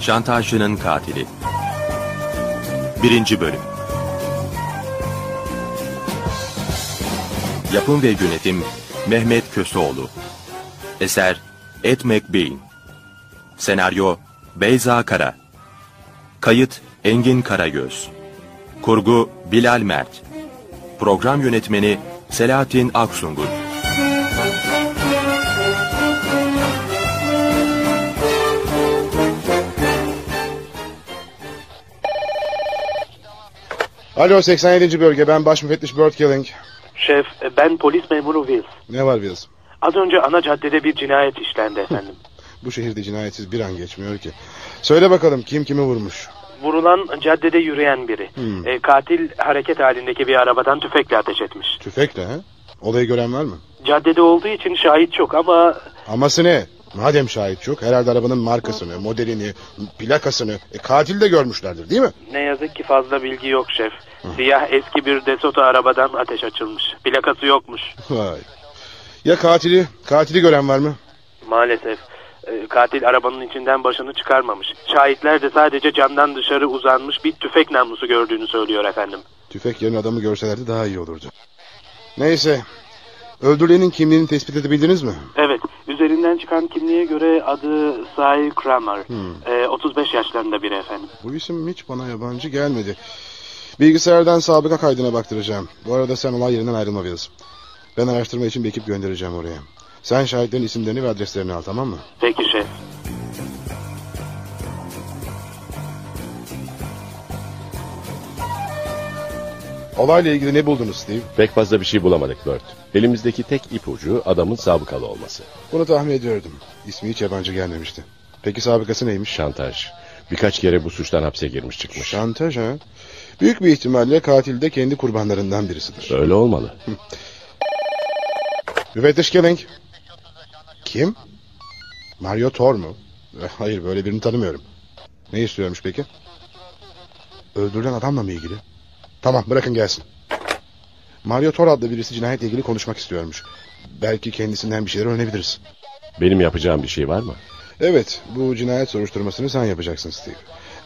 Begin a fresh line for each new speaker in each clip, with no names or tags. Şantajcının Katili 1. Bölüm Yapım ve Yönetim Mehmet Köseoğlu Eser Ed McBean Senaryo Beyza Kara Kayıt Engin Karagöz Kurgu Bilal Mert Program Yönetmeni Selahattin Aksungur
Alo 87. bölge ben baş müfettiş Bird Killing.
Şef, e, ben polis memuru Wills.
Ne var Wills?
Az önce ana caddede bir cinayet işlendi efendim.
Bu şehirde cinayetsiz bir an geçmiyor ki. Söyle bakalım kim kimi vurmuş? Hmm,
Vurulan caddede yürüyen biri. E, katil hareket halindeki bir arabadan tüfekle ateş etmiş.
Tüfekle he? Olayı gören var mı?
Caddede olduğu için şahit çok ama
Aması ne? Madem şahit yok herhalde arabanın markasını, modelini, plakasını, e, katil de görmüşlerdir değil mi?
ne yazık ki fazla bilgi yok şef. Siyah eski bir Desoto arabadan ateş açılmış. Plakası yokmuş.
Vay. Ya katili? Katili gören var mı?
Maalesef. e, Katil arabanın içinden başını çıkarmamış. Şahitler de sadece camdan dışarı uzanmış bir tüfek namlusu gördüğünü söylüyor efendim.
Tüfek yerine adamı görselerdi daha iyi olurdu. Neyse. Öldürülenin kimliğini tespit edebildiniz mi?
Evet. Üzerinden çıkan kimliğe göre adı Sai Kramer.
Hmm.
Ee, 35 yaşlarında biri efendim.
Bu isim hiç bana yabancı gelmedi. Bilgisayardan sabıka kaydına baktıracağım. Bu arada sen olay yerinden ayrılma Wills. Ben araştırma için bir ekip göndereceğim oraya. Sen şahitlerin isimlerini ve adreslerini al tamam mı?
Peki şef.
Olayla ilgili ne buldunuz Steve?
Pek fazla bir şey bulamadık Bert. Elimizdeki tek ipucu adamın sabıkalı olması.
Bunu tahmin ediyordum. İsmi hiç yabancı gelmemişti. Peki sabıkası neymiş?
Şantaj. Birkaç kere bu suçtan hapse girmiş çıkmış.
Şantaj ha? Büyük bir ihtimalle katil de kendi kurbanlarından birisidir.
Öyle olmalı.
Müfettiş Killing. Kim? Mario Thor mu? Eh, Hayır böyle birini tanımıyorum. Ne istiyormuş peki? Öldürülen adamla mı ilgili? Tamam bırakın gelsin. Mario Thor adlı birisi cinayetle ilgili konuşmak istiyormuş. Belki kendisinden bir şeyler öğrenebiliriz.
Benim yapacağım bir şey var mı?
Evet bu cinayet soruşturmasını sen yapacaksın Steve.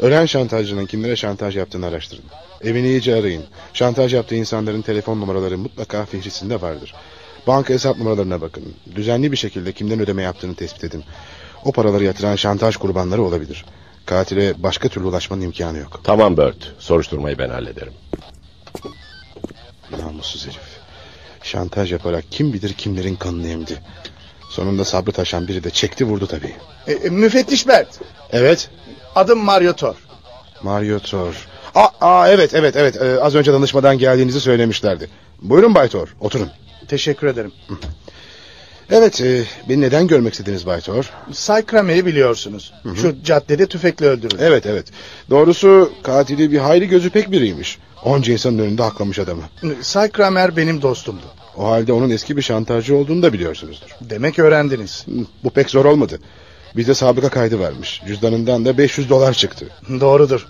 Ölen şantajcının kimlere şantaj yaptığını araştırın. Evini iyice arayın. Şantaj yaptığı insanların telefon numaraları mutlaka fihrisinde vardır. Banka hesap numaralarına bakın. Düzenli bir şekilde kimden ödeme yaptığını tespit edin. O paraları yatıran şantaj kurbanları olabilir. Katile başka türlü ulaşmanın imkanı yok.
Tamam Bert. Soruşturmayı ben hallederim.
Namussuz herif. Şantaj yaparak kim bilir kimlerin kanını emdi. Sonunda sabrı taşan biri de çekti vurdu tabii.
E, e, müfettiş Bert.
Evet
Adım Mario Tor.
Mario Thor. Aa, aa, evet evet evet Ee, az önce danışmadan geldiğinizi söylemişlerdi. Buyurun Bay Thor oturun.
Teşekkür ederim.
Evet e, beni neden görmek istediniz Bay Thor?
Say Kramer'i biliyorsunuz. Şu caddede tüfekle öldürüldü.
Evet evet doğrusu katili bir hayli gözü pek biriymiş. Onca insanın önünde haklamış adamı.
Say Kramer benim dostumdu.
O halde onun eski bir şantajcı olduğunu da biliyorsunuzdur.
Demek öğrendiniz.
Hı, Bu pek zor olmadı. Bizde sabıka kaydı varmış. Cüzdanından da 500 dolar çıktı.
Doğrudur.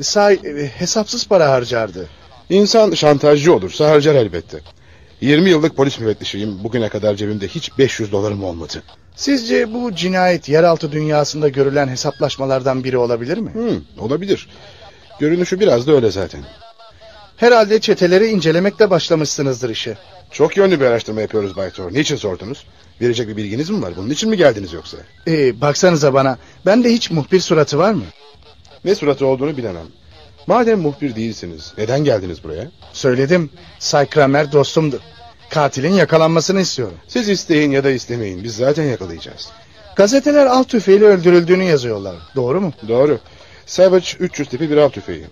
Say e, hesapsız para harcardı.
İnsan şantajcı olursa harcar elbette. 20 yıllık polis müfettişiyim. Bugüne kadar cebimde hiç 500 dolarım olmadı.
Sizce bu cinayet yeraltı dünyasında görülen hesaplaşmalardan biri olabilir mi?
Hı, olabilir. Görünüşü biraz da öyle zaten.
Herhalde E, çeteleri incelemekle başlamışsınızdır işe.
Çok yönlü bir araştırma yapıyoruz Bay Thor. Niçin sordunuz? Verecek bir bilginiz mi var? Bunun için mi geldiniz yoksa?
E, baksanıza bana. Bende hiç muhbir suratı var mı?
Ne suratı olduğunu bilemem. Madem muhbir değilsiniz, neden geldiniz buraya?
Söyledim. Say Kramer dostumdu. Katilin yakalanmasını istiyorum.
Siz isteyin ya da istemeyin, biz zaten yakalayacağız.
Gazeteler av tüfeğiyle öldürüldüğünü yazıyorlar. Doğru mu?
Doğru. Savage 300 tipi bir av tüfeği.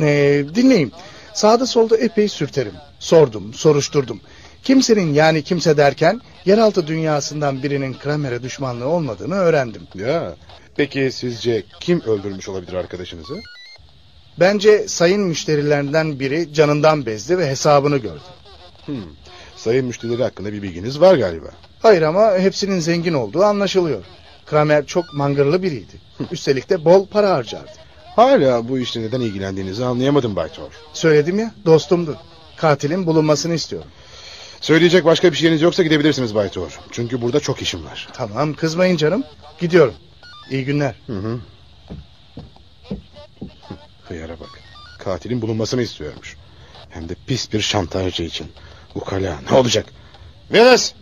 Ee, dinleyin. Sağda solda epey sürterim. Sordum, soruşturdum. Kimsenin yani kimse derken yeraltı dünyasından birinin Kramer'e düşmanlığı olmadığını öğrendim.
Ya, peki sizce kim öldürmüş olabilir arkadaşınızı?
Bence sayın müşterilerinden biri canından bezdi ve hesabını gördü.
Hmm. Sayın müşterileri hakkında bir bilginiz var galiba.
Hayır ama hepsinin zengin olduğu anlaşılıyor. Kramer çok mangırlı biriydi. Üstelik de bol para harcardı.
Hala bu işle neden ilgilendiğinizi anlayamadım Bay Thor.
Söyledim ya dostumdu. Katilin bulunmasını istiyorum.
Söyleyecek başka bir şeyiniz yoksa gidebilirsiniz Bay Thor. Çünkü burada çok işim var.
Tamam kızmayın canım. Gidiyorum. İyi günler.
Hıyara bak. Katilin bulunmasını istiyormuş. Hem de pis bir şantajcı için. Ukala ne olacak? Veres!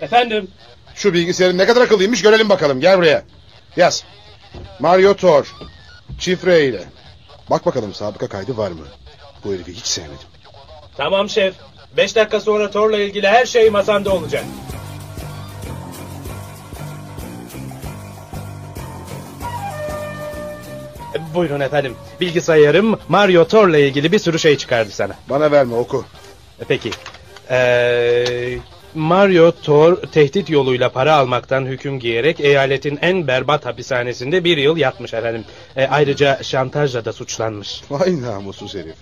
Efendim?
Şu bilgisayarın ne kadar akıllıymış görelim bakalım. Gel buraya. Yaz. Mario Tor. Şifre ile. Bak bakalım sabıka kaydı var mı? Bu herifi hiç sevmedim.
Tamam şef. Beş dakika sonra Thor'la ilgili her şey masamda olacak. E, Buyurun efendim. Bilgisayarım Mario Thor'la ilgili bir sürü şey çıkardı sana.
Bana verme oku.
E, Peki. Ee, Mario Thor tehdit yoluyla para almaktan hüküm giyerek eyaletin en berbat hapishanesinde bir yıl yatmış efendim. E, ayrıca şantajla da suçlanmış.
Vay namussuz herif.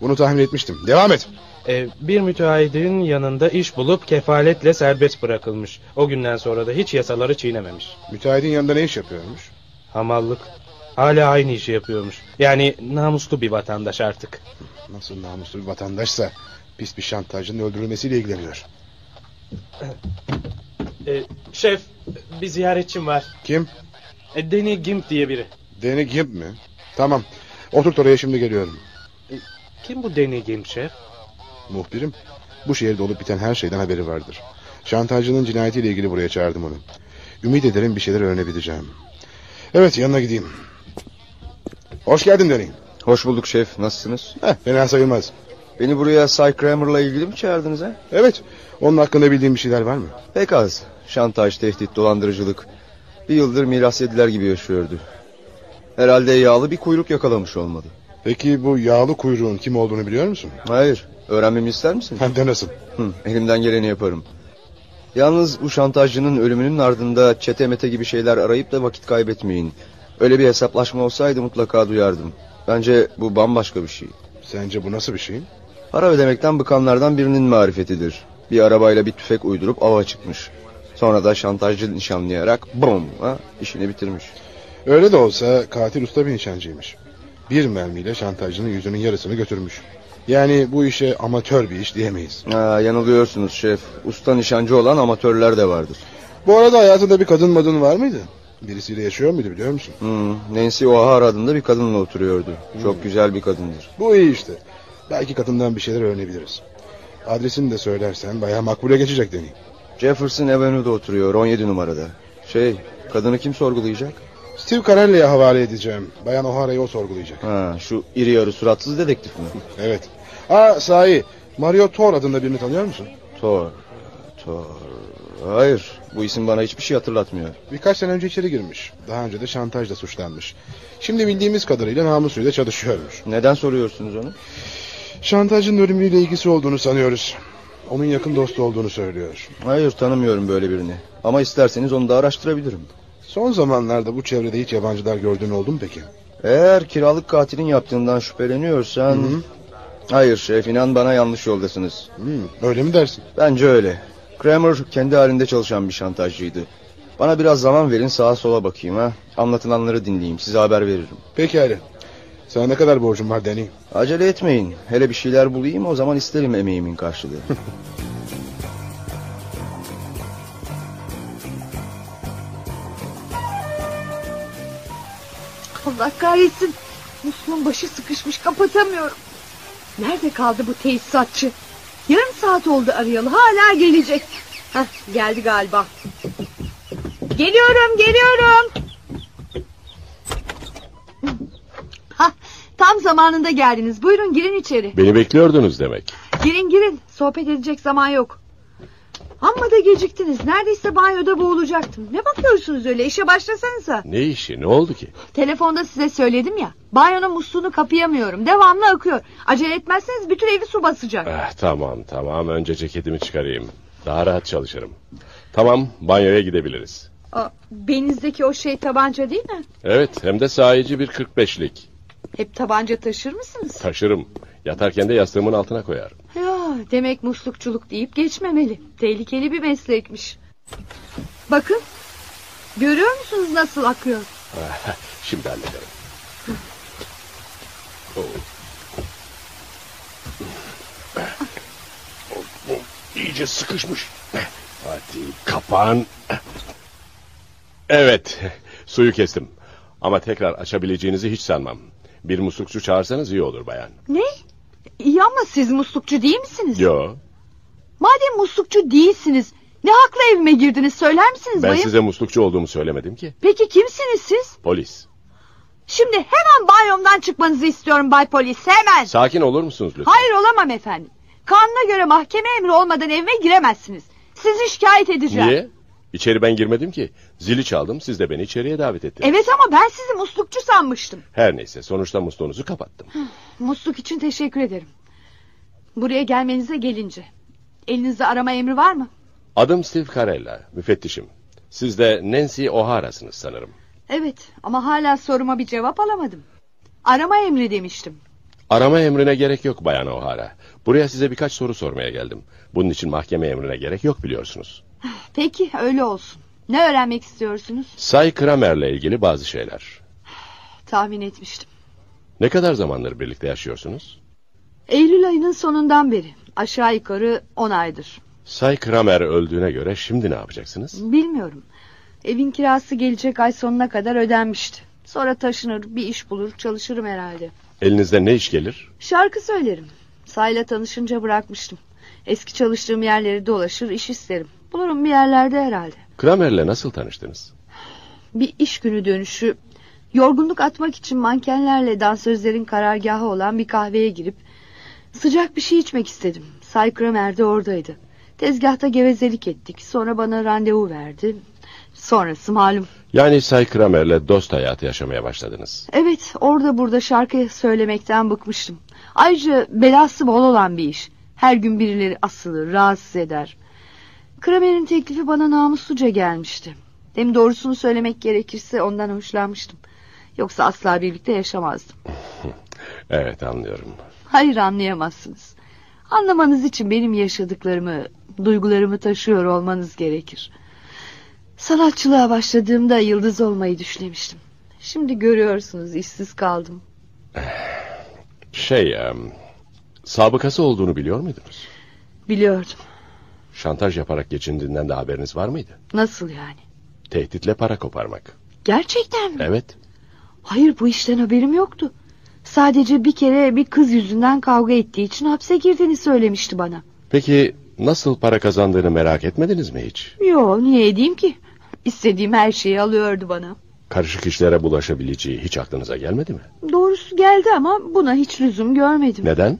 Bunu tahmin etmiştim. Devam et.
E, bir müteahhidin yanında iş bulup kefaletle serbest bırakılmış. O günden sonra da hiç yasaları çiğnememiş.
Müteahhidin yanında ne iş yapıyormuş?
Hamallık. Hala aynı işi yapıyormuş. Yani namuslu bir vatandaş artık.
Nasıl namuslu bir vatandaşsa pis bir şantajcının öldürülmesiyle ilgileniyor.
E, şef, bir ziyaretçim var.
Kim?
E, Danny Gimp diye biri.
Danny Gimp mi? Tamam. Oturt oraya şimdi geliyorum.
E, Kim bu Danny Gimp şef?
Muhbirim. Bu şehirde olup biten her şeyden haberi vardır. Şantajcının cinayetiyle ilgili buraya çağırdım onu. Ümit ederim bir şeyler öğrenebileceğim. Evet yanına gideyim. Hoş geldin Danny.
Hoş bulduk şef. Nasılsınız?
Heh, fena sayılmaz.
Beni buraya Cy Kramer'la ilgili mi çağırdınız ha?
Evet. Onun hakkında bildiğin bir şeyler var mı?
Pek az. Şantaj, tehdit, dolandırıcılık. Bir yıldır miras yediler gibi yaşıyordu. Herhalde yağlı bir kuyruk yakalamış olmalı.
Peki bu yağlı kuyruğun kim olduğunu biliyor musun?
Hayır. Öğrenmemi ister misiniz?
Hem de nasıl?
Hı, elimden geleni yaparım. Yalnız bu şantajcının ölümünün ardında çete mete gibi şeyler arayıp da vakit kaybetmeyin. Öyle bir hesaplaşma olsaydı mutlaka duyardım. Bence bu bambaşka bir şey.
Sence bu nasıl bir şey?
Para ödemekten bıkanlardan birinin marifetidir. Bir arabayla bir tüfek uydurup ava çıkmış. Sonra da şantajcı nişanlayarak bum ha, işini bitirmiş.
Öyle de olsa katil usta bir nişancıymış. Bir mermiyle şantajcının yüzünün yarısını götürmüş. Yani bu işe amatör bir iş diyemeyiz.
Aa, yanılıyorsunuz şef. Usta nişancı olan amatörler de vardır.
Bu arada hayatında bir kadın madın var mıydı? Birisiyle yaşıyor muydu biliyor musun?
Hmm, Nancy O'Hara adında bir kadınla oturuyordu.
Hmm.
Çok güzel bir kadındır.
Bu iyi işte. Belki kadından bir şeyler öğrenebiliriz. Adresini de söylersen bayağı makbule geçecek deneyim.
Jefferson Avenue'da oturuyor 17 numarada. Şey, kadını kim sorgulayacak?
Steve Carelli'ye havale edeceğim. Bayan O'Hara'yı o sorgulayacak.
Ha, şu iri yarı suratsız dedektif mi?
Evet. Aa sahi Mario Thor adında birini tanıyor musun?
Thor. Thor. Hayır, bu isim bana hiçbir şey hatırlatmıyor.
Birkaç sene önce içeri girmiş. Daha önce de şantajla suçlanmış. Şimdi bildiğimiz kadarıyla namusuyla çalışıyormuş.
Neden soruyorsunuz onu?
Şantajın ölümüyle ilgisi olduğunu sanıyoruz. Onun yakın dostu olduğunu söylüyor.
Hayır tanımıyorum böyle birini. Ama isterseniz onu da araştırabilirim.
Son zamanlarda bu çevrede hiç yabancılar gördüğün oldu mu peki?
Eğer kiralık katilin yaptığından şüpheleniyorsan... Hayır şef inan bana yanlış yoldasınız.
Hmm, öyle mi dersin?
Bence öyle. Kramer kendi halinde çalışan bir şantajcıydı. Bana biraz zaman verin sağa sola bakayım ha. Anlatılanları dinleyeyim size haber veririm.
Pekala. Sana ne kadar borcum var Danny?
Acele etmeyin. Hele bir şeyler bulayım o zaman isterim emeğimin karşılığı.
Allah kahretsin. Musluğun başı sıkışmış kapatamıyorum. Nerede kaldı bu tesisatçı? Yarım saat oldu arayalı hala gelecek. Heh, geldi galiba. Geliyorum geliyorum. Hah, tam zamanında geldiniz. Buyurun girin içeri.
Beni bekliyordunuz demek.
Girin girin sohbet edecek zaman yok. Amma da geciktiniz. Neredeyse banyoda boğulacaktım. Ne bakıyorsunuz öyle işe başlasanıza.
Ne işi ne oldu ki?
Telefonda size söyledim ya. Banyonun musluğunu kapayamıyorum. Devamlı akıyor. Acele etmezseniz bütün evi su basacak.
Ah, tamam tamam önce ceketimi çıkarayım. Daha rahat çalışırım. Tamam banyoya gidebiliriz.
Aa, Belinizdeki o şey tabanca değil mi?
Evet hem de sahici bir 45'lik.
Hep tabanca taşır mısınız?
Taşırım. Yatarken de yastığımın altına koyarım.
Ya, demek muslukçuluk deyip geçmemeli. Tehlikeli bir meslekmiş. Bakın. Görüyor musunuz nasıl akıyor?
Şimdi hallederim. Oh. Oh, bu iyice sıkışmış.
Eh,
Hadi kapağın. Evet suyu kestim. Ama tekrar açabileceğinizi hiç sanmam. Bir muslukçu çağırsanız iyi olur bayan.
Ne? İyi ama siz muslukçu değil misiniz?
Yo,
Madem muslukçu değilsiniz, ne hakla evime girdiniz söyler misiniz
ben
bayım?
size muslukçu olduğumu söylemedim ki.
Peki kimsiniz siz?
Polis.
Şimdi hemen banyomdan çıkmanızı istiyorum Bay Polis, hemen.
Sakin olur musunuz lütfen?
Hayır olamam efendim. Kanuna göre mahkeme emri olmadan evime giremezsiniz. Sizi şikayet edeceğim.
Niye? İçeri ben girmedim ki. Zili çaldım, siz de beni içeriye davet ettiniz.
Evet ama ben sizi muslukçu sanmıştım.
Her neyse, sonuçta musluğunuzu kapattım.
Musluk için teşekkür ederim. Buraya gelmenize gelince. Elinizde arama emri var mı?
Adım Steve Carella, müfettişim. Siz de Nancy O'Hara'sınız sanırım.
Evet ama hala soruma bir cevap alamadım. Arama emri demiştim.
Arama emrine gerek yok Bayan O'Hara. Buraya size birkaç soru sormaya geldim. Bunun için mahkeme emrine gerek yok biliyorsunuz.
Peki öyle olsun. Ne öğrenmek istiyorsunuz?
Say Kramer'le ilgili bazı şeyler.
Tahmin etmiştim.
Ne kadar zamandır birlikte yaşıyorsunuz?
Eylül ayının sonundan beri. Aşağı yukarı 10 aydır.
Say Kramer öldüğüne göre şimdi ne yapacaksınız?
Bilmiyorum. Evin kirası gelecek ay sonuna kadar ödenmişti. Sonra taşınır, bir iş bulur, çalışırım herhalde.
Elinizde ne iş gelir?
Şarkı söylerim. Sayla tanışınca bırakmıştım. Eski çalıştığım yerleri dolaşır, iş isterim. Bulurum bir yerlerde herhalde.
Kramer'le nasıl tanıştınız?
Bir iş günü dönüşü yorgunluk atmak için mankenlerle dansözlerin karargahı olan bir kahveye girip sıcak bir şey içmek istedim. Say Kramer de oradaydı. Tezgahta gevezelik ettik. Sonra bana randevu verdi. Sonrası malum.
Yani Say Kramer'le dost hayatı yaşamaya başladınız.
Evet orada burada şarkı söylemekten bıkmıştım. Ayrıca belası bol olan bir iş. Her gün birileri asılır, rahatsız eder. Kramer'in teklifi bana namusluca gelmişti. Hem doğrusunu söylemek gerekirse ondan hoşlanmıştım. Yoksa asla birlikte yaşamazdım.
Evet anlıyorum.
Hayır anlayamazsınız. Anlamanız için benim yaşadıklarımı, duygularımı taşıyor olmanız gerekir. Sanatçılığa başladığımda yıldız olmayı düşlemiştim. Şimdi görüyorsunuz işsiz kaldım.
Şey, em, sabıkası olduğunu biliyor muydunuz?
Biliyordum.
Şantaj yaparak geçindiğinden de haberiniz var mıydı?
Nasıl yani?
Tehditle para koparmak.
Gerçekten mi?
Evet.
Hayır bu işten haberim yoktu. Sadece bir kere bir kız yüzünden kavga ettiği için hapse girdiğini söylemişti bana.
Peki nasıl para kazandığını merak etmediniz mi hiç?
Yo niye edeyim ki? İstediğim her şeyi alıyordu bana.
Karışık işlere bulaşabileceği hiç aklınıza gelmedi mi?
Doğrusu geldi ama buna hiç lüzum görmedim.
Neden?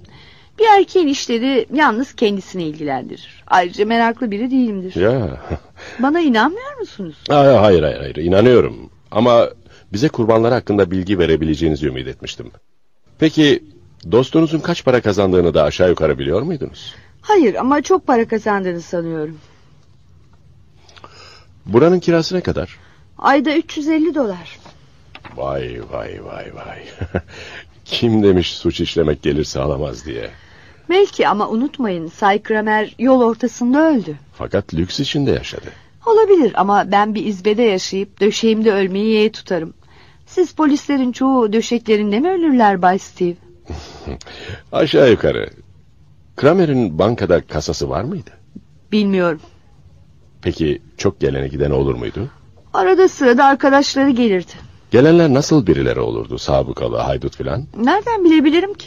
Bir erkeğin işleri yalnız kendisini ilgilendirir. Ayrıca meraklı biri değilimdir.
Ya.
Bana inanmıyor musunuz?
Aa, Hayır hayır hayır inanıyorum. Ama bize kurbanlar hakkında bilgi verebileceğinizi ümit etmiştim. Peki dostunuzun kaç para kazandığını da aşağı yukarı biliyor muydunuz?
Hayır ama çok para kazandığını sanıyorum.
Buranın kirası ne kadar?
Ayda 350 dolar.
Vay vay vay vay. Kim demiş suç işlemek gelir sağlamaz diye.
Belki ama unutmayın Say Kramer yol ortasında öldü.
Fakat lüks içinde yaşadı.
Olabilir ama ben bir izbede yaşayıp döşeğimde ölmeyi yeğe tutarım. Siz polislerin çoğu döşeklerinde mi ölürler Bay Steve?
Aşağı yukarı. Kramer'in bankada kasası var mıydı?
Bilmiyorum.
Peki çok gelene giden olur muydu?
Arada sırada arkadaşları gelirdi.
Gelenler nasıl birileri olurdu? Sabıkalı, haydut filan?
Nereden bilebilirim ki?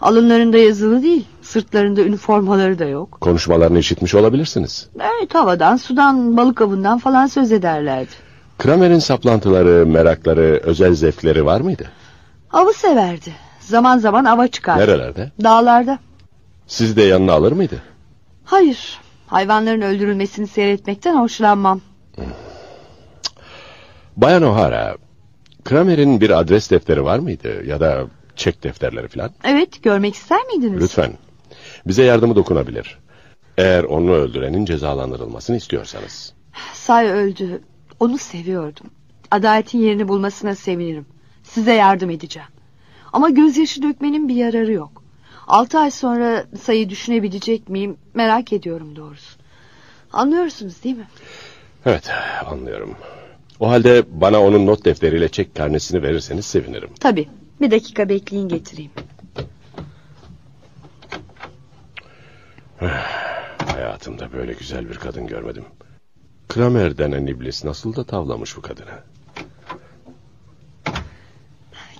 Alınlarında yazılı değil, sırtlarında üniformaları da yok.
Konuşmalarını işitmiş olabilirsiniz.
Evet havadan, sudan, balık avından falan söz ederlerdi.
Kramer'in saplantıları, merakları, özel zevkleri var mıydı?
Avı severdi. Zaman zaman ava çıkar.
Nerelerde?
Dağlarda.
Sizi de yanına alır mıydı?
Hayır, hayvanların öldürülmesini seyretmekten hoşlanmam.
Bayan O'Hara, Kramer'in bir adres defteri var mıydı? Ya da çek defterleri filan?
Evet, görmek ister miydiniz?
Lütfen. Bize yardımı dokunabilir. Eğer onu öldürenin cezalandırılmasını istiyorsanız.
Say öldü. Onu seviyordum. Adaletin yerini bulmasına sevinirim. Size yardım edeceğim. Ama gözyaşı dökmenin bir yararı yok. Altı ay sonra sayı düşünebilecek miyim merak ediyorum doğrusu. Anlıyorsunuz değil mi?
Evet, anlıyorum. O halde bana onun not defteriyle çek karnesini verirseniz sevinirim.
Tabii. Bir dakika bekleyin getireyim.
Hayatımda böyle güzel bir kadın görmedim. Kramer denen iblis nasıl da tavlamış bu kadını.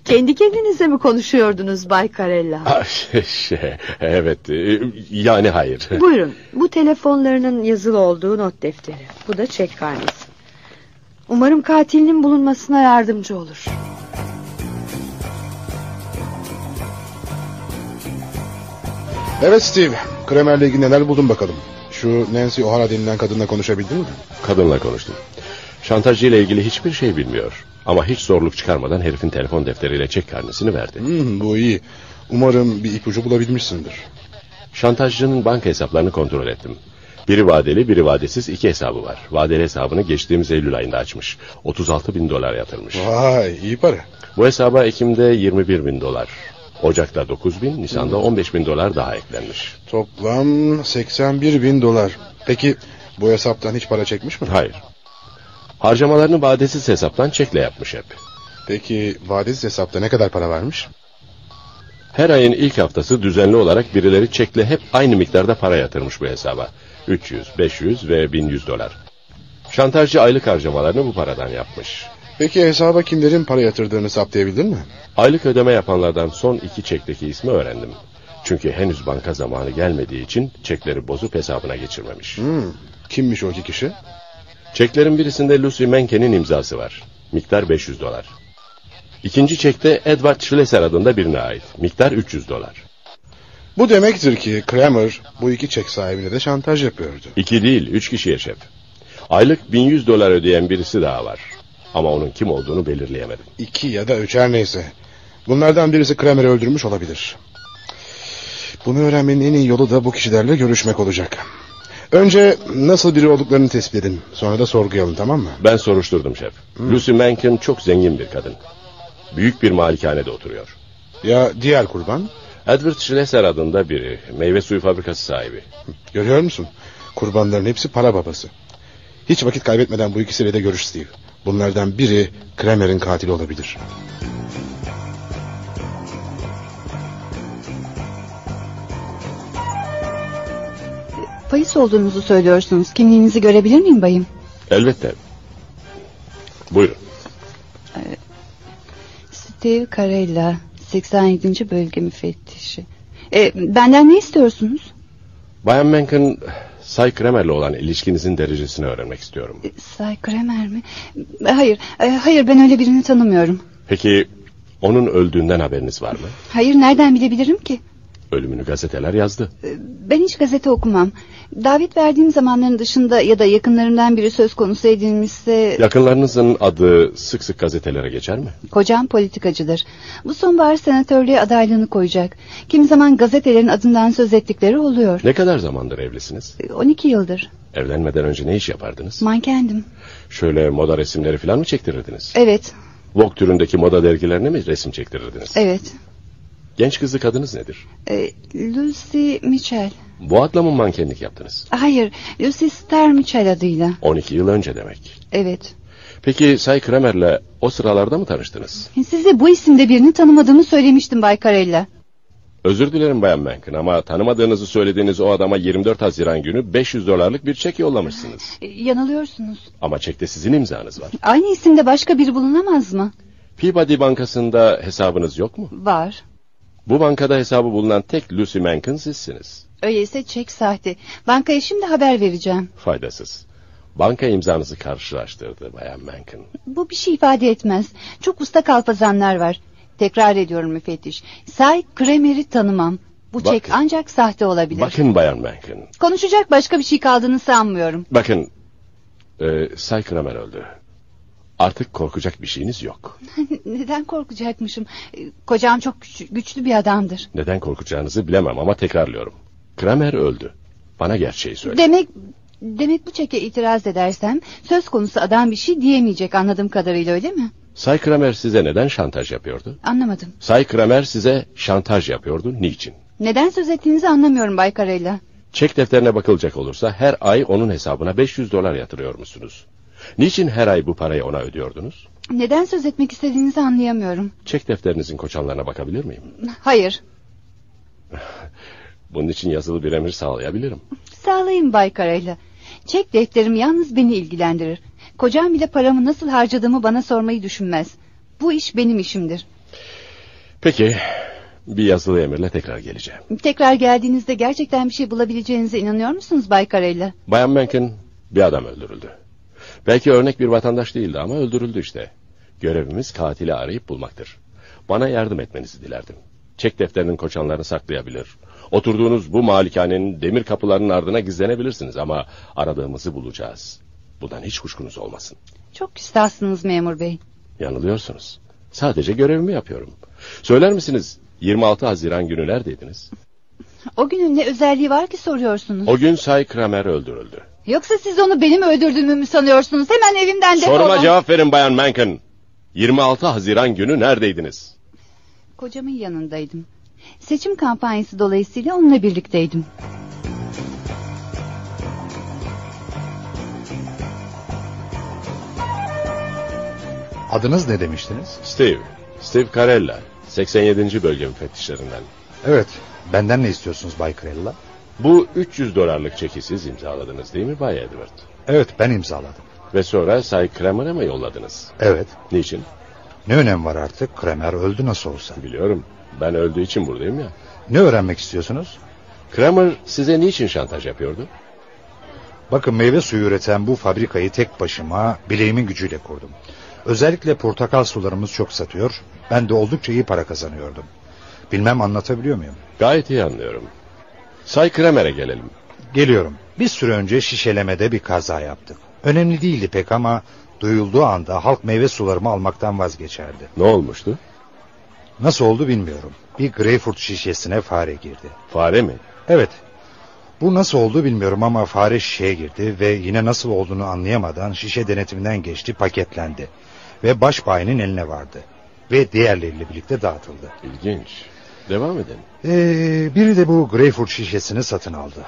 Kendi kendinize mi konuşuyordunuz Bay Karella?
Ah, şey, şey, evet, e, yani hayır.
Buyurun bu telefonlarının yazılı olduğu not defteri. Bu da çek karnesi. Umarım katilinin bulunmasına yardımcı olur.
Evet Steve, Kramer'le ilgili neler buldun bakalım. Şu Nancy O'Hara denilen kadınla konuşabildin mi?
Kadınla konuştum. Şantajcı ile ilgili hiçbir şey bilmiyor. Ama hiç zorluk çıkarmadan herifin telefon defteriyle çek karnesini verdi.
Hmm, bu iyi. Umarım bir ipucu bulabilmişsindir.
Şantajcının banka hesaplarını kontrol ettim. Biri vadeli, biri vadesiz iki hesabı var. Vadeli hesabını geçtiğimiz Eylül ayında açmış. 36 bin dolar yatırmış.
Vay, iyi para.
Bu hesaba Ekim'de 21 bin dolar. Ocak'ta 9 bin, Nisan'da 15 bin dolar daha eklenmiş.
Toplam 81 bin dolar. Peki bu hesaptan hiç para çekmiş mi?
Hayır. Harcamalarını vadesiz hesaptan çekle yapmış hep.
Peki vadesiz hesapta ne kadar para varmış?
Her ayın ilk haftası düzenli olarak birileri çekle hep aynı miktarda para yatırmış bu hesaba. 300, 500 ve 1100 dolar. Şantajcı aylık harcamalarını bu paradan yapmış.
Peki hesaba kimlerin para yatırdığını saptayabildin mi?
Aylık ödeme yapanlardan son iki çekteki ismi öğrendim. Çünkü henüz banka zamanı gelmediği için çekleri bozup hesabına geçirmemiş.
Hmm, kimmiş o iki kişi?
Çeklerin birisinde Lucy Menken'in imzası var. Miktar 500 dolar. İkinci çekte Edward Schlesser adında birine ait. Miktar 300 dolar.
Bu demektir ki Kramer bu iki çek sahibine de şantaj yapıyordu.
İki değil, üç kişiye şef. Aylık 1100 dolar ödeyen birisi daha var. Ama onun kim olduğunu belirleyemedim.
İki ya da üç her neyse. Bunlardan birisi Kramer'i öldürmüş olabilir. Bunu öğrenmenin en iyi yolu da bu kişilerle görüşmek olacak. Önce nasıl biri olduklarını tespit edin. Sonra da sorguya alın tamam mı?
Ben soruşturdum şef. Lucy Menken çok zengin bir kadın. Büyük bir malikanede oturuyor.
Ya diğer kurban?
Edward Schlesser adında biri. Meyve suyu fabrikası sahibi.
Görüyor musun? Kurbanların hepsi para babası. Hiç vakit kaybetmeden bu ikisiyle de görüş Steve. Bunlardan biri Kramer'in katili olabilir.
Polis olduğunuzu söylüyorsunuz. Kimliğinizi görebilir miyim bayım?
Elbette. Buyurun.
Ee, Steve Carella, 87. bölge müfettişi. E, benden ne istiyorsunuz?
Bayan Menken, Say Kremer'le olan ilişkinizin derecesini öğrenmek istiyorum.
E, Say Kramer mi? E, Hayır, e, hayır ben öyle birini tanımıyorum.
Peki onun öldüğünden haberiniz var mı?
Hayır nereden bilebilirim ki?
Ölümünü gazeteler yazdı.
E, Ben hiç gazete okumam. Davet verdiğim zamanların dışında ya da yakınlarımdan biri söz konusu edilmişse...
Yakınlarınızın adı sık sık gazetelere geçer mi?
Kocam politikacıdır. Bu sonbahar senatörlüğe adaylığını koyacak. Kimi zaman gazetelerin adından söz ettikleri oluyor.
Ne kadar zamandır evlisiniz?
E, 12 yıldır.
Evlenmeden önce ne iş yapardınız?
Mankendim.
Şöyle moda resimleri falan mı çektirirdiniz?
Evet,
Vogue türündeki moda dergilerine mi resim çektirirdiniz?
evet.
Genç kızlı kadınız nedir?
E, Lucy Mitchell.
Bu adla mı mankenlik yaptınız?
Hayır, Lucy Star Mitchell adıyla.
12 yıl önce demek.
Evet.
Peki Say Kramer'le o sıralarda mı tanıştınız?
Size bu isimde birini tanımadığımı söylemiştim Bay Carella.
Özür dilerim Bayan Menken ama tanımadığınızı söylediğiniz o adama 24 Haziran günü 500 dolarlık bir çek yollamışsınız.
E, yanılıyorsunuz.
Ama çekte sizin imzanız var.
Aynı isimde başka biri bulunamaz mı?
Peabody Bankası'nda hesabınız yok mu?
Var.
Bu bankada hesabı bulunan tek Lucy Menken sizsiniz.
Öyleyse çek sahte. Bankaya şimdi haber vereceğim.
Faydasız. Banka imzanızı karşılaştırdı Bayan Menken.
Bu bir şey ifade etmez. Çok usta kalpazanlar var. Tekrar ediyorum müfettiş. Say Kramer'i tanımam. Bu çek
Bakın.
ancak sahte olabilir.
Bakın Bayan Menken.
Konuşacak başka bir şey kaldığını sanmıyorum.
Bakın. E, Say Kramer öldü. Artık korkacak bir şeyiniz yok.
Neden korkacakmışım? E, Kocam çok güç- güçlü bir adamdır.
Neden korkacağınızı bilemem ama tekrarlıyorum. Kramer öldü. Bana gerçeği söyle.
Demek demek bu çeke itiraz edersem söz konusu adam bir şey diyemeyecek anladığım kadarıyla öyle mi?
Say Kramer size neden şantaj yapıyordu?
Anlamadım.
Say Kramer size şantaj yapıyordu. Niçin?
Neden söz ettiğinizi anlamıyorum Bay Karayla.
Çek defterine bakılacak olursa her ay onun hesabına 500 dolar yatırıyor musunuz? Niçin her ay bu parayı ona ödüyordunuz?
Neden söz etmek istediğinizi anlayamıyorum.
Çek defterinizin koçanlarına bakabilir miyim?
Hayır.
Bunun için yazılı bir emir sağlayabilirim.
Sağlayın Bay Karayla. Çek defterim yalnız beni ilgilendirir. Kocam bile paramı nasıl harcadığımı bana sormayı düşünmez. Bu iş benim işimdir.
Peki bir yazılı emirle tekrar geleceğim.
Tekrar geldiğinizde gerçekten bir şey bulabileceğinize inanıyor musunuz Bay Karayla?
Bayan Mencken bir adam öldürüldü. Belki örnek bir vatandaş değildi ama öldürüldü işte. Görevimiz katili arayıp bulmaktır. Bana yardım etmenizi dilerdim. Çek defterinin koçanlarını saklayabilir. Oturduğunuz bu malikanenin demir kapılarının ardına gizlenebilirsiniz ama aradığımızı bulacağız. Bundan hiç kuşkunuz olmasın.
Çok küstahsınız memur bey.
Yanılıyorsunuz. Sadece görevimi yapıyorum. Söyler misiniz 26 Haziran günü neredeydiniz?
O günün ne özelliği var ki soruyorsunuz?
O gün Say Kramer öldürüldü.
Yoksa siz onu benim öldürdüğümü mü sanıyorsunuz? Hemen evimden defolun.
Soruma cevap verin Bayan Mencken. 26 Haziran günü neredeydiniz?
Kocamın yanındaydım. Seçim kampanyası dolayısıyla onunla birlikteydim.
Adınız ne demiştiniz?
Steve. Steve Carella. 87. bölge müfettişlerinden.
Evet. Benden ne istiyorsunuz Bay Krella?
Bu 300 dolarlık çeki siz imzaladınız değil mi Bay Edward?
Evet ben imzaladım.
Ve sonra Say Kramer'a mı yolladınız?
Evet.
Niçin?
Ne önem var artık? Kramer öldü nasıl olsa.
Biliyorum. Ben öldüğü için buradayım ya.
Ne öğrenmek istiyorsunuz?
Kramer size niçin şantaj yapıyordu?
Bakın meyve suyu üreten bu fabrikayı tek başıma bileğimin gücüyle kurdum. Özellikle portakal sularımız çok satıyor. Ben de oldukça iyi para kazanıyordum. Bilmem anlatabiliyor muyum?
Gayet iyi anlıyorum. Say Kramer'e gelelim.
Geliyorum. Bir süre önce şişelemede bir kaza yaptık. Önemli değildi pek ama duyulduğu anda halk meyve sularımı almaktan vazgeçerdi.
Ne olmuştu?
Nasıl oldu bilmiyorum. Bir greyfurt şişesine fare girdi.
Fare mi?
Evet. Bu nasıl oldu bilmiyorum ama fare şişeye girdi ve yine nasıl olduğunu anlayamadan şişe denetiminden geçti, paketlendi. Ve baş bayinin eline vardı. Ve diğerleriyle birlikte dağıtıldı.
İlginç. Devam edelim.
Ee, biri de bu greyfurt şişesini satın aldı.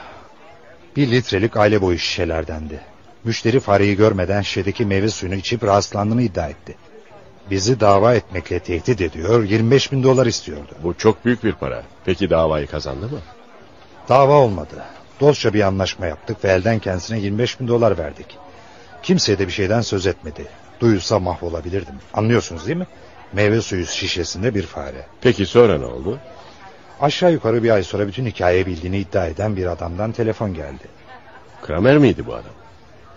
Bir litrelik aile boyu şişelerdendi. Müşteri fareyi görmeden şişedeki meyve suyunu içip rahatsızlandığını iddia etti. Bizi dava etmekle tehdit ediyor, 25 bin dolar istiyordu.
Bu çok büyük bir para. Peki davayı kazandı mı?
Dava olmadı. Dostça bir anlaşma yaptık ve elden kendisine 25 bin dolar verdik. Kimseye de bir şeyden söz etmedi. Duyulsa mahvolabilirdim. Anlıyorsunuz değil mi? Meyve suyu şişesinde bir fare.
Peki sonra ne oldu?
Aşağı yukarı bir ay sonra bütün hikayeyi bildiğini iddia eden bir adamdan telefon geldi.
Kramer miydi bu adam?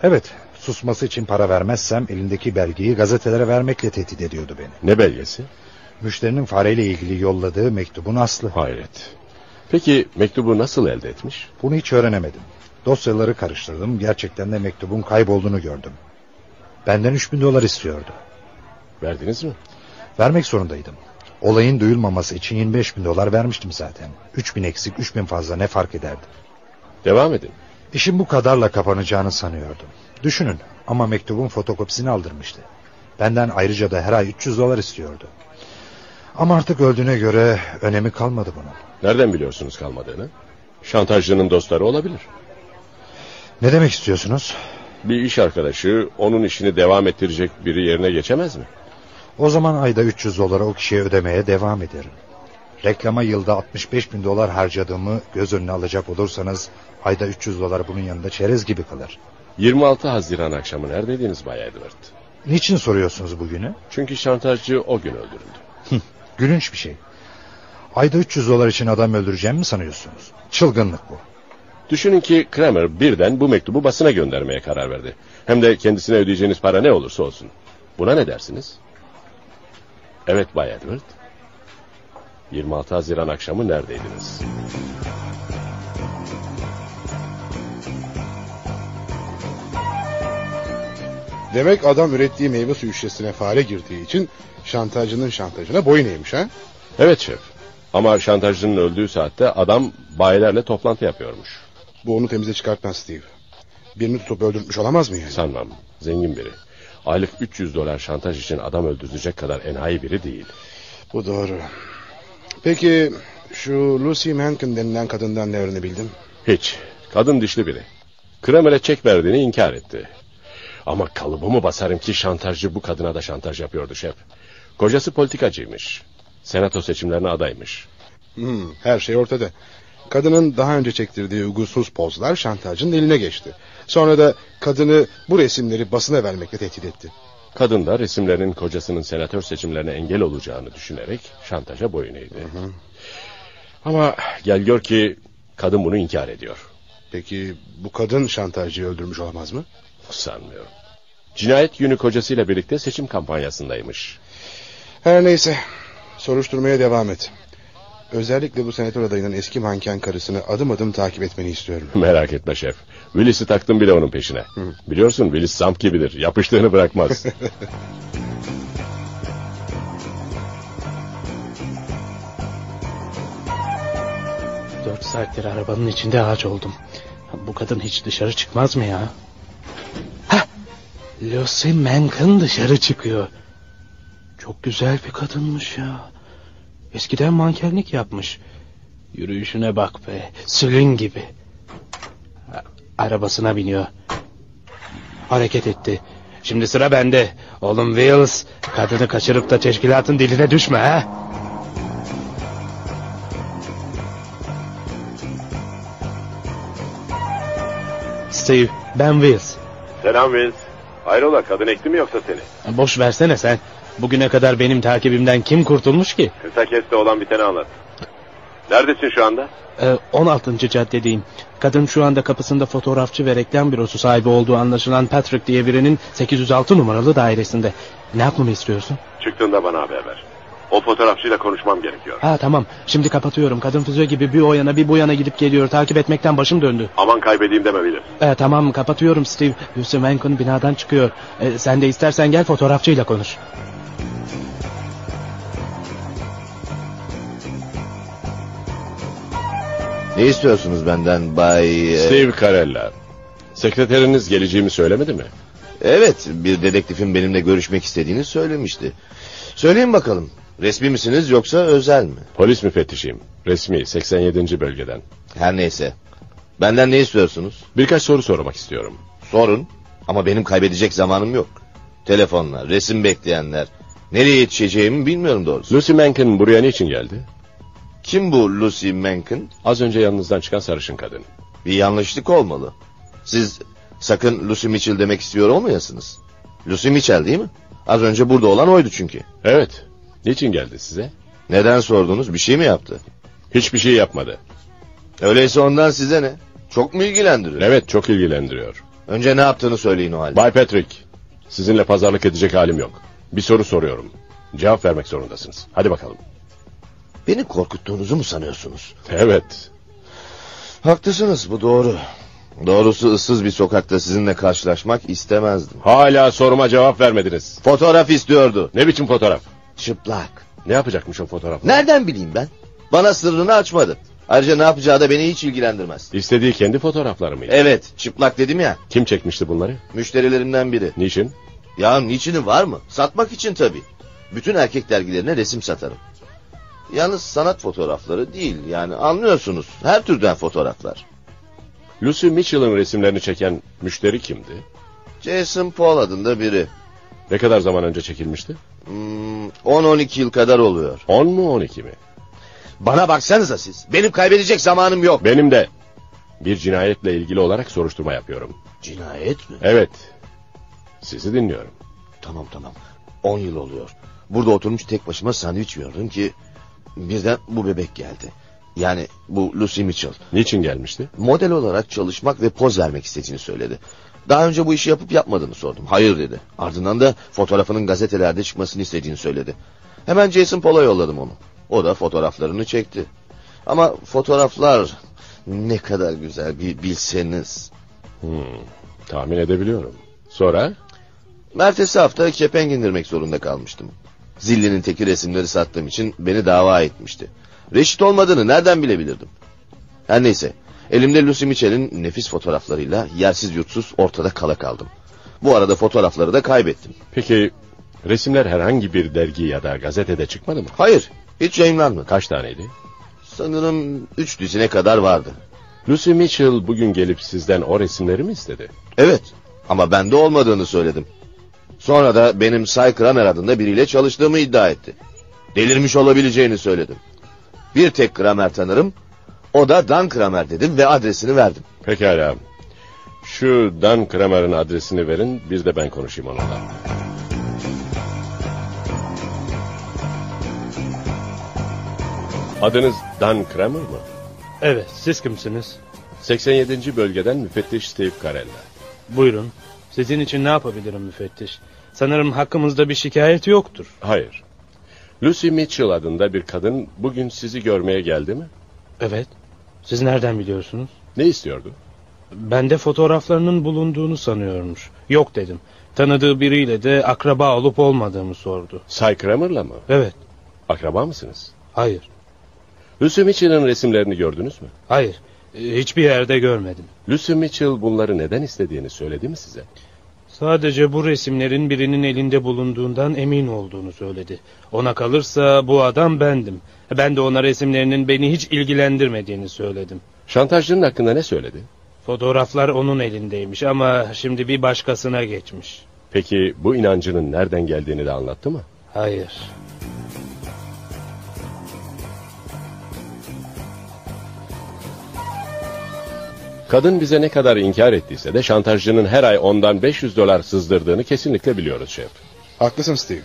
Evet, susması için para vermezsem elindeki belgeyi gazetelere vermekle tehdit ediyordu beni.
Ne belgesi?
Müşterinin fareyle ilgili yolladığı mektubun aslı.
Hayret. Peki mektubu nasıl elde etmiş?
Bunu hiç öğrenemedim. Dosyaları karıştırdım. Gerçekten de mektubun kaybolduğunu gördüm. Benden 3000 dolar istiyordu.
Verdiniz mi?
Vermek zorundaydım. Olayın duyulmaması için 25 bin dolar vermiştim zaten. 3000 eksik, 3000 fazla ne fark ederdi?
Devam edin.
İşin bu kadarla kapanacağını sanıyordum. Düşünün ama mektubun fotokopisini aldırmıştı. Benden ayrıca da her ay 300 dolar istiyordu. Ama artık öldüğüne göre önemi kalmadı bunun.
Nereden biliyorsunuz kalmadığını? Şantajcının dostları olabilir.
Ne demek istiyorsunuz?
Bir iş arkadaşı onun işini devam ettirecek biri yerine geçemez mi?
O zaman ayda 300 dolara o kişiye ödemeye devam ederim. Reklama yılda 65 bin dolar harcadığımı göz önüne alacak olursanız ayda 300 dolar bunun yanında çerez gibi kalır.
26 Haziran akşamı neredeydiniz Bay Edward?
Niçin soruyorsunuz bugünü?
Çünkü şantajcı o gün öldürüldü.
Gülünç bir şey. Ayda 300 dolar için adam öldüreceğimi mi sanıyorsunuz? Çılgınlık bu.
Düşünün ki Kramer birden bu mektubu basına göndermeye karar verdi. Hem de kendisine ödeyeceğiniz para ne olursa olsun. Buna ne dersiniz? Evet Bay Edward. 26 Haziran akşamı neredeydiniz?
Demek adam ürettiği meyve suyu şişesine fare girdiği için şantajcının şantajına boyun eğmiş ha?
Evet şef. Ama şantajcının öldüğü saatte adam bayilerle toplantı yapıyormuş.
Bu onu temize çıkartmaz Steve. Birini tutup öldürtmüş olamaz mı yani?
Sanmam. Zengin biri. Aylık 300 dolar şantaj için adam öldürecek kadar enayi biri değil.
Bu doğru. Peki şu Lucy Mencken denilen kadından ne öğrenebildin?
Hiç. Kadın dişli biri. Kramer'e çek verdiğini inkar etti. Ama kalıbımı basarım ki şantajcı bu kadına da şantaj yapıyordu şef. Kocası politikacıymış. Senato seçimlerine adaymış.
Hmm, her şey ortada. Kadının daha önce çektirdiği uygunsuz pozlar şantajcının eline geçti. Sonra da kadını bu resimleri basına vermekle tehdit etti.
Kadın da resimlerin kocasının senatör seçimlerine engel olacağını düşünerek şantaja boyun eğdi. Ama gel gör ki kadın bunu inkar ediyor.
Peki bu kadın şantajcıyı öldürmüş olmaz mı?
Sanmıyorum. Cinayet günü kocasıyla birlikte seçim kampanyasındaymış.
Her neyse. Soruşturmaya devam et. Özellikle bu senatör adayının eski manken karısını adım adım takip etmeni istiyorum.
Merak etme şef. Willis'i taktım bile onun peşine. Biliyorsun Willis zamp gibidir. Yapıştığını bırakmaz.
Dört saattir arabanın içinde ağaç oldum. Bu kadın hiç dışarı çıkmaz mı ya? Hah! Lucy Mankin dışarı çıkıyor. Çok güzel bir kadınmış ya. Eskiden mankenlik yapmış. Yürüyüşüne bak be. Sülün gibi. A- Arabasına biniyor. Hareket etti. Şimdi sıra bende. Oğlum Wills, kadını kaçırıp da teşkilatın diline düşme ha. Steve, ben Wills.
Selam Vince. Hayrola kadın ekti mi yoksa seni?
Boş versene sen. Bugüne kadar benim takibimden kim kurtulmuş ki?
Kısa keste olan biteni anlat. Neredesin şu anda?
Ee, 16. caddedeyim. Kadın şu anda kapısında fotoğrafçı ve reklam bürosu sahibi olduğu anlaşılan Patrick diye birinin 806 numaralı dairesinde. Ne yapmamı istiyorsun?
Çıktığında bana haber ver. O fotoğrafçıyla konuşmam gerekiyor.
Ha tamam. Şimdi kapatıyorum. Kadın füze gibi bir o yana bir bu yana gidip geliyor. Takip etmekten başım döndü.
Aman kaybedeyim deme bilir.
Ee, tamam kapatıyorum Steve. Yusuf Mankun binadan çıkıyor. Ee, sen de istersen gel fotoğrafçıyla konuş.
Ne istiyorsunuz benden Bay... e,
Steve Carella. Sekreteriniz geleceğimi söylemedi mi?
Evet, bir dedektifin benimle görüşmek istediğini söylemişti. Söyleyin bakalım, resmi misiniz yoksa özel mi?
Polis müfettişiyim. Resmi 87. bölgeden.
Her neyse. Benden ne istiyorsunuz?
Birkaç soru sormak istiyorum.
Sorun. Ama benim kaybedecek zamanım yok. Telefonlar, resim bekleyenler. Nereye yetişeceğimi bilmiyorum doğrusu.
Lucy Mankin buraya niçin geldi?
Kim bu Lucy Menken?
Az önce yanınızdan çıkan sarışın kadın.
Bir yanlışlık olmalı. Siz sakın Lucy Mitchell demek istiyor olmayasınız. Lucy Mitchell değil mi? Az önce burada olan oydu çünkü.
Evet. Niçin geldi size?
Neden sordunuz? Bir şey mi yaptı?
Hiçbir şey yapmadı.
Öyleyse ondan size ne? Çok mu ilgilendiriyor?
Evet çok ilgilendiriyor.
Önce ne yaptığını söyleyin o halde.
Bay Patrick. Sizinle pazarlık edecek halim yok. Bir soru soruyorum. Cevap vermek zorundasınız. Hadi bakalım.
Beni korkuttuğunuzu mu sanıyorsunuz?
Evet.
Haklısınız bu doğru. Doğrusu ıssız bir sokakta sizinle karşılaşmak istemezdim.
Hala soruma cevap vermediniz.
Fotoğraf istiyordu.
Ne biçim fotoğraf?
Çıplak.
Ne yapacakmış o fotoğraf?
Nereden bileyim ben? Bana sırrını açmadı. Ayrıca ne yapacağı da beni hiç ilgilendirmez.
İstediği kendi fotoğrafları mıydı?
Evet çıplak dedim ya
Kim çekmişti bunları?
müşterilerimden biri.
Niçin?
Ya niçini var mı? Satmak için tabii. Bütün erkek dergilerine resim satarım. Yalnız sanat fotoğrafları değil yani anlıyorsunuz. Her türden fotoğraflar.
Lucy Mitchell'ın resimlerini çeken müşteri kimdi?
Jason Paul adında biri.
Ne kadar zaman önce çekilmişti?
Hmm, 10-12 yıl kadar oluyor.
10 mu 12 mi?
Bana baksanıza siz. Benim kaybedecek zamanım yok.
Benim de bir cinayetle ilgili olarak soruşturma yapıyorum.
Cinayet mi?
Evet. Sizi dinliyorum.
Tamam tamam. 10 yıl oluyor. Burada oturmuş tek başıma sandviç yiyordum ki... ...birden bu bebek geldi. Yani bu Lucy Mitchell.
Niçin gelmişti?
Model olarak çalışmak ve poz vermek istediğini söyledi. Daha önce bu işi yapıp yapmadığını sordum. Hayır dedi. Ardından da fotoğrafının gazetelerde çıkmasını istediğini söyledi. Hemen Jason Paul'a yolladım onu. O da fotoğraflarını çekti. Ama fotoğraflar ne kadar güzel bir bilseniz.
Hmm, Tahmin edebiliyorum. Sonra?
Ertesi hafta kepenk indirmek zorunda kalmıştım. Zillinin teki resimleri sattığım için beni dava etmişti. Reşit olmadığını nereden bilebilirdim? Her neyse, elimde Lucy Mitchell'in nefis fotoğraflarıyla yersiz yutsuz ortada kala kaldım. Bu arada fotoğrafları da kaybettim.
Peki resimler herhangi bir dergi ya da gazetede çıkmadı mı?
Hayır, hiç yayınlanmadı.
Kaç taneydi?
Sanırım üç dizine kadar vardı.
Lucy Mitchell bugün gelip sizden o resimleri mi istedi?
Evet, ama bende olmadığını söyledim. Sonra da benim Cy Kramer adında biriyle çalıştığımı iddia etti. Delirmiş olabileceğini söyledim. Bir tek Kramer tanırım, o da Dan Kramer dedim ve adresini verdim.
Pekala. Şu Dan Kramer'ın adresini verin, bir de ben konuşayım onunla. Adınız Dan Kramer mı?
Evet, siz kimsiniz?
87. bölgeden müfettiş Steve Carella.
Buyurun. Sizin için ne yapabilirim müfettiş? Sanırım hakkımızda bir şikayet yoktur.
Hayır. Lucy Mitchell adında bir kadın bugün sizi görmeye geldi mi?
Evet. Siz nereden biliyorsunuz?
Ne istiyordu?
Bende fotoğraflarının bulunduğunu sanıyormuş. Yok dedim. Tanıdığı biriyle de akraba olup olmadığımı sordu.
Cy Kramer'la mı?
Evet.
Akraba mısınız?
Hayır.
Lucy Mitchell'ın resimlerini gördünüz mü?
Hayır. e, Hiçbir yerde görmedim.
Lucy Mitchell bunları neden istediğini söyledi mi size?
Sadece bu resimlerin birinin elinde bulunduğundan emin olduğunu söyledi. Ona kalırsa bu adam bendim. Ben de ona resimlerinin beni hiç ilgilendirmediğini söyledim.
Şantajcının hakkında ne söyledi?
Fotoğraflar onun elindeymiş ama şimdi bir başkasına geçmiş.
Peki bu inancının nereden geldiğini de anlattı mı?
Hayır.
Kadın bize ne kadar inkar ettiyse de şantajcının her ay ondan 500 dolar sızdırdığını kesinlikle biliyoruz şef.
Haklısın Steve.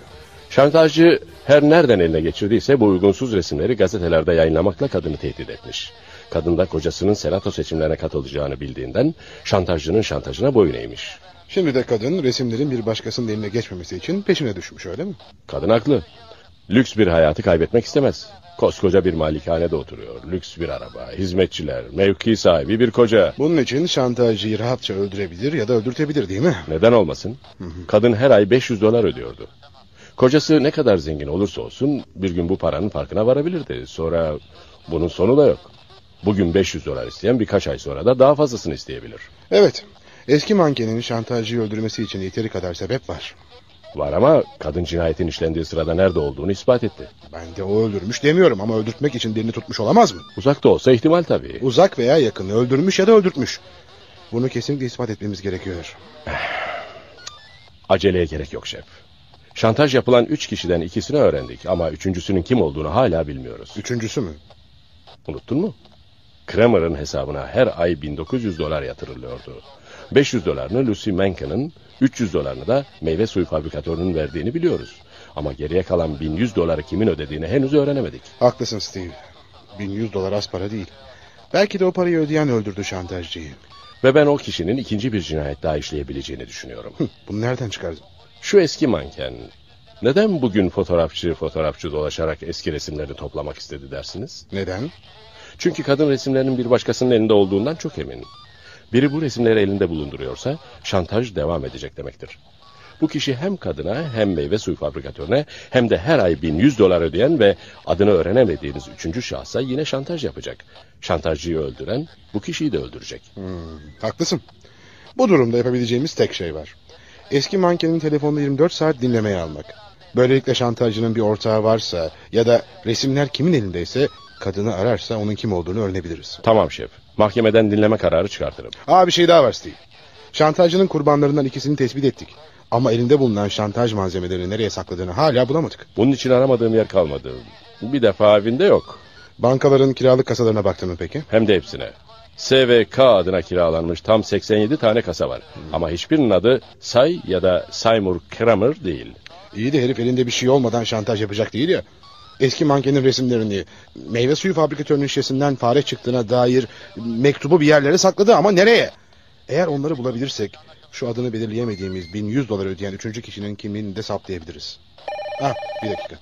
Şantajcı her nereden eline geçirdiyse bu uygunsuz resimleri gazetelerde yayınlamakla kadını tehdit etmiş. Kadın da kocasının senato seçimlerine katılacağını bildiğinden şantajcının şantajına boyun eğmiş.
Şimdi de kadın resimlerin bir başkasının eline geçmemesi için peşine düşmüş öyle mi?
Kadın haklı. Lüks bir hayatı kaybetmek istemez. Koskoca bir malikanede oturuyor, lüks bir araba, hizmetçiler, mevki sahibi bir koca.
Bunun için şantajcıyı rahatça öldürebilir ya da öldürtebilir değil mi?
Neden olmasın? Kadın her ay 500 dolar ödüyordu. Kocası ne kadar zengin olursa olsun bir gün bu paranın farkına varabilirdi. Sonra bunun sonu da yok. Bugün 500 dolar isteyen birkaç ay sonra da daha fazlasını isteyebilir.
Evet. Eski mankenin şantajcıyı öldürmesi için yeteri kadar sebep var.
Var ama kadın cinayetin işlendiği sırada nerede olduğunu ispat etti.
Ben de o öldürmüş demiyorum ama öldürtmek için birini tutmuş olamaz mı?
Uzak da olsa ihtimal tabii.
Uzak veya yakın öldürmüş ya da öldürtmüş. Bunu kesinlikle ispat etmemiz gerekiyor.
Aceleye gerek yok şef. Şantaj yapılan üç kişiden ikisini öğrendik ama üçüncüsünün kim olduğunu hala bilmiyoruz.
Üçüncüsü mü?
Unuttun mu? Kramer'ın hesabına her ay 1900 dolar yatırılıyordu. 500 dolarını Lucy Mankin'in, 300 dolarını da meyve suyu fabrikatörünün verdiğini biliyoruz. Ama geriye kalan 1100 doları kimin ödediğini henüz öğrenemedik.
Haklısın Steve. 1100 dolar az para değil. Belki de o parayı ödeyen öldürdü şantajcıyı.
Ve ben o kişinin ikinci bir cinayet daha işleyebileceğini düşünüyorum.
Hı, Bunu nereden çıkardın?
Şu eski manken, neden bugün fotoğrafçı fotoğrafçı dolaşarak eski resimlerini toplamak istedi dersiniz?
Neden?
Çünkü kadın resimlerinin bir başkasının elinde olduğundan çok emin. Biri bu resimleri elinde bulunduruyorsa şantaj devam edecek demektir. Bu kişi hem kadına hem meyve suyu fabrikatörüne hem de her ay 1100 dolar ödeyen ve adını öğrenemediğiniz üçüncü şahsa yine şantaj yapacak. Şantajcıyı öldüren bu kişiyi de öldürecek.
Hmm, haklısın. Bu durumda yapabileceğimiz tek şey var. Eski mankenin telefonunu 24 saat dinlemeye almak. Böylelikle şantajcının bir ortağı varsa ya da resimler kimin elindeyse kadını ararsa onun kim olduğunu öğrenebiliriz.
Tamam şef. Mahkemeden dinleme kararı çıkartırım.
Aa bir şey daha var Steve. Şantajcının kurbanlarından ikisini tespit ettik. Ama elinde bulunan şantaj malzemelerini nereye sakladığını hala bulamadık.
Bunun için aramadığım yer kalmadı. Bir defa evinde yok.
Bankaların kiralık kasalarına baktın mı peki?
Hem de hepsine. SVK adına kiralanmış tam 87 tane kasa var. Ama hiçbirinin adı Say ya da Saymur Kramer değil.
İyi de herif elinde bir şey olmadan şantaj yapacak değil ya. Eski mankenin resimlerini, meyve suyu fabrikatörünün şişesinden fare çıktığına dair mektubu bir yerlere sakladı ama nereye? Eğer onları bulabilirsek şu adını belirleyemediğimiz 1100 dolar ödeyen üçüncü kişinin kimliğini de saptayabiliriz. Ha bir dakika.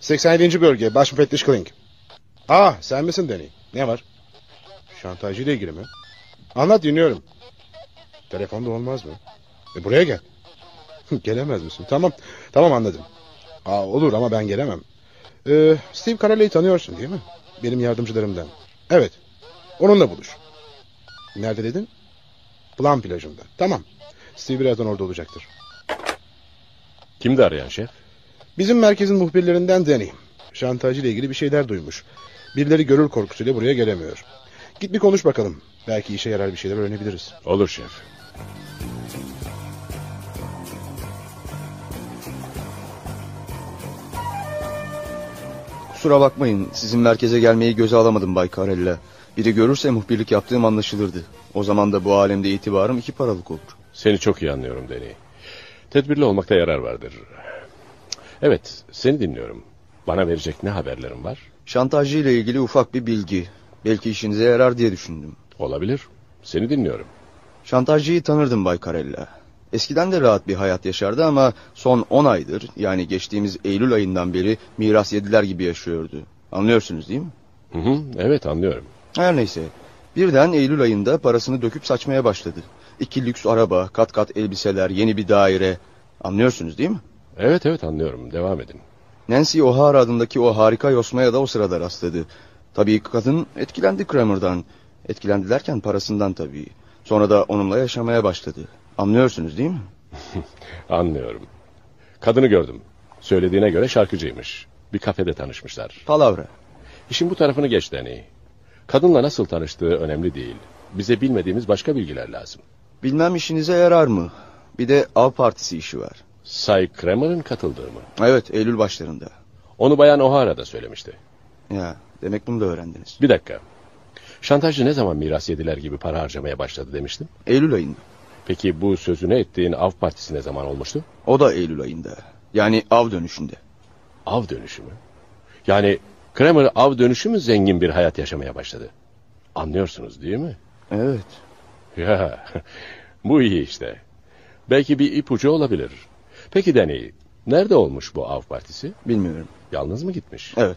87. bölge baş müfettiş Kling. Ah sen misin Danny? Ne var? Şantajcı ile ilgili mi? Anlat dinliyorum. Telefonda olmaz mı? E, buraya gel. Gelemez misin? Tamam. Tamam anladım. Aa, olur ama ben gelemem. Ee, Steve Carella'yı tanıyorsun değil mi? Benim yardımcılarımdan. Evet. Onunla buluş. Nerede dedin? Plan plajında. Tamam. Steve birazdan orada olacaktır.
Kimdi arayan şef?
Bizim merkezin muhbirlerinden Danny. Şantajı ile ilgili bir şeyler duymuş. Birileri görür korkusuyla buraya gelemiyor. Git bir konuş bakalım. Belki işe yarar bir şeyler öğrenebiliriz.
Olur şef.
Kusura bakmayın sizin merkeze gelmeyi göze alamadım Bay Karella. Biri görürse muhbirlik yaptığım anlaşılırdı. O zaman da bu alemde itibarım iki paralık olur.
Seni çok iyi anlıyorum Deni. Tedbirli olmakta yarar vardır. Evet, seni dinliyorum. Bana verecek ne haberlerin var?
Şantajcı ile ilgili ufak bir bilgi. Belki işinize yarar diye düşündüm.
Olabilir. Seni dinliyorum.
Şantajcıyı tanırdım Bay Karella. Eskiden de rahat bir hayat yaşardı ama son 10 aydır yani geçtiğimiz Eylül ayından beri miras yediler gibi yaşıyordu. Anlıyorsunuz değil mi?
Hı hı, evet anlıyorum.
Her neyse. Birden Eylül ayında parasını döküp saçmaya başladı. İki lüks araba, kat kat elbiseler, yeni bir daire. Anlıyorsunuz değil mi?
Evet evet anlıyorum. Devam edin.
Nancy O'Hara adındaki o harika yosmaya da o sırada rastladı. Tabii kadın etkilendi Kramer'dan. Etkilendi derken parasından tabii. Sonra da onunla yaşamaya başladı. Anlıyorsunuz değil mi?
Anlıyorum. Kadını gördüm. Söylediğine göre şarkıcıymış. Bir kafede tanışmışlar.
Palavra.
İşin bu tarafını geç Danny. Kadınla nasıl tanıştığı önemli değil. Bize bilmediğimiz başka bilgiler lazım.
Bilmem işinize yarar mı? Bir de av partisi işi var.
Say Kramer'ın katıldığı mı?
Evet, Eylül başlarında.
Onu Bayan O'Hara da söylemişti.
Ya, demek bunu da öğrendiniz.
Bir dakika. Şantajcı ne zaman miras yediler gibi para harcamaya başladı demiştin?
Eylül ayında.
Peki bu sözünü ettiğin av partisi ne zaman olmuştu?
O da Eylül ayında. Yani av dönüşünde.
Av dönüşü mü? Yani Kramer av dönüşü mü zengin bir hayat yaşamaya başladı? Anlıyorsunuz değil mi?
Evet.
Ya bu iyi işte. Belki bir ipucu olabilir. Peki Danny, nerede olmuş bu av partisi?
Bilmiyorum.
Yalnız mı gitmiş?
Evet.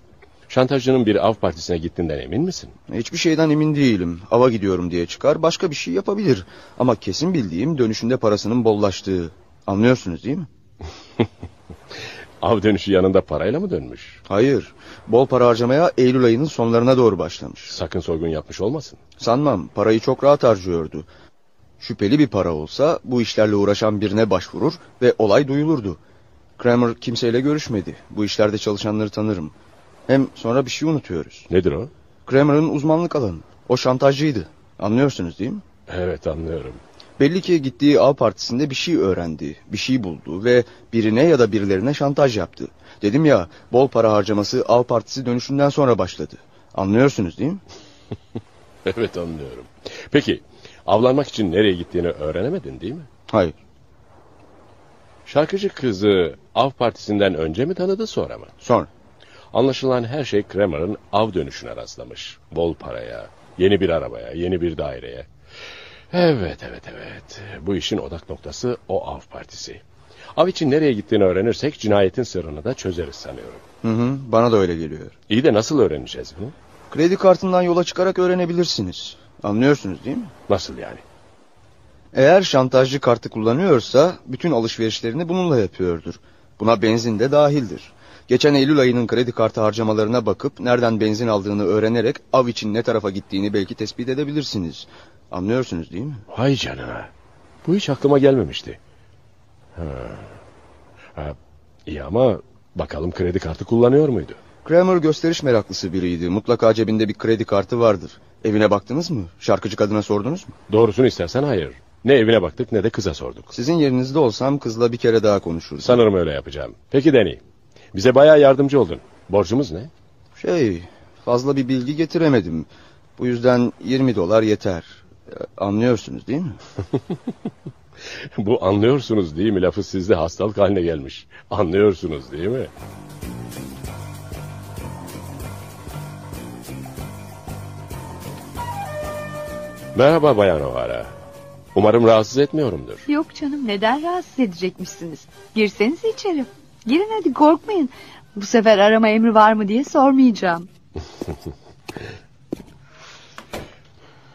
Şantajcının bir av partisine gittiğinden emin misin?
Hiçbir şeyden emin değilim. Ava gidiyorum diye çıkar, başka bir şey yapabilir. Ama kesin bildiğim dönüşünde parasının bollaştığı. Anlıyorsunuz değil mi?
Av dönüşü yanında parayla mı dönmüş?
Hayır. Bol para harcamaya Eylül ayının sonlarına doğru başlamış.
Sakın soygun yapmış olmasın.
Sanmam. Parayı çok rahat harcıyordu. Şüpheli bir para olsa bu işlerle uğraşan birine başvurur ve olay duyulurdu. Kramer kimseyle görüşmedi. Bu işlerde çalışanları tanırım. Hem sonra bir şey unutuyoruz.
Nedir o?
Kramer'ın uzmanlık alanı. O şantajcıydı. Anlıyorsunuz değil mi?
Evet anlıyorum.
Belli ki gittiği av partisinde bir şey öğrendi, bir şey buldu ve birine ya da birilerine şantaj yaptı. Dedim ya, bol para harcaması av partisi dönüşünden sonra başladı. Anlıyorsunuz değil mi?
Evet anlıyorum. Peki avlanmak için nereye gittiğini öğrenemedin değil mi?
Hayır.
Şarkıcı kızı av partisinden önce mi tanıdı sonra mı?
Sonra.
Anlaşılan her şey Kramer'ın av dönüşüne rastlamış. Bol paraya, yeni bir arabaya, yeni bir daireye. Evet, evet, evet. Bu işin odak noktası o av partisi. Av için nereye gittiğini öğrenirsek cinayetin sırrını da çözeriz sanıyorum.
Hı hı, bana da öyle geliyor.
İyi de nasıl öğreneceğiz bunu?
Kredi kartından yola çıkarak öğrenebilirsiniz. Anlıyorsunuz değil mi?
Nasıl yani?
Eğer şantajcı kartı kullanıyorsa bütün alışverişlerini bununla yapıyordur. Buna benzin de dahildir. Geçen Eylül ayının kredi kartı harcamalarına bakıp nereden benzin aldığını öğrenerek av için ne tarafa gittiğini belki tespit edebilirsiniz. Anlıyorsunuz değil mi?
Vay canına. Bu hiç aklıma gelmemişti. Ha. Ha, iyi ama bakalım kredi kartı kullanıyor muydu?
Kramer gösteriş meraklısı biriydi. Mutlaka cebinde bir kredi kartı vardır. Evine baktınız mı? Şarkıcı kadına sordunuz mu?
Doğrusunu istersen hayır. Ne evine baktık ne de kıza sorduk.
Sizin yerinizde olsam kızla bir kere daha konuşurdum.
Sanırım öyle yapacağım. Peki Deni, bize bayağı yardımcı oldun. Borcumuz ne?
Şey, fazla bir bilgi getiremedim. Bu yüzden 20 dolar yeter. Ee, Anlıyorsunuz değil mi?
Bu anlıyorsunuz değil mi lafı sizde hastalık haline gelmiş. Anlıyorsunuz değil mi? Merhaba Bayan O'Hara. Umarım rahatsız etmiyorumdur.
Yok canım neden rahatsız edecekmişsiniz? Girseniz içeri. Girin hadi korkmayın. Bu sefer arama emri var mı diye sormayacağım.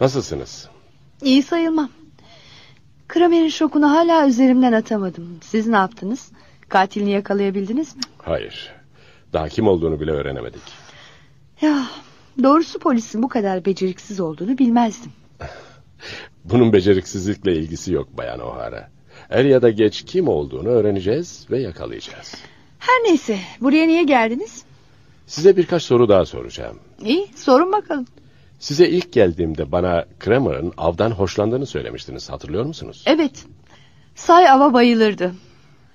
Nasılsınız?
İyi sayılmam. Kramer'in şokunu hala üzerimden atamadım. Siz ne yaptınız? Katilini yakalayabildiniz mi?
Hayır. Daha kim olduğunu bile öğrenemedik.
Ya doğrusu polisin bu kadar beceriksiz olduğunu bilmezdim.
Bunun beceriksizlikle ilgisi yok Bayan O'Hara. Er ya da geç kim olduğunu öğreneceğiz ve yakalayacağız.
Her neyse buraya niye geldiniz?
Size birkaç soru daha soracağım.
İyi sorun bakalım.
Size ilk geldiğimde bana Kramer'ın avdan hoşlandığını söylemiştiniz. Hatırlıyor musunuz?
Evet say ava bayılırdı.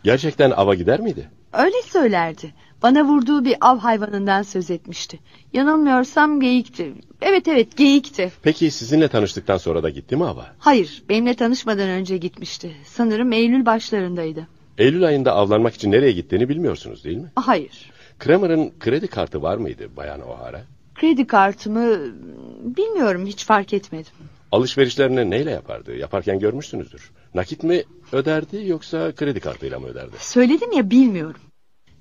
Gerçekten ava gider miydi?
Öyle söylerdi. Bana vurduğu bir av hayvanından söz etmişti. Yanılmıyorsam geyikti. Evet evet geyikti.
Peki sizinle tanıştıktan sonra da gitti mi ava?
Hayır benimle tanışmadan önce gitmişti. Sanırım Eylül başlarındaydı. Ah,
Eylül ayında avlanmak için nereye gittiğini bilmiyorsunuz değil mi?
Hayır.
Kramer'ın kredi kartı var mıydı Bayan O'Hara?
Kredi kartımı bilmiyorum hiç fark etmedim.
Alışverişlerini neyle yapardı? Yaparken görmüşsünüzdür. Nakit mi öderdi yoksa kredi kartıyla mı öderdi?
Söyledim ya bilmiyorum.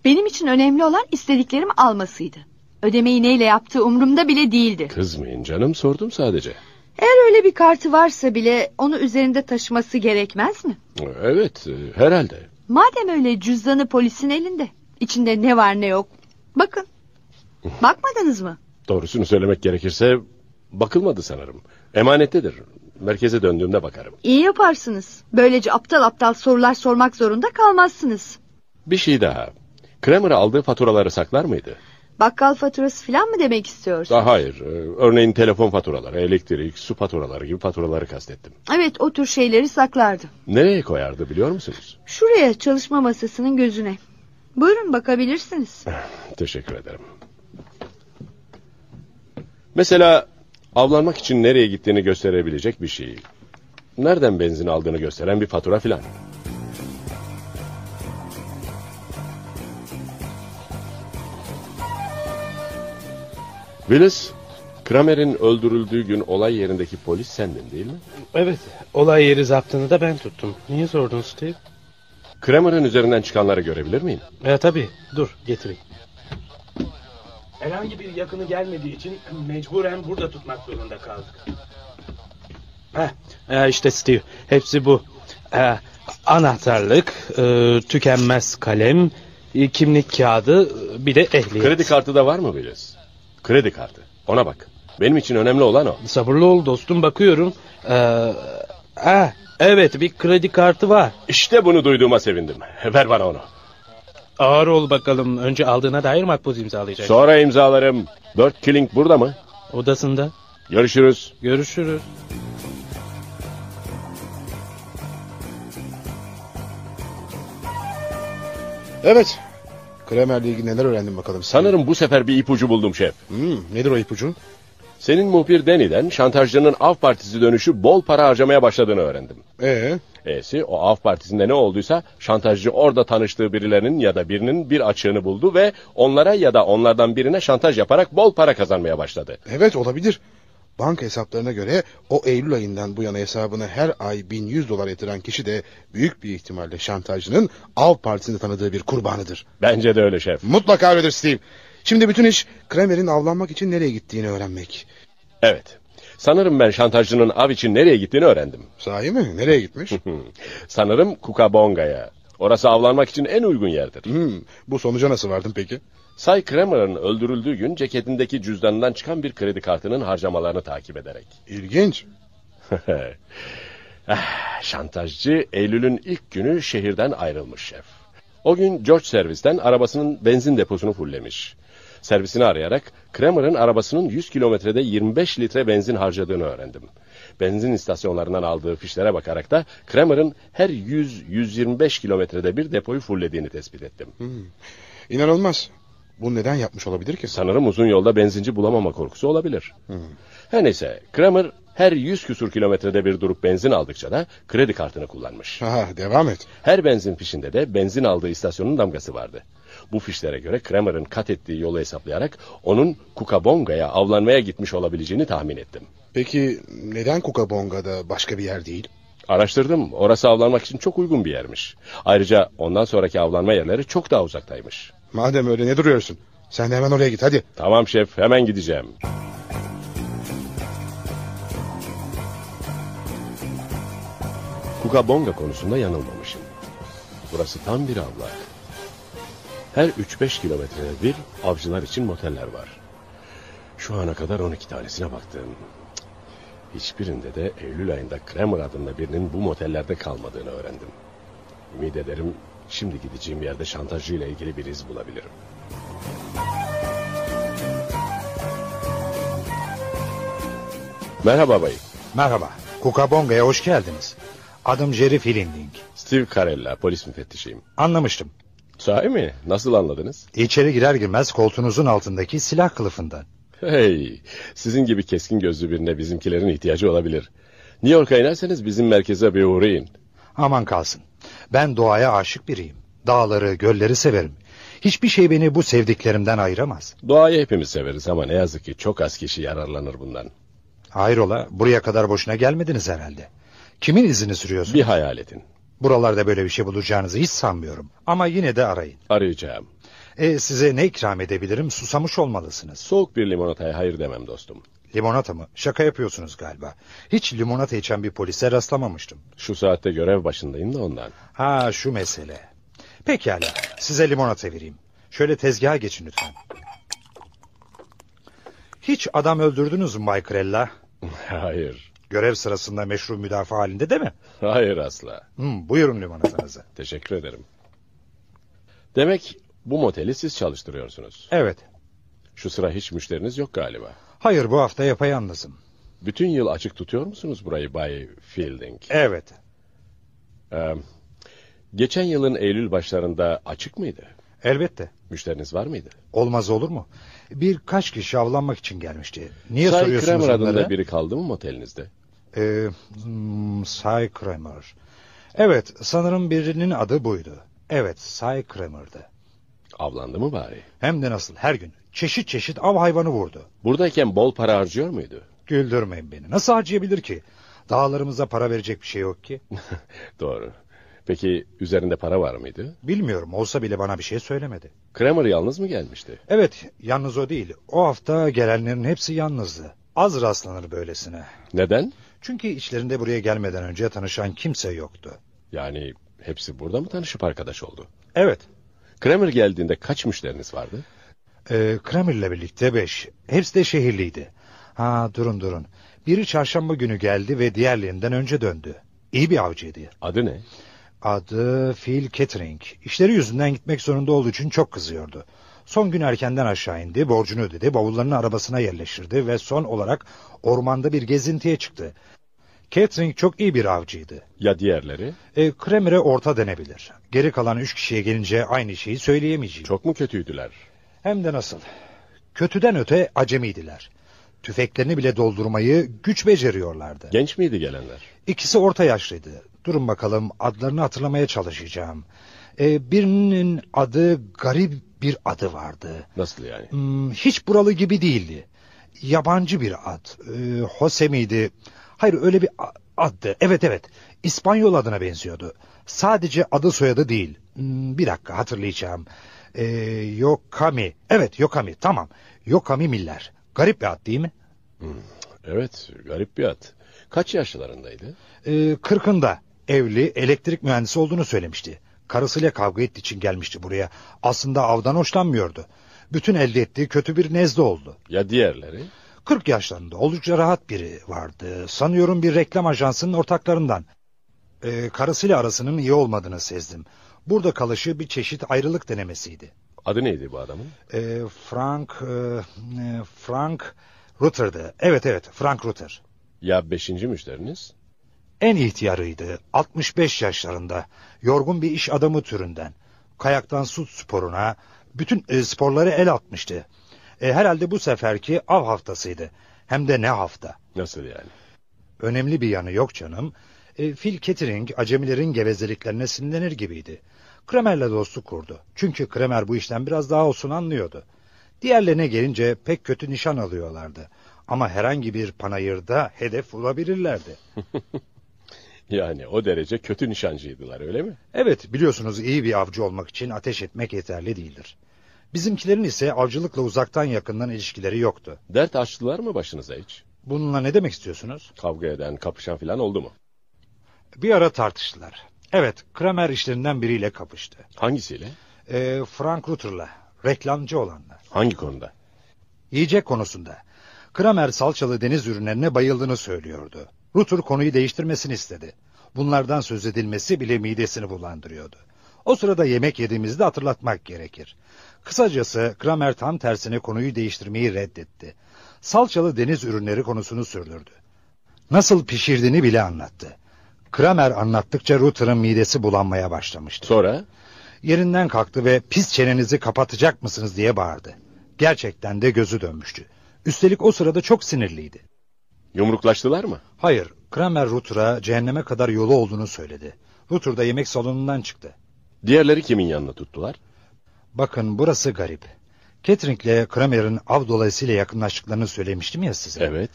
Benim için önemli olan istediklerimi almasıydı. Ödemeyi neyle yaptığı umurumda bile değildi.
Kızmayın canım sordum sadece.
Eğer öyle bir kartı varsa bile onu üzerinde taşıması gerekmez mi?
Evet e, herhalde.
Madem öyle cüzdanı polisin elinde. İçinde ne var ne yok. Bakın. Bakmadınız mı?
Doğrusunu söylemek gerekirse bakılmadı sanırım. Emanettedir. Merkeze döndüğümde bakarım.
İyi yaparsınız. Böylece aptal aptal sorular sormak zorunda kalmazsınız.
Bir şey daha. Kramer'a aldığı faturaları saklar mıydı?
Bakkal faturası falan mı demek istiyorsun?
Daha hayır. e, Örneğin telefon faturaları, elektrik, su faturaları gibi faturaları kastettim.
Evet o tür şeyleri saklardı.
Nereye koyardı biliyor musunuz?
Şuraya çalışma masasının gözüne. Buyurun bakabilirsiniz.
Teşekkür ederim. Mesela avlanmak için nereye gittiğini gösterebilecek bir şey. Nereden benzin aldığını gösteren bir fatura filan. Willis, Kramer'in öldürüldüğü gün olay yerindeki polis sendin değil mi?
Evet, olay yeri zaptını da ben tuttum. Niye sordun Steve?
Kramer'ın üzerinden çıkanları görebilir miyim?
E, tabii, dur getireyim. Herhangi bir yakını gelmediği için mecburen burada tutmak zorunda kaldık. Heh, e, işte Steve, hepsi bu. E, anahtarlık, e, tükenmez kalem, e, kimlik kağıdı, e, bir de ehliyet.
Kredi kartı da var mı Willis? Kredi kartı. Ona bak. Benim için önemli olan o.
Sabırlı ol dostum bakıyorum. Ee, ah, evet bir kredi kartı var.
İşte bunu duyduğuma sevindim. Ver bana onu.
Ağır ol bakalım. Önce aldığına dair makbuz imzalayacak.
Sonra imzalarım. Dört Killing burada mı?
Odasında.
Görüşürüz.
Görüşürüz.
Evet. Kramer'le ilgili neler öğrendin bakalım.
Sanırım bu sefer bir ipucu buldum şef.
Hmm, nedir o ipucu?
Senin muhbir Deni'den şantajcının av partisi dönüşü bol para harcamaya başladığını öğrendim.
Ee,
E'si o av partisinde ne olduysa şantajcı orada tanıştığı birilerinin ya da birinin bir açığını buldu ve onlara ya da onlardan birine şantaj yaparak bol para kazanmaya başladı.
evet olabilir. Banka hesaplarına göre o Eylül ayından bu yana hesabına her ay 1100 dolar yatıran kişi de büyük bir ihtimalle şantajcının av partisinde tanıdığı bir kurbanıdır.
Bence de öyle şef.
Mutlaka öyledir Steve. Şimdi bütün iş Kramer'in avlanmak için nereye gittiğini öğrenmek.
Evet. Sanırım ben şantajcının av için nereye gittiğini öğrendim.
Sahi mi? Nereye gitmiş?
Sanırım Kukabonga'ya. Orası avlanmak için en uygun yerdir.
Hmm, bu sonuca nasıl vardın peki?
Say Kramer'ın öldürüldüğü gün ceketindeki cüzdanından çıkan bir kredi kartının harcamalarını takip ederek.
İlginç.
Ah, Şantajcı Eylül'ün ilk günü şehirden ayrılmış şef. O gün George servisten arabasının benzin deposunu fullemiş. Servisini arayarak Kramer'ın arabasının 100 kilometrede 25 litre benzin harcadığını öğrendim. Benzin istasyonlarından aldığı fişlere bakarak da Kramer'ın her 100-125 kilometrede bir depoyu fullediğini tespit ettim.
Hmm. İnanılmaz. Bunu neden yapmış olabilir ki? Hmm.
Sanırım uzun yolda benzinci bulamama korkusu olabilir. Her neyse Kramer her 100 küsur kilometrede bir durup benzin aldıkça da kredi kartını kullanmış.
Ha, devam et.
Her benzin fişinde de benzin aldığı istasyonun damgası vardı. Bu fişlere göre Kramer'ın kat ettiği yolu hesaplayarak onun Kukabonga'ya avlanmaya gitmiş olabileceğini tahmin ettim.
Peki neden Kukabonga'da başka bir yer değil?
Araştırdım. Orası avlanmak için çok uygun bir yermiş. Ayrıca ondan sonraki avlanma yerleri çok daha uzaktaymış.
Madem öyle ne duruyorsun? Sen de hemen oraya git hadi.
Tamam şef, hemen gideceğim. Kukabonga konusunda yanılmamışım. Burası tam bir avlak. Her 3-5 kilometrede bir avcılar için moteller var. Şu ana kadar 12 tanesine baktım. Cık. Hiçbirinde de Eylül ayında Kramer adında birinin bu motellerde kalmadığını öğrendim. Ümit ederim şimdi gideceğim yerde şantajıyla ilgili bir iz bulabilirim. Merhaba bayım.
Merhaba, Kukabonga'ya hoş geldiniz. Adım Jerry Filinding.
Steve Carella, polis müfettişiyim.
Anlamıştım.
Sahi mi? Nasıl anladınız?
İçeri girer girmez koltuğunuzun altındaki silah kılıfından.
Hey, sizin gibi keskin gözlü birine bizimkilerin ihtiyacı olabilir. New York'a inerseniz bizim merkeze bir uğrayın.
Aman kalsın. Ben doğaya aşık biriyim. Dağları, gölleri severim. Hiçbir şey beni bu sevdiklerimden ayıramaz.
Doğayı hepimiz severiz ama ne yazık ki çok az kişi yararlanır bundan.
Hayrola buraya kadar boşuna gelmediniz herhalde. Kimin izini sürüyorsunuz?
Bir hayal edin.
Buralarda böyle bir şey bulacağınızı hiç sanmıyorum. Ama yine de arayın.
Arayacağım.
E, size ne ikram edebilirim? Susamış olmalısınız.
Soğuk bir limonataya hayır demem dostum.
Limonata mı? Şaka yapıyorsunuz galiba. Hiç limonata içen bir polise rastlamamıştım.
Şu saatte görev başındayım da ondan.
Ha şu mesele. Pekala size limonata vereyim. Şöyle tezgaha geçin lütfen. Hiç adam öldürdünüz mü Bay Krella?
Hayır.
Görev sırasında meşru müdafaa halinde değil mi?
Hayır asla.
Hmm, buyurun limonatanızı.
Teşekkür ederim. Demek bu moteli siz çalıştırıyorsunuz.
Evet.
Şu sıra hiç müşteriniz yok galiba.
Hayır bu hafta yapayalnızım.
Bütün yıl açık tutuyor musunuz burayı Bay Fielding?
Evet.
Ee, geçen yılın Eylül başlarında açık mıydı?
Elbette.
Müşteriniz var mıydı?
Olmaz olur mu? Birkaç kişi avlanmak için gelmişti. Niye
Say
soruyorsunuz
Kramer adında
onları?
biri kaldı mı motelinizde?
Ee, hmm, Cy Kramer. Evet, sanırım birinin adı buydu. Evet, Cy Kramer'dı.
Avlandı mı bari?
Hem de nasıl her gün çeşit çeşit av hayvanı vurdu.
Buradayken bol para harcıyor muydu?
Güldürmeyin beni. Nasıl harcayabilir ki? Dağlarımıza para verecek bir şey yok ki.
Doğru. Peki üzerinde para var mıydı?
Bilmiyorum olsa bile bana bir şey söylemedi.
Kramer yalnız mı gelmişti?
Evet, yalnız o değil. O hafta gelenlerin hepsi yalnızdı. Az rastlanır böylesine.
Neden?
Çünkü içlerinde buraya gelmeden önce tanışan kimse yoktu.
Yani hepsi burada mı tanışıp arkadaş oldu?
Evet,
Kramer geldiğinde kaç müşteriniz vardı?
Ee, Kramer'le birlikte beş. Hepsi de şehirliydi. Ha durun durun. Biri çarşamba günü geldi ve diğerlerinden önce döndü. İyi bir avcıydı.
Adı ne?
Adı Phil Kettering. İşleri yüzünden gitmek zorunda olduğu için çok kızıyordu. Son gün erkenden aşağı indi, borcunu ödedi, bavullarını arabasına yerleştirdi ve son olarak ormanda bir gezintiye çıktı. Kettering çok iyi bir avcıydı.
Ya diğerleri?
E, Kramer'e orta denebilir. Geri kalan üç kişiye gelince aynı şeyi söyleyemeyeceğim.
Çok mu kötüydüler?
Hem de nasıl. Kötüden öte acemiydiler. Tüfeklerini bile doldurmayı güç beceriyorlardı.
Genç miydi gelenler?
İkisi orta yaşlıydı. Durun bakalım adlarını hatırlamaya çalışacağım. Ee, birinin adı garip bir adı vardı.
Nasıl yani?
Hmm, hiç buralı gibi değildi. Yabancı bir ad. Ee, Jose miydi? Hayır öyle bir a- addı. Evet evet. İspanyol adına benziyordu. Sadece adı soyadı değil. Hmm, bir dakika hatırlayacağım. Ee, Yokami. Evet Yokami tamam. Yokami Miller. Garip bir ad değil mi?
Hmm, Evet, garip bir at. Kaç yaşlarındaydı?
Ee, kırkında evli elektrik mühendisi olduğunu söylemişti. Karısıyla kavga ettiği için gelmişti buraya. Aslında avdan hoşlanmıyordu. Bütün elde ettiği kötü bir nezle oldu.
Ya diğerleri?
40 yaşlarında oldukça rahat biri vardı. Sanıyorum bir reklam ajansının ortaklarından. Ee, karısıyla arasının iyi olmadığını sezdim. Burada kalışı bir çeşit ayrılık denemesiydi.
Adı neydi bu adamın?
Ee, Frank e, e, Frank Rutter'dı. Evet evet Frank Rutter.
Ya beşinci müşteriniz?
En ihtiyarıydı. 65 yaşlarında. Yorgun bir iş adamı türünden. Kayaktan su sporuna bütün e, sporları el atmıştı. E, herhalde bu seferki av haftasıydı. Hem de ne hafta.
Nasıl yani?
Önemli bir yanı yok canım. E, Phil Kettering acemilerin gevezeliklerine sinirlenir gibiydi. Kremer'le dostluk kurdu. Çünkü Kremer bu işten biraz daha olsun anlıyordu. Diğerlerine gelince pek kötü nişan alıyorlardı. Ama herhangi bir panayırda hedef bulabilirlerdi.
Yani o derece kötü nişancıydılar öyle mi?
Evet biliyorsunuz iyi bir avcı olmak için ateş etmek yeterli değildir. Bizimkilerin ise avcılıkla uzaktan yakından ilişkileri yoktu.
Dert açtılar mı başınıza hiç?
Bununla ne demek istiyorsunuz?
Kavga eden, kapışan falan oldu mu?
Bir ara tartıştılar. Evet Kramer işlerinden biriyle kapıştı.
Hangisiyle?
Ee, Frank Rutter'la reklamcı olanla.
Hangi konuda?
Yiyecek konusunda. Kramer salçalı deniz ürünlerine bayıldığını söylüyordu. Rutter konuyu değiştirmesini istedi. Bunlardan söz edilmesi bile midesini bulandırıyordu. O sırada yemek yediğimizde hatırlatmak gerekir. Kısacası Kramer tam tersine konuyu değiştirmeyi reddetti. Salçalı deniz ürünleri konusunu sürdürdü. Nasıl pişirdiğini bile anlattı. Kramer anlattıkça Rutter'ın midesi bulanmaya başlamıştı.
Sonra?
Yerinden kalktı ve pis çenenizi kapatacak mısınız diye bağırdı. Gerçekten de gözü dönmüştü. Üstelik o sırada çok sinirliydi.
Yumruklaştılar mı?
Hayır, Kramer Rutter'a cehenneme kadar yolu olduğunu söyledi. Rutter da yemek salonundan çıktı.
Diğerleri kimin yanına tuttular?
Bakın burası garip. Catering'le Kramer'in av dolayısıyla yakınlaştıklarını söylemiştim ya size.
Evet.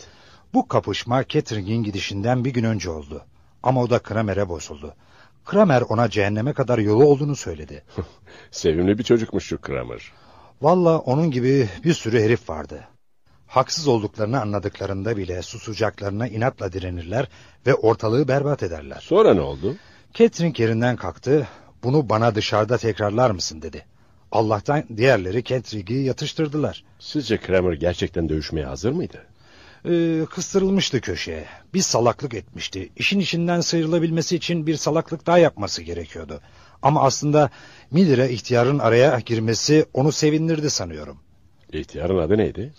Bu kapışma Catering'in gidişinden bir gün önce oldu. Ama o da Kramer'e bozuldu. Kramer ona cehenneme kadar yolu olduğunu söyledi.
Sevimli bir çocukmuş şu Kramer.
Valla onun gibi bir sürü herif vardı. Haksız olduklarını anladıklarında bile susacaklarına inatla direnirler ve ortalığı berbat ederler.
Sonra ne oldu?
Catherine yerinden kalktı. Bunu bana dışarıda tekrarlar mısın dedi. Allah'tan diğerleri Catherine'i yatıştırdılar.
Sizce Kramer gerçekten dövüşmeye hazır mıydı?
Ee, kıstırılmıştı köşeye. Bir salaklık etmişti. İşin içinden sıyrılabilmesi için bir salaklık daha yapması gerekiyordu. Ama aslında Miller'e ihtiyarın araya girmesi onu sevindirdi sanıyorum.
İhtiyarın adı neydi?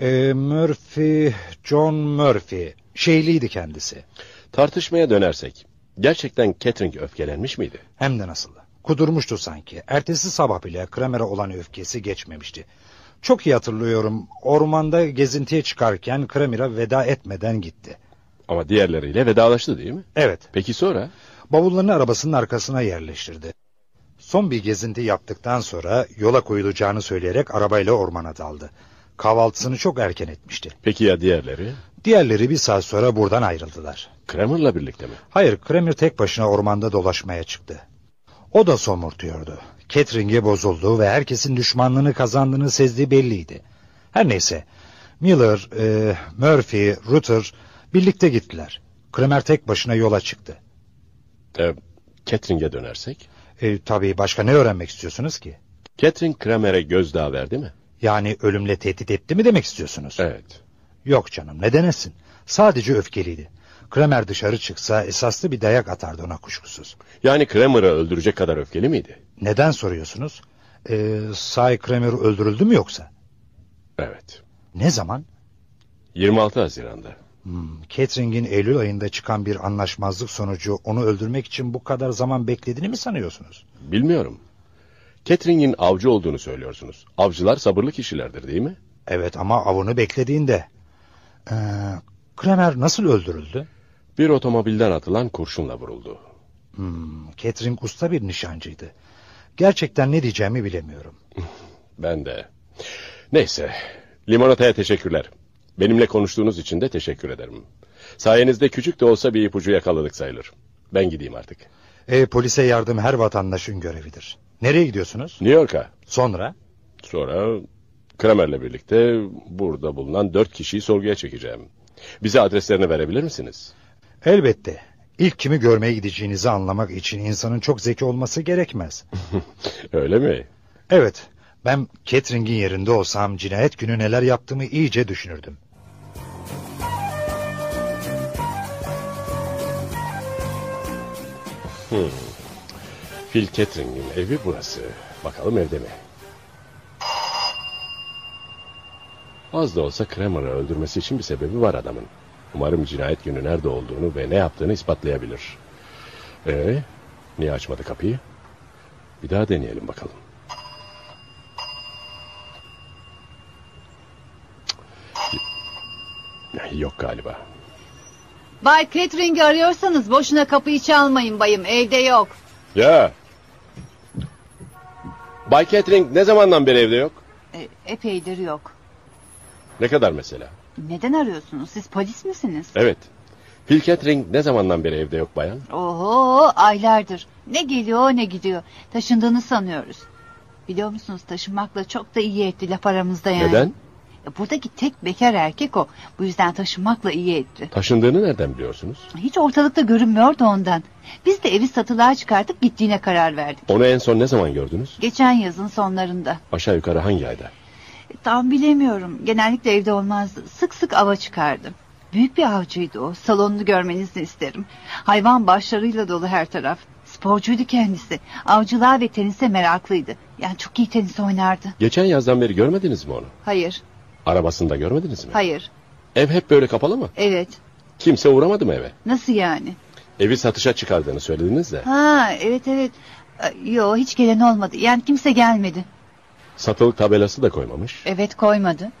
Ee, Murphy, John Murphy. Şeyliydi kendisi.
Tartışmaya dönersek. Gerçekten Catering öfkelenmiş miydi?
Hem de nasıl. Kudurmuştu sanki. Ertesi sabah bile Kramer'e olan öfkesi geçmemişti. Çok iyi hatırlıyorum. Ormanda gezintiye çıkarken Kramer'a veda etmeden gitti.
Ama diğerleriyle vedalaştı değil mi?
Evet.
Peki sonra?
Bavullarını arabasının arkasına yerleştirdi. Son bir gezinti yaptıktan sonra yola koyulacağını söyleyerek arabayla ormana daldı. Kahvaltısını çok erken etmişti.
Peki ya diğerleri?
Diğerleri bir saat sonra buradan ayrıldılar.
Kramer'la birlikte mi?
Hayır, Kramer tek başına ormanda dolaşmaya çıktı. O da somurtuyordu. Catering'e bozuldu ve herkesin düşmanlığını kazandığını sezdiği belliydi. Her neyse, Miller, e, Murphy, Rutter birlikte gittiler. Kramer tek başına yola çıktı.
Ee, Catering'e dönersek?
E, tabii başka ne öğrenmek istiyorsunuz ki?
Catering Kramer'e gözdağı verdi mi?
Yani ölümle tehdit etti mi demek istiyorsunuz?
Evet.
Yok canım ne denesin. Sadece öfkeliydi. Kramer dışarı çıksa esaslı bir dayak atardı ona kuşkusuz.
Yani Kramer'ı öldürecek kadar öfkeli miydi?
Neden soruyorsunuz? Ee, Say Kramer öldürüldü mü yoksa?
Evet.
Ne zaman?
26 Haziran'da.
Hmm, Catering'in Eylül ayında çıkan bir anlaşmazlık sonucu onu öldürmek için bu kadar zaman beklediğini mi sanıyorsunuz?
Bilmiyorum. Catering'in avcı olduğunu söylüyorsunuz. Avcılar sabırlı kişilerdir değil mi?
Evet ama avını beklediğinde. Ee, Kramer nasıl öldürüldü?
Bir otomobilden atılan kurşunla vuruldu.
Hmm, Catering usta bir nişancıydı. Gerçekten ne diyeceğimi bilemiyorum.
Ben de. Neyse. Limonataya teşekkürler. Benimle konuştuğunuz için de teşekkür ederim. Sayenizde küçük de olsa bir ipucu yakaladık sayılır. Ben gideyim artık.
E, polise yardım her vatandaşın görevidir. Nereye gidiyorsunuz?
New York'a.
Sonra?
Sonra Kramer'le birlikte burada bulunan dört kişiyi sorguya çekeceğim. Bize adreslerini verebilir misiniz?
Elbette. İlk kimi görmeye gideceğinizi anlamak için insanın çok zeki olması gerekmez.
Öyle mi?
Evet, ben Catering'in yerinde olsam cinayet günü neler yaptığımı iyice düşünürdüm.
Hmm. Phil Catering'in evi burası. Bakalım evde mi? Az da olsa Kramer'ı öldürmesi için bir sebebi var adamın. Umarım cinayet günü nerede olduğunu ve ne yaptığını ispatlayabilir. Ee, niye açmadı kapıyı? Bir daha deneyelim bakalım. Yok galiba.
Bay Catering'i arıyorsanız boşuna kapıyı çalmayın bayım evde yok.
Ya. Bay Catering ne zamandan beri evde yok?
E, epeydir yok.
Ne kadar mesela?
Neden arıyorsunuz siz polis misiniz?
Evet. Phil Catering ne zamandan beri evde yok bayan?
Oho aylardır. Ne geliyor ne gidiyor. Taşındığını sanıyoruz. Biliyor musunuz taşınmakla çok da iyi etti laf aramızda yani.
Neden?
E, Buradaki tek bekar erkek o. Bu yüzden taşınmakla iyi etti.
Taşındığını nereden biliyorsunuz?
Hiç ortalıkta görünmüyordu ondan. Biz de evi satılığa çıkartıp gittiğine karar verdik.
Onu en son ne zaman gördünüz?
Geçen yazın sonlarında.
Aşağı yukarı hangi ayda?
E, Tam bilemiyorum. Genellikle evde olmazdı. Sık sık ava çıkardı. Büyük bir avcıydı o. Salonunu görmenizi isterim. Hayvan başlarıyla dolu her taraf. Sporcuydu kendisi. Avcılığa ve tenise meraklıydı. Yani çok iyi tenis oynardı.
Geçen yazdan beri görmediniz mi onu?
Hayır,
Arabasını da görmediniz mi?
hayır,
Ev hep böyle kapalı mı?
evet.
Kimse uğramadı mı eve?
Nasıl yani?
Evi satışa çıkardığını söylediniz de.
Ha, evet evet. E, Yo, hiç gelen olmadı. Yani kimse gelmedi.
Satılık tabelası da koymamış.
Evet, koymadı.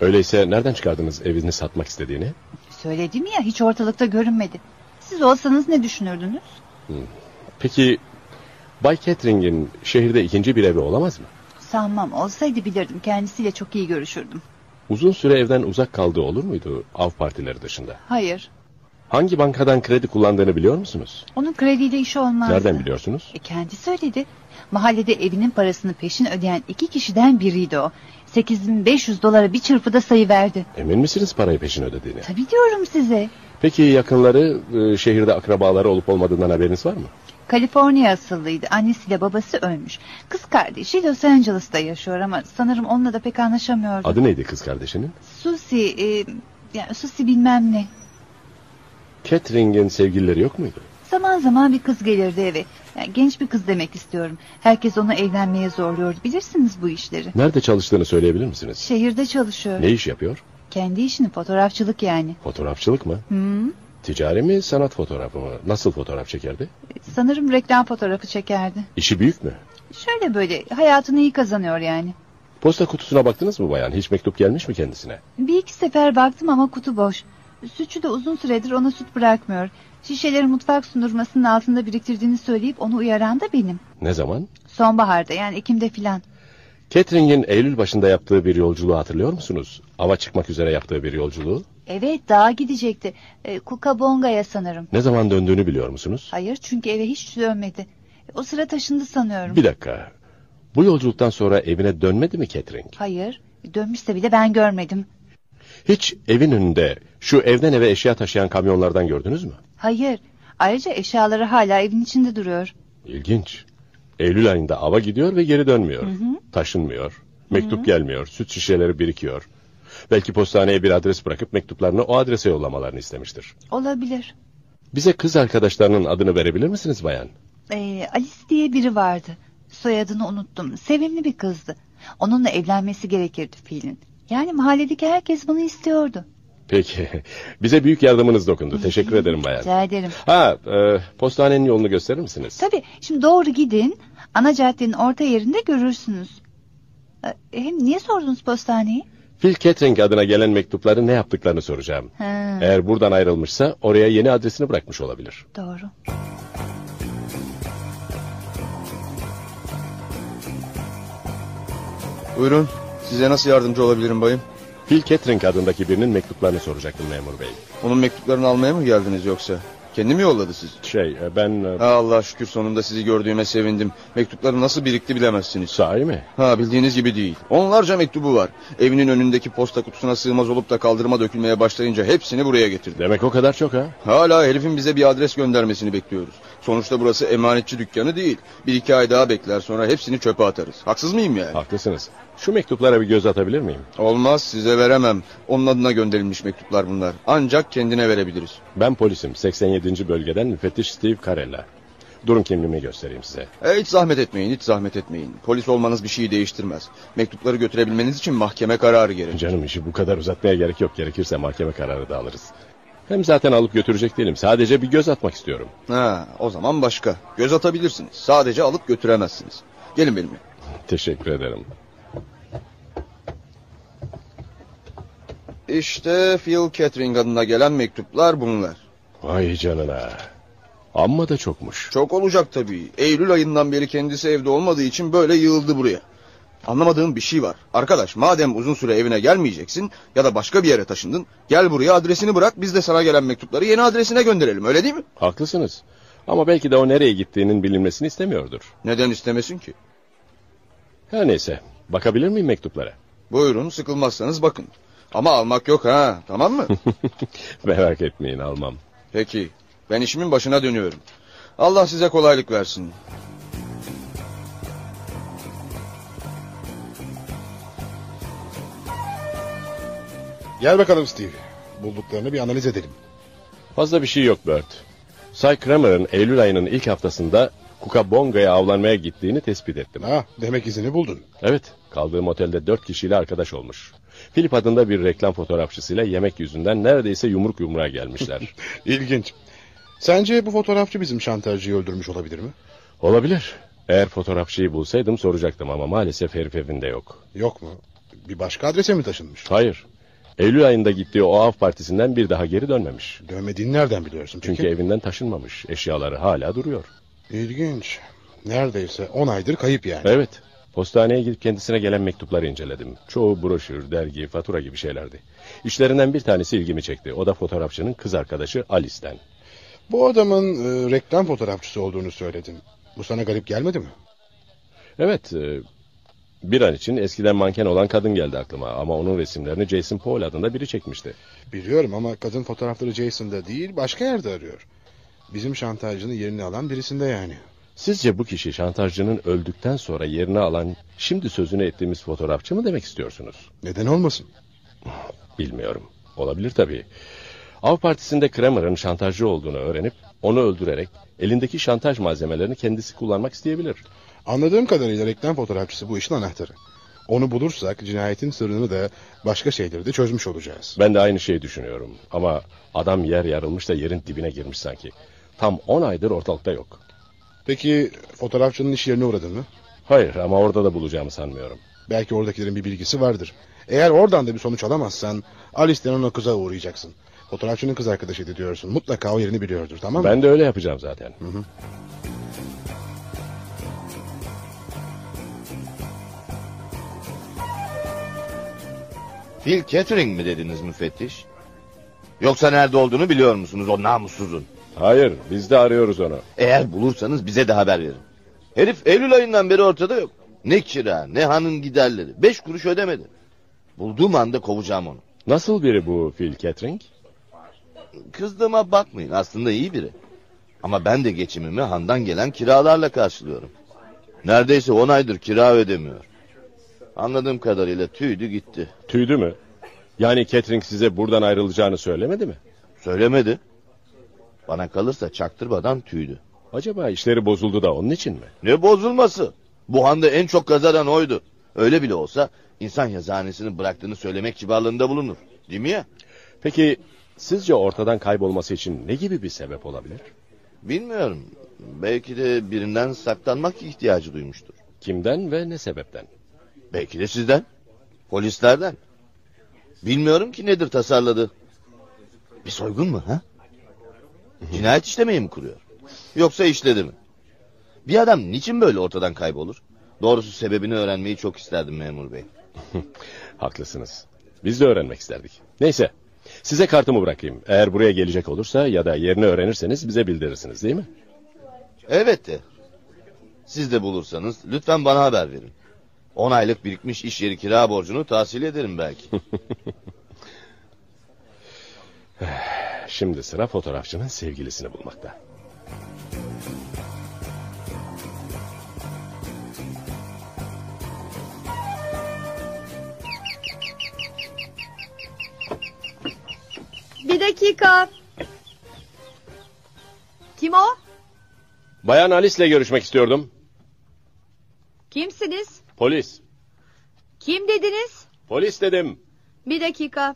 Öyleyse nereden çıkardınız evini satmak istediğini?
Söyledim ya, hiç ortalıkta görünmedi. Siz olsanız ne düşünürdünüz?
Peki Bay Catering'in şehirde ikinci bir evi olamaz mı?
sanmam. Olsaydı bilirdim. Kendisiyle çok iyi görüşürdüm.
Uzun süre evden uzak kaldığı olur muydu av partileri dışında?
Hayır.
Hangi bankadan kredi kullandığını biliyor musunuz?
Onun krediyle işi olmazdı.
Nereden biliyorsunuz?
E kendi söyledi. Mahallede evinin parasını peşin ödeyen iki kişiden biriydi o. 8500 dolara bir çırpıda sayı verdi.
Emin misiniz parayı peşin ödediğine?
Tabii diyorum size.
Peki yakınları, e, şehirde akrabaları olup olmadığından haberiniz var mı?
Kaliforniya asıllıydı. Annesiyle babası ölmüş. Kız kardeşi Los Angeles'ta yaşıyor ama sanırım onunla da pek anlaşamıyordu.
Adı neydi kız kardeşinin?
Susi, e, ya Susi bilmem ne.
Catering'in sevgilileri yok muydu?
Zaman zaman bir kız gelirdi eve. Yani genç bir kız demek istiyorum. Herkes onu evlenmeye zorluyordu. Bilirsiniz bu işleri.
Nerede çalıştığını söyleyebilir misiniz?
Şehirde çalışıyor.
Ne iş yapıyor?
Kendi işini fotoğrafçılık yani.
Fotoğrafçılık mı?
Hı?
Ticari mi, sanat fotoğrafı mı? Nasıl fotoğraf çekerdi?
Sanırım reklam fotoğrafı çekerdi.
İşi büyük mü?
Şöyle böyle hayatını iyi kazanıyor yani.
Posta kutusuna baktınız mı bayan? Hiç mektup gelmiş mi kendisine?
Bir iki sefer baktım ama kutu boş. Sütçü de uzun süredir ona süt bırakmıyor. Şişeleri mutfak sundurmasının altında biriktirdiğini söyleyip onu uyaran da benim.
Ne zaman?
Sonbaharda yani Ekim'de filan.
Catering'in Eylül başında yaptığı bir yolculuğu hatırlıyor musunuz? Ava çıkmak üzere yaptığı bir yolculuğu.
Evet dağa gidecekti. E, Kukabonga'ya sanırım.
Ne zaman döndüğünü biliyor musunuz?
Hayır çünkü eve hiç dönmedi. E, O sıra taşındı sanıyorum.
Bir dakika. Bu yolculuktan sonra evine dönmedi mi Catherine?
Hayır e, dönmüşse bile ben görmedim.
Hiç evin önünde şu evden eve eşya taşıyan kamyonlardan gördünüz mü?
Hayır ayrıca eşyaları hala evin içinde duruyor.
İlginç. Eylül ayında ava gidiyor ve geri dönmüyor.
Hı hı.
Taşınmıyor. Mektup gelmiyor. Süt şişeleri birikiyor. Belki postaneye bir adres bırakıp mektuplarını o adrese yollamalarını istemiştir.
Olabilir.
Bize kız arkadaşlarının adını verebilir misiniz bayan?
Ee, Alice diye biri vardı. Soyadını unuttum. Sevimli bir kızdı. Onunla evlenmesi gerekirdi fiilin. Yani mahalledeki herkes bunu istiyordu.
Peki. Bize büyük yardımınız dokundu. Teşekkür ederim bayan.
Rica ederim.
Ha, e, postanenin yolunu gösterir misiniz?
Tabii şimdi doğru gidin. Ana caddenin orta yerinde görürsünüz. Ee, Hem niye sordunuz postaneyi?
Phil Kettering adına gelen mektupları ne yaptıklarını soracağım.
Ha,
Eğer buradan ayrılmışsa oraya yeni adresini bırakmış olabilir.
Doğru.
Buyurun. Size nasıl yardımcı olabilirim bayım?
Phil Kettering adındaki birinin mektuplarını soracaktım memur bey.
Onun mektuplarını almaya mı geldiniz yoksa? Kendi mi yolladı sizi?
Şey e, ben... e,
Ha, Allah şükür sonunda sizi gördüğüme sevindim. Mektupları nasıl birikti bilemezsiniz.
Sahi mi?
Ha bildiğiniz gibi değil. Onlarca mektubu var. Evinin önündeki posta kutusuna sığmaz olup da kaldırıma dökülmeye başlayınca hepsini buraya getirdi.
Demek o kadar çok ha?
Hala herifin bize bir adres göndermesini bekliyoruz. Sonuçta burası emanetçi dükkanı değil. Bir iki ay daha bekler sonra hepsini çöpe atarız. Haksız mıyım yani?
Haklısınız. Şu mektuplara bir göz atabilir miyim?
Olmaz size veremem. Onun adına gönderilmiş mektuplar bunlar. Ancak kendine verebiliriz.
Ben polisim. 87. bölgeden müfettiş Steve Carella. Durum kimliğimi göstereyim size.
E, hiç zahmet etmeyin, hiç zahmet etmeyin. Polis olmanız bir şeyi değiştirmez. Mektupları götürebilmeniz için mahkeme kararı gerekir.
Canım işi bu kadar uzatmaya gerek yok. Gerekirse mahkeme kararı da alırız. Hem zaten alıp götürecek değilim. Sadece bir göz atmak istiyorum.
Ha, o zaman başka. Göz atabilirsiniz. Sadece alıp götüremezsiniz. Gelin benimle.
Teşekkür ederim.
İşte Phil Catering adına gelen mektuplar bunlar.
Vay canına. Amma da çokmuş.
Çok olacak tabii. Eylül ayından beri kendisi evde olmadığı için böyle yığıldı buraya. Anlamadığım bir şey var. Arkadaş madem uzun süre evine gelmeyeceksin ya da başka bir yere taşındın gel buraya adresini bırak biz de sana gelen mektupları yeni adresine gönderelim öyle değil mi?
Haklısınız. Ama belki de o nereye gittiğinin bilinmesini istemiyordur.
Neden istemesin ki?
Her neyse. Bakabilir miyim mektuplara?
Buyurun sıkılmazsanız bakın. Ama almak yok ha tamam mı?
Merak etmeyin almam.
Peki ben işimin başına dönüyorum. Allah size kolaylık versin.
Gel bakalım Steve. Bulduklarını bir analiz edelim.
Fazla bir şey yok Bert. Cy Kramer'ın Eylül ayının ilk haftasında Kukabonga'ya avlanmaya gittiğini tespit ettim.
Ha, Ah, demek izini buldun.
Evet, kaldığım otelde dört kişiyle arkadaş olmuş. Philip adında bir reklam fotoğrafçısıyla yemek yüzünden neredeyse yumruk yumruğa gelmişler.
İlginç. Sence bu fotoğrafçı bizim şantajcıyı öldürmüş olabilir mi?
Olabilir. Eğer fotoğrafçıyı bulsaydım soracaktım ama maalesef herif evinde yok.
Yok mu? Bir başka adrese mi taşınmış?
Hayır. Eylül ayında gittiği o av partisinden bir daha geri dönmemiş.
Dönmediğini nereden biliyorsun peki?
Çünkü evinden taşınmamış. Eşyaları hala duruyor.
İlginç. Neredeyse 10 aydır kayıp yani.
Evet. Postaneye gidip kendisine gelen mektupları inceledim. Çoğu broşür, dergi, fatura gibi şeylerdi. İşlerinden bir tanesi ilgimi çekti. O da fotoğrafçının kız arkadaşı Alice'den.
Bu adamın e, reklam fotoğrafçısı olduğunu söyledin. Bu sana garip gelmedi mi?
Evet, e, bir an için eskiden manken olan kadın geldi aklıma ama onun resimlerini Jason Paul adında biri çekmişti.
Biliyorum ama kadın fotoğrafları Jason'da değil başka yerde arıyor. Bizim şantajcının yerini alan birisinde yani.
Sizce bu kişi şantajcının öldükten sonra yerine alan şimdi sözünü ettiğimiz fotoğrafçı mı demek istiyorsunuz?
Neden olmasın?
Bilmiyorum. Olabilir tabii. Av partisinde Kramer'ın şantajcı olduğunu öğrenip onu öldürerek elindeki şantaj malzemelerini kendisi kullanmak isteyebilir.
Anladığım kadarıyla reklam fotoğrafçısı bu işin anahtarı. Onu bulursak cinayetin sırrını da başka şeyleri de çözmüş olacağız.
Ben de aynı şeyi düşünüyorum ama adam yer yarılmış da yerin dibine girmiş sanki. Tam 10 aydır ortalıkta yok.
Peki fotoğrafçının iş yerine uğradın mı?
Hayır ama orada da bulacağımı sanmıyorum.
Belki oradakilerin bir bilgisi vardır. Eğer oradan da bir sonuç alamazsan Alice denen o kıza uğrayacaksın. Fotoğrafçının kız arkadaşıydı diyorsun. Mutlaka o yerini biliyordur tamam mı?
Ben de öyle yapacağım zaten.
Phil Kettering mi dediniz müfettiş? Yoksa nerede olduğunu biliyor musunuz o namussuzun?
Hayır biz de arıyoruz onu.
Eğer bulursanız bize de haber verin. Herif Eylül ayından beri ortada yok. Ne kira ne hanın giderleri. Beş kuruş ödemedi. Bulduğum anda kovacağım onu.
Nasıl biri bu Phil Kettering?
Kızdığıma bakmayın aslında iyi biri. Ama ben de geçimimi handan gelen kiralarla karşılıyorum. Neredeyse on aydır kira ödemiyor. Anladığım kadarıyla tüydü gitti.
Tüydü mü? Yani Kettering size buradan ayrılacağını söylemedi mi?
Söylemedi. Bana kalırsa çaktırmadan tüydü.
Acaba işleri bozuldu da onun için mi?
Ne bozulması? Bu handa en çok kazanan oydu. Öyle bile olsa insan yazıhanesini bıraktığını söylemek kibarlığında bulunur. Değil mi ya?
Peki sizce ortadan kaybolması için ne gibi bir sebep olabilir?
Bilmiyorum. Belki de birinden saklanmak ihtiyacı duymuştur.
Kimden ve ne sebepten?
Belki de sizden. Polislerden. Bilmiyorum ki nedir tasarladı. Bir soygun mu ha? Cinayet işlemeyi mi kuruyor? Yoksa işledi mi? Bir adam niçin böyle ortadan kaybolur? Doğrusu sebebini öğrenmeyi çok isterdim memur bey.
Haklısınız. Biz de öğrenmek isterdik. Neyse. Size kartımı bırakayım. Eğer buraya gelecek olursa ya da yerini öğrenirseniz bize bildirirsiniz değil mi?
Elbette. Siz de bulursanız lütfen bana haber verin. 10 aylık birikmiş iş yeri kira borcunu tahsil ederim belki.
Şimdi sıra fotoğrafçının sevgilisini bulmakta.
Bir dakika. Kim o?
Bayan Alice'le görüşmek istiyordum.
Kimsiniz?
Polis.
Kim dediniz?
Polis dedim.
Bir dakika.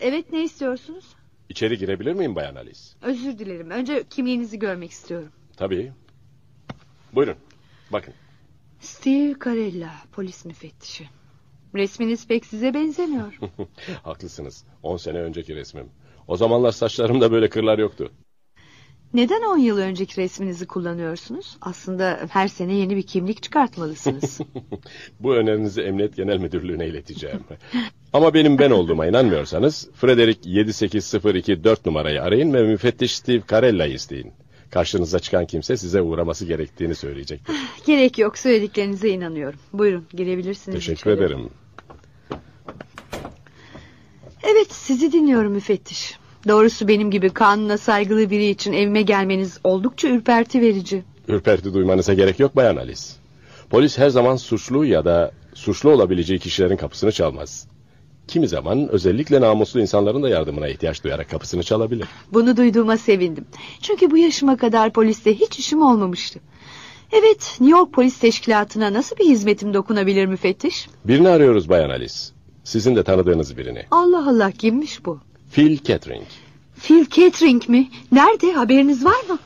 Evet ne istiyorsunuz?
İçeri girebilir miyim Bayan Alice?
Özür dilerim. Önce kimliğinizi görmek istiyorum.
Tabii. Buyurun. Bakın.
Steve Carella, polis müfettişi. Resminiz pek size benzemiyor.
Haklısınız. 10 sene önceki resmim. O zamanlar saçlarımda böyle kırlar yoktu.
Neden 10 yıl önceki resminizi kullanıyorsunuz? Aslında her sene yeni bir kimlik çıkartmalısınız.
Bu önerinizi Emniyet Genel Müdürlüğü'ne ileteceğim. Ama benim ben olduğuma inanmıyorsanız Frederick 78024 numarayı arayın ve müfettiş Steve Carella'yı isteyin. Karşınıza çıkan kimse size uğraması gerektiğini söyleyecektir.
Gerek yok söylediklerinize inanıyorum. Buyurun girebilirsiniz.
Teşekkür ederim.
Evet sizi dinliyorum müfettiş. Doğrusu benim gibi kanuna saygılı biri için evime gelmeniz oldukça ürperti verici.
Ürperti duymanıza gerek yok Bayan Alice. Polis her zaman suçlu ya da suçlu olabileceği kişilerin kapısını çalmaz. Kimi zaman özellikle namuslu insanların da yardımına ihtiyaç duyarak kapısını çalabilir.
Bunu duyduğuma sevindim. Çünkü bu yaşıma kadar poliste hiç işim olmamıştı. Evet, New York Polis Teşkilatı'na nasıl bir hizmetim dokunabilir müfettiş?
Birini arıyoruz Bayan Alice. Sizin de tanıdığınız birini.
Allah Allah kimmiş bu?
Phil Kettering.
Phil Catering mi? Nerede? Haberiniz var mı?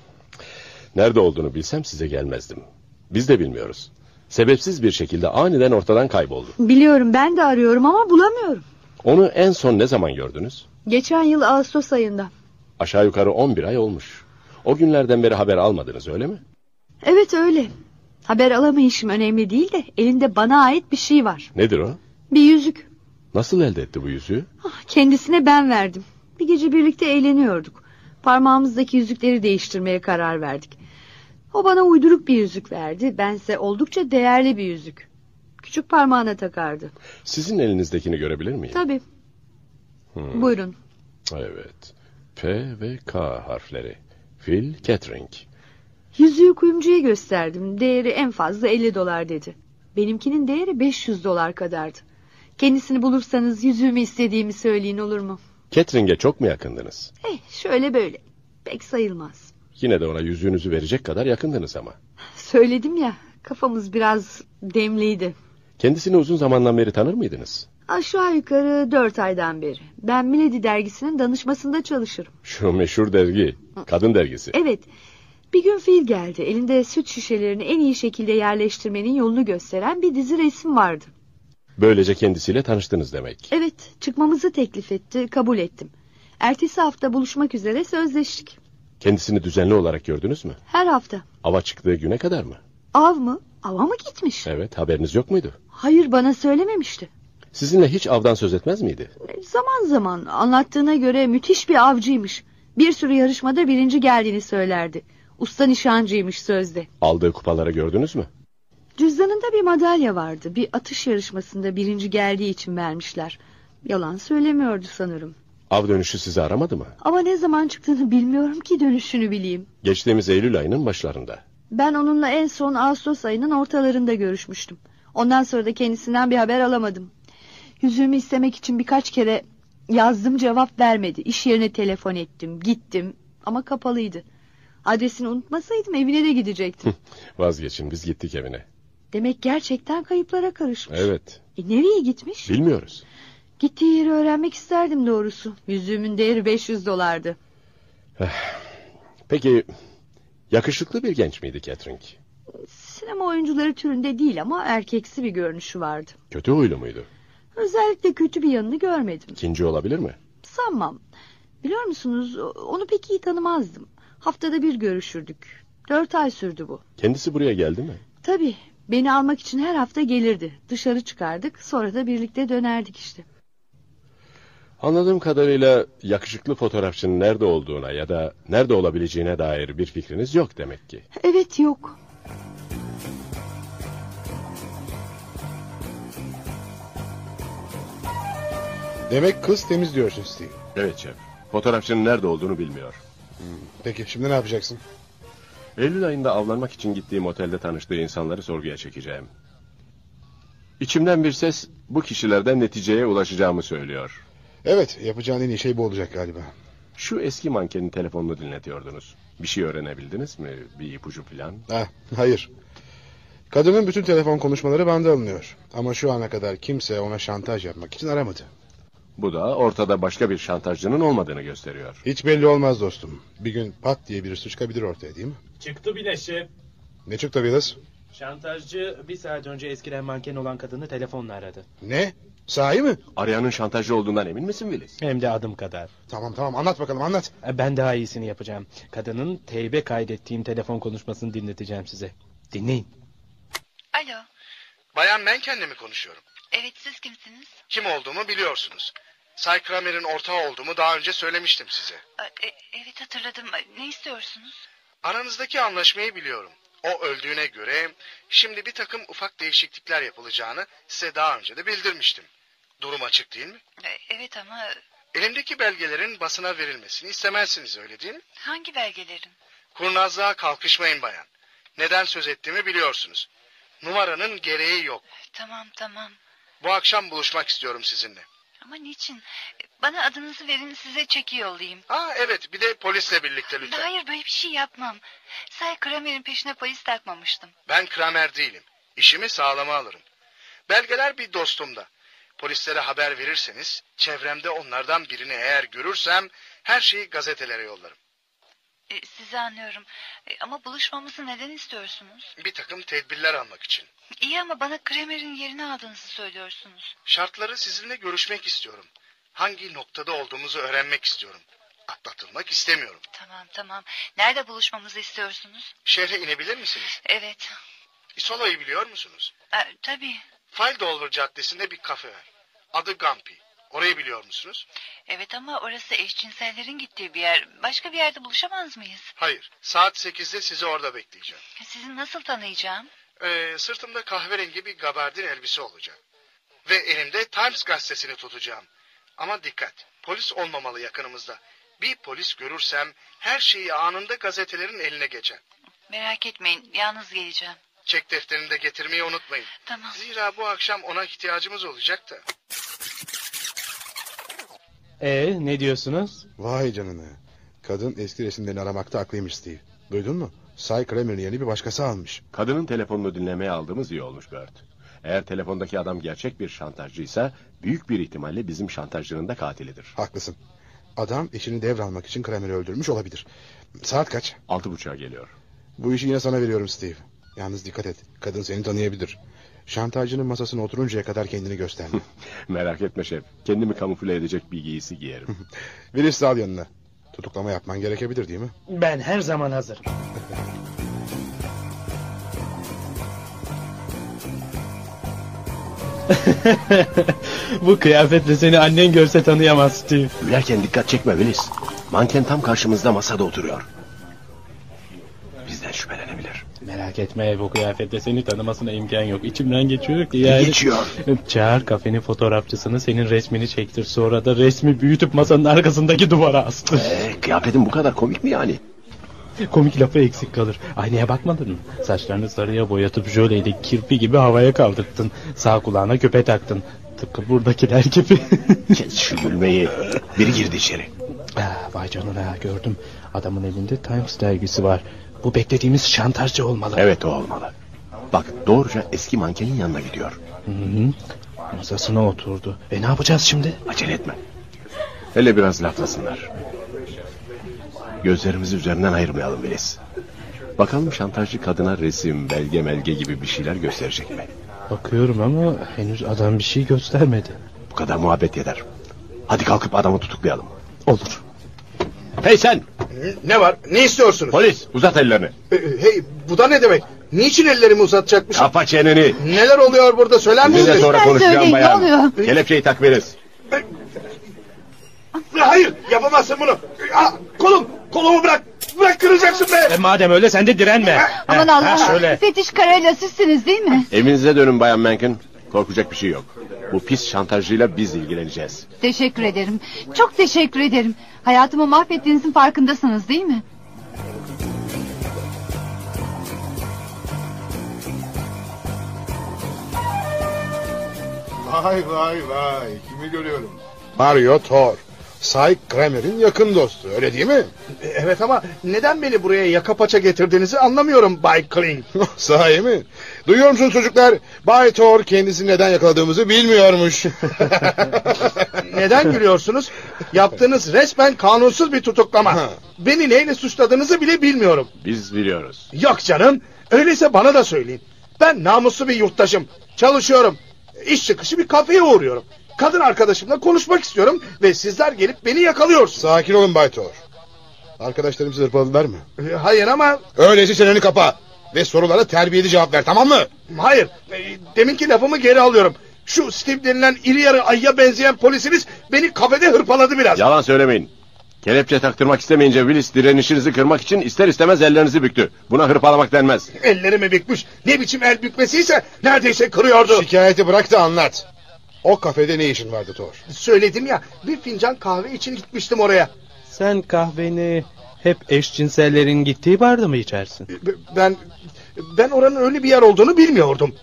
Nerede olduğunu bilsem size gelmezdim. Biz de bilmiyoruz. Sebepsiz bir şekilde aniden ortadan kayboldu.
Biliyorum ben de arıyorum ama bulamıyorum.
Onu en son ne zaman gördünüz?
Geçen yıl Ağustos ayında.
Aşağı yukarı 11 ay olmuş. O günlerden beri haber almadınız öyle mi?
Evet öyle. Haber alamayışım önemli değil de elinde bana ait bir şey var.
Nedir o?
Bir yüzük.
Nasıl elde etti bu yüzüğü?
Kendisine ben verdim. Bir gece birlikte eğleniyorduk. Parmağımızdaki yüzükleri değiştirmeye karar verdik. O bana uyduruk bir yüzük verdi. Bense oldukça değerli bir yüzük. Küçük parmağına takardı.
Sizin elinizdekini görebilir miyim?
Tabii.
Hmm,
Buyurun.
Evet. P ve K harfleri. Phil Kettering.
Yüzüğü kuyumcuya gösterdim. Değeri en fazla 50 dolar dedi. Benimkinin değeri 500 dolar kadardı. Kendisini bulursanız yüzüğümü istediğimi söyleyin olur mu?
Kettering'e çok mu yakındınız?
Eh şöyle böyle. Pek sayılmaz.
Yine de ona yüzüğünüzü verecek kadar yakındınız ama.
Söyledim ya kafamız biraz demliydi.
Kendisini uzun zamandan beri tanır mıydınız?
Aşağı yukarı dört aydan beri. Ben Milady dergisinin danışmasında çalışırım.
Şu meşhur dergi, kadın dergisi.
Evet. Bir gün fil geldi. Elinde süt şişelerini en iyi şekilde yerleştirmenin yolunu gösteren bir dizi resim vardı.
Böylece kendisiyle tanıştınız demek.
Evet, çıkmamızı teklif etti, kabul ettim. Ertesi hafta buluşmak üzere sözleştik.
Kendisini düzenli olarak gördünüz mü?
Her hafta.
Ava çıktığı güne kadar mı?
Av mı? Ava mı gitmiş?
Evet, haberiniz yok muydu?
Hayır, bana söylememişti. E,
Sizinle hiç avdan söz etmez miydi?
Zaman zaman anlattığına göre müthiş bir avcıymış. Bir sürü yarışmada birinci geldiğini söylerdi. Usta nişancıymış sözde.
Aldığı kupalara gördünüz mü?
Cüzdanında bir madalya vardı. Bir atış yarışmasında birinci geldiği için vermişler. Yalan söylemiyordu sanırım.
Av dönüşü sizi aramadı mı?
Ama ne zaman çıktığını bilmiyorum ki dönüşünü bileyim.
Geçtiğimiz Eylül ayının başlarında.
Ben onunla en son Ağustos ayının ortalarında görüşmüştüm. Ondan sonra da kendisinden bir haber alamadım. Yüzüğümü istemek için birkaç kere yazdım cevap vermedi. İş yerine telefon ettim, gittim ama kapalıydı. Adresini unutmasaydım evine de gidecektim.
Vazgeçin biz gittik evine.
Demek gerçekten kayıplara karışmış.
Evet.
E, nereye gitmiş?
Bilmiyoruz.
Gittiği yeri öğrenmek isterdim doğrusu. Yüzüğümün değeri 500 dolardı.
Eh, Peki yakışıklı bir genç miydi Catherine?
Sinema oyuncuları türünde değil ama erkeksi bir görünüşü vardı.
Kötü huylu muydu?
Özellikle kötü bir yanını görmedim.
İkinci olabilir mi?
Sanmam. Biliyor musunuz onu pek iyi tanımazdım. Haftada bir görüşürdük. Dört ay sürdü bu.
Kendisi buraya geldi mi?
Tabii beni almak için her hafta gelirdi. Dışarı çıkardık sonra da birlikte dönerdik işte.
Anladığım kadarıyla yakışıklı fotoğrafçının nerede olduğuna ya da nerede olabileceğine dair bir fikriniz yok demek ki.
Evet yok.
Demek kız temiz diyorsun Steve.
Evet şef. Fotoğrafçının nerede olduğunu bilmiyor.
Peki şimdi ne yapacaksın?
Eylül ayında avlanmak için gittiğim otelde tanıştığı insanları sorguya çekeceğim. İçimden bir ses bu kişilerden neticeye ulaşacağımı söylüyor.
Evet yapacağın en iyi şey bu olacak galiba.
Şu eski mankenin telefonunu dinletiyordunuz. Bir şey öğrenebildiniz mi? Bir ipucu falan?
Ha, hayır. Kadının bütün telefon konuşmaları bende alınıyor. Ama şu ana kadar kimse ona şantaj yapmak için aramadı.
Bu da ortada başka bir şantajcının olmadığını gösteriyor.
Hiç belli olmaz dostum. Bir gün pat diye birisi çıkabilir ortaya değil mi?
Çıktı bile şef.
Ne çıktı Vilas?
Şantajcı bir saat önce eskiden manken olan kadını telefonla aradı.
Ne? Sahi mi?
Arayanın şantajcı olduğundan emin misin Willis?
Hem de adım kadar. E,
Tamam tamam anlat bakalım anlat.
Ben daha iyisini yapacağım. Kadının teybe kaydettiğim telefon konuşmasını dinleteceğim size. Dinleyin.
Alo,
Bayan ben kendimi konuşuyorum.
evet siz kimsiniz?
Kim olduğumu biliyorsunuz. Say Kramer'in ortağı olduğumu daha önce söylemiştim size.
Aa, e- evet hatırladım. Ne istiyorsunuz?
Aranızdaki anlaşmayı biliyorum. O öldüğüne göre şimdi bir takım ufak değişiklikler yapılacağını size daha önce de bildirmiştim. Durum açık değil mi?
E- evet ama
Elimdeki belgelerin basına verilmesini istemezsiniz öyle değil mi?
hangi belgelerin?
Kurnazlığa kalkışmayın bayan. Neden söz ettiğimi biliyorsunuz. Numaranın gereği yok.
E, Tamam tamam.
Bu akşam buluşmak istiyorum sizinle.
Ama niçin? E, Bana adınızı verin size çeki yollayayım.
Aa evet bir de polisle birlikte lütfen.
Hayır böyle bir şey yapmam. Say Kramer'in peşine polis takmamıştım.
Ben Kramer değilim. İşimi sağlama alırım. Belgeler bir dostumda. Polislere haber verirseniz çevremde onlardan birini eğer görürsem her şeyi gazetelere yollarım.
E, sizi anlıyorum. E, ama buluşmamızı neden istiyorsunuz?
Bir takım tedbirler almak için.
İyi ama bana Kramer'in yerini aldığınızı söylüyorsunuz.
Şartları sizinle görüşmek istiyorum. Hangi noktada olduğumuzu öğrenmek istiyorum. Atlatılmak istemiyorum.
Tamam tamam. Nerede buluşmamızı istiyorsunuz?
Şehre inebilir misiniz?
Evet.
Isola'yı biliyor musunuz?
Ee, tabii.
Faldolver Caddesi'nde bir kafe var. Adı Gampi. Orayı biliyor musunuz?
Evet ama orası eşcinsellerin gittiği bir yer. Başka bir yerde buluşamaz mıyız?
Hayır. Saat 8'de sizi orada bekleyeceğim.
Sizi nasıl tanıyacağım?
Ee, sırtımda kahverengi bir gabardin elbise olacak. Ve elimde Times gazetesini tutacağım. Ama dikkat. Polis olmamalı yakınımızda. Bir polis görürsem her şeyi anında gazetelerin eline geçer.
Merak etmeyin, yalnız geleceğim.
Çek defterini de getirmeyi unutmayın.
Tamam.
Zira bu akşam ona ihtiyacımız olacak da.
E ne diyorsunuz?
Vay canına. Kadın eski resimlerini aramakta haklıymış Steve. Duydun mu? Cy Kramer'ın yerini bir başkası almış.
Kadının telefonunu dinlemeye aldığımız iyi olmuş Bert. Eğer telefondaki adam gerçek bir şantajcıysa büyük bir ihtimalle bizim şantajcının da katilidir.
Haklısın. Adam işini devralmak için Kramer'ı öldürmüş olabilir. Saat kaç?
Altı buçuğa geliyor.
Bu işi yine sana veriyorum Steve. Yalnız dikkat et. Kadın seni tanıyabilir. Şantajcının masasına oturuncaya kadar kendini gösterme.
Merak etme şef. Kendimi kamufle edecek bir giysi giyerim.
Virüs al yanına. Tutuklama yapman gerekebilir değil mi?
Ben her zaman hazırım. Bu kıyafetle seni annen görse tanıyamaz Steve.
Gülerken dikkat çekme Willis. Manken tam karşımızda masada oturuyor. Bizden şüphelenebilir.
Merak etme bu kıyafette seni tanımasına imkan yok. İçimden geçiyor ki
Ne
yani.
geçiyor?
Çağır kafenin fotoğrafçısını senin resmini çektir. Sonra da resmi büyütüp masanın arkasındaki duvara astır.
Ee, kıyafetin bu kadar komik mi yani?
Komik lafı eksik kalır. Aynaya bakmadın mı? Saçlarını sarıya boyatıp jöleyle kirpi gibi havaya kaldırttın. Sağ kulağına küpe taktın. Tıpkı buradakiler gibi.
Kes şu gülmeyi. Biri girdi içeri.
Ah, Vay canına gördüm. Adamın elinde Times dergisi var. Bu beklediğimiz şantajcı olmalı.
Evet o olmalı. Bak doğruca eski mankenin yanına gidiyor.
Hı hı. Masasına oturdu. E ne yapacağız şimdi?
Acele etme. Hele biraz laflasınlar. Gözlerimizi üzerinden ayırmayalım Willis. Bakalım şantajcı kadına resim, belge melge gibi bir şeyler gösterecek mi?
Bakıyorum ama henüz adam bir şey göstermedi.
Bu kadar muhabbet yeter. Hadi kalkıp adamı tutuklayalım.
Olur.
Hey sen!
Ee, Ne var? Ne istiyorsunuz?
Polis uzat ellerini.
Ee, Hey bu da ne demek? Niçin ellerimi uzatacakmışım?
Kapa çeneni.
Neler oluyor burada söyler misiniz?
Bize sonra konuşacağım bayan.
Ee,
Kelepçeyi tak Willis.
Hayır yapamazsın bunu.
Ah!
Aa, kolum kolumu bırak. Bırak kıracaksın be.
E madem öyle sen de direnme.
Aman
Ha,
Allah'ım.
şöyle.
Fetiş Karayla sizsiniz değil mi?
Evinize dönün bayan Menken. Korkacak bir şey yok. Bu pis şantajcıyla biz ilgileneceğiz.
Teşekkür ederim. Çok teşekkür ederim. Hayatımı mahvettiğinizin farkındasınız değil mi?
Vay vay vay. Kimi görüyorum? Mario Thor. Cy Kramer'in yakın dostu öyle değil mi?
Evet ama neden beni buraya yaka paça getirdiğinizi anlamıyorum Bay Kling.
Oh, Sahi mi? Duyuyor musunuz çocuklar? Bay Thor kendisi neden yakaladığımızı bilmiyormuş.
Neden gülüyorsunuz? Yaptığınız resmen kanunsuz bir tutuklama. Beni neyle suçladığınızı bile bilmiyorum.
Biz biliyoruz.
Yok canım. Öyleyse bana da söyleyin. Ben namuslu bir yurttaşım. Çalışıyorum. İş çıkışı bir kafeye uğruyorum. Kadın arkadaşımla konuşmak istiyorum ve sizler gelip beni yakalıyorsunuz.
Sakin olun Bay Thor. Arkadaşlarım sizi hırpaladılar mı?
Ee, Hayır ama
Öyleyse çeneni kapa. Ve sorulara terbiyeli cevap ver tamam mı?
hayır. Ee, Deminki lafımı geri alıyorum. Şu Steve denilen iri yarı ayıya benzeyen polisiniz beni kafede hırpaladı biraz.
Yalan söylemeyin. Kelepçe taktırmak istemeyince Willis direnişinizi kırmak için ister istemez ellerinizi büktü. Buna hırpalamak denmez.
Ellerimi bükmüş. Ne biçim el bükmesiyse neredeyse kırıyordu.
Şikayeti bırak da anlat. O kafede ne işin vardı Thor?
Söyledim ya bir fincan kahve için gitmiştim oraya.
Sen kahveni hep eşcinsellerin gittiği barda mı içersin?
Ben ben oranın öyle bir yer olduğunu bilmiyordum.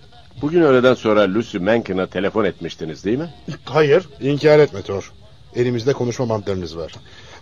Bugün öğleden sonra Lucy Menken'a telefon etmiştiniz değil mi?
Hayır.
İnkar etme Thor. Elimizde konuşma bantlarınız var.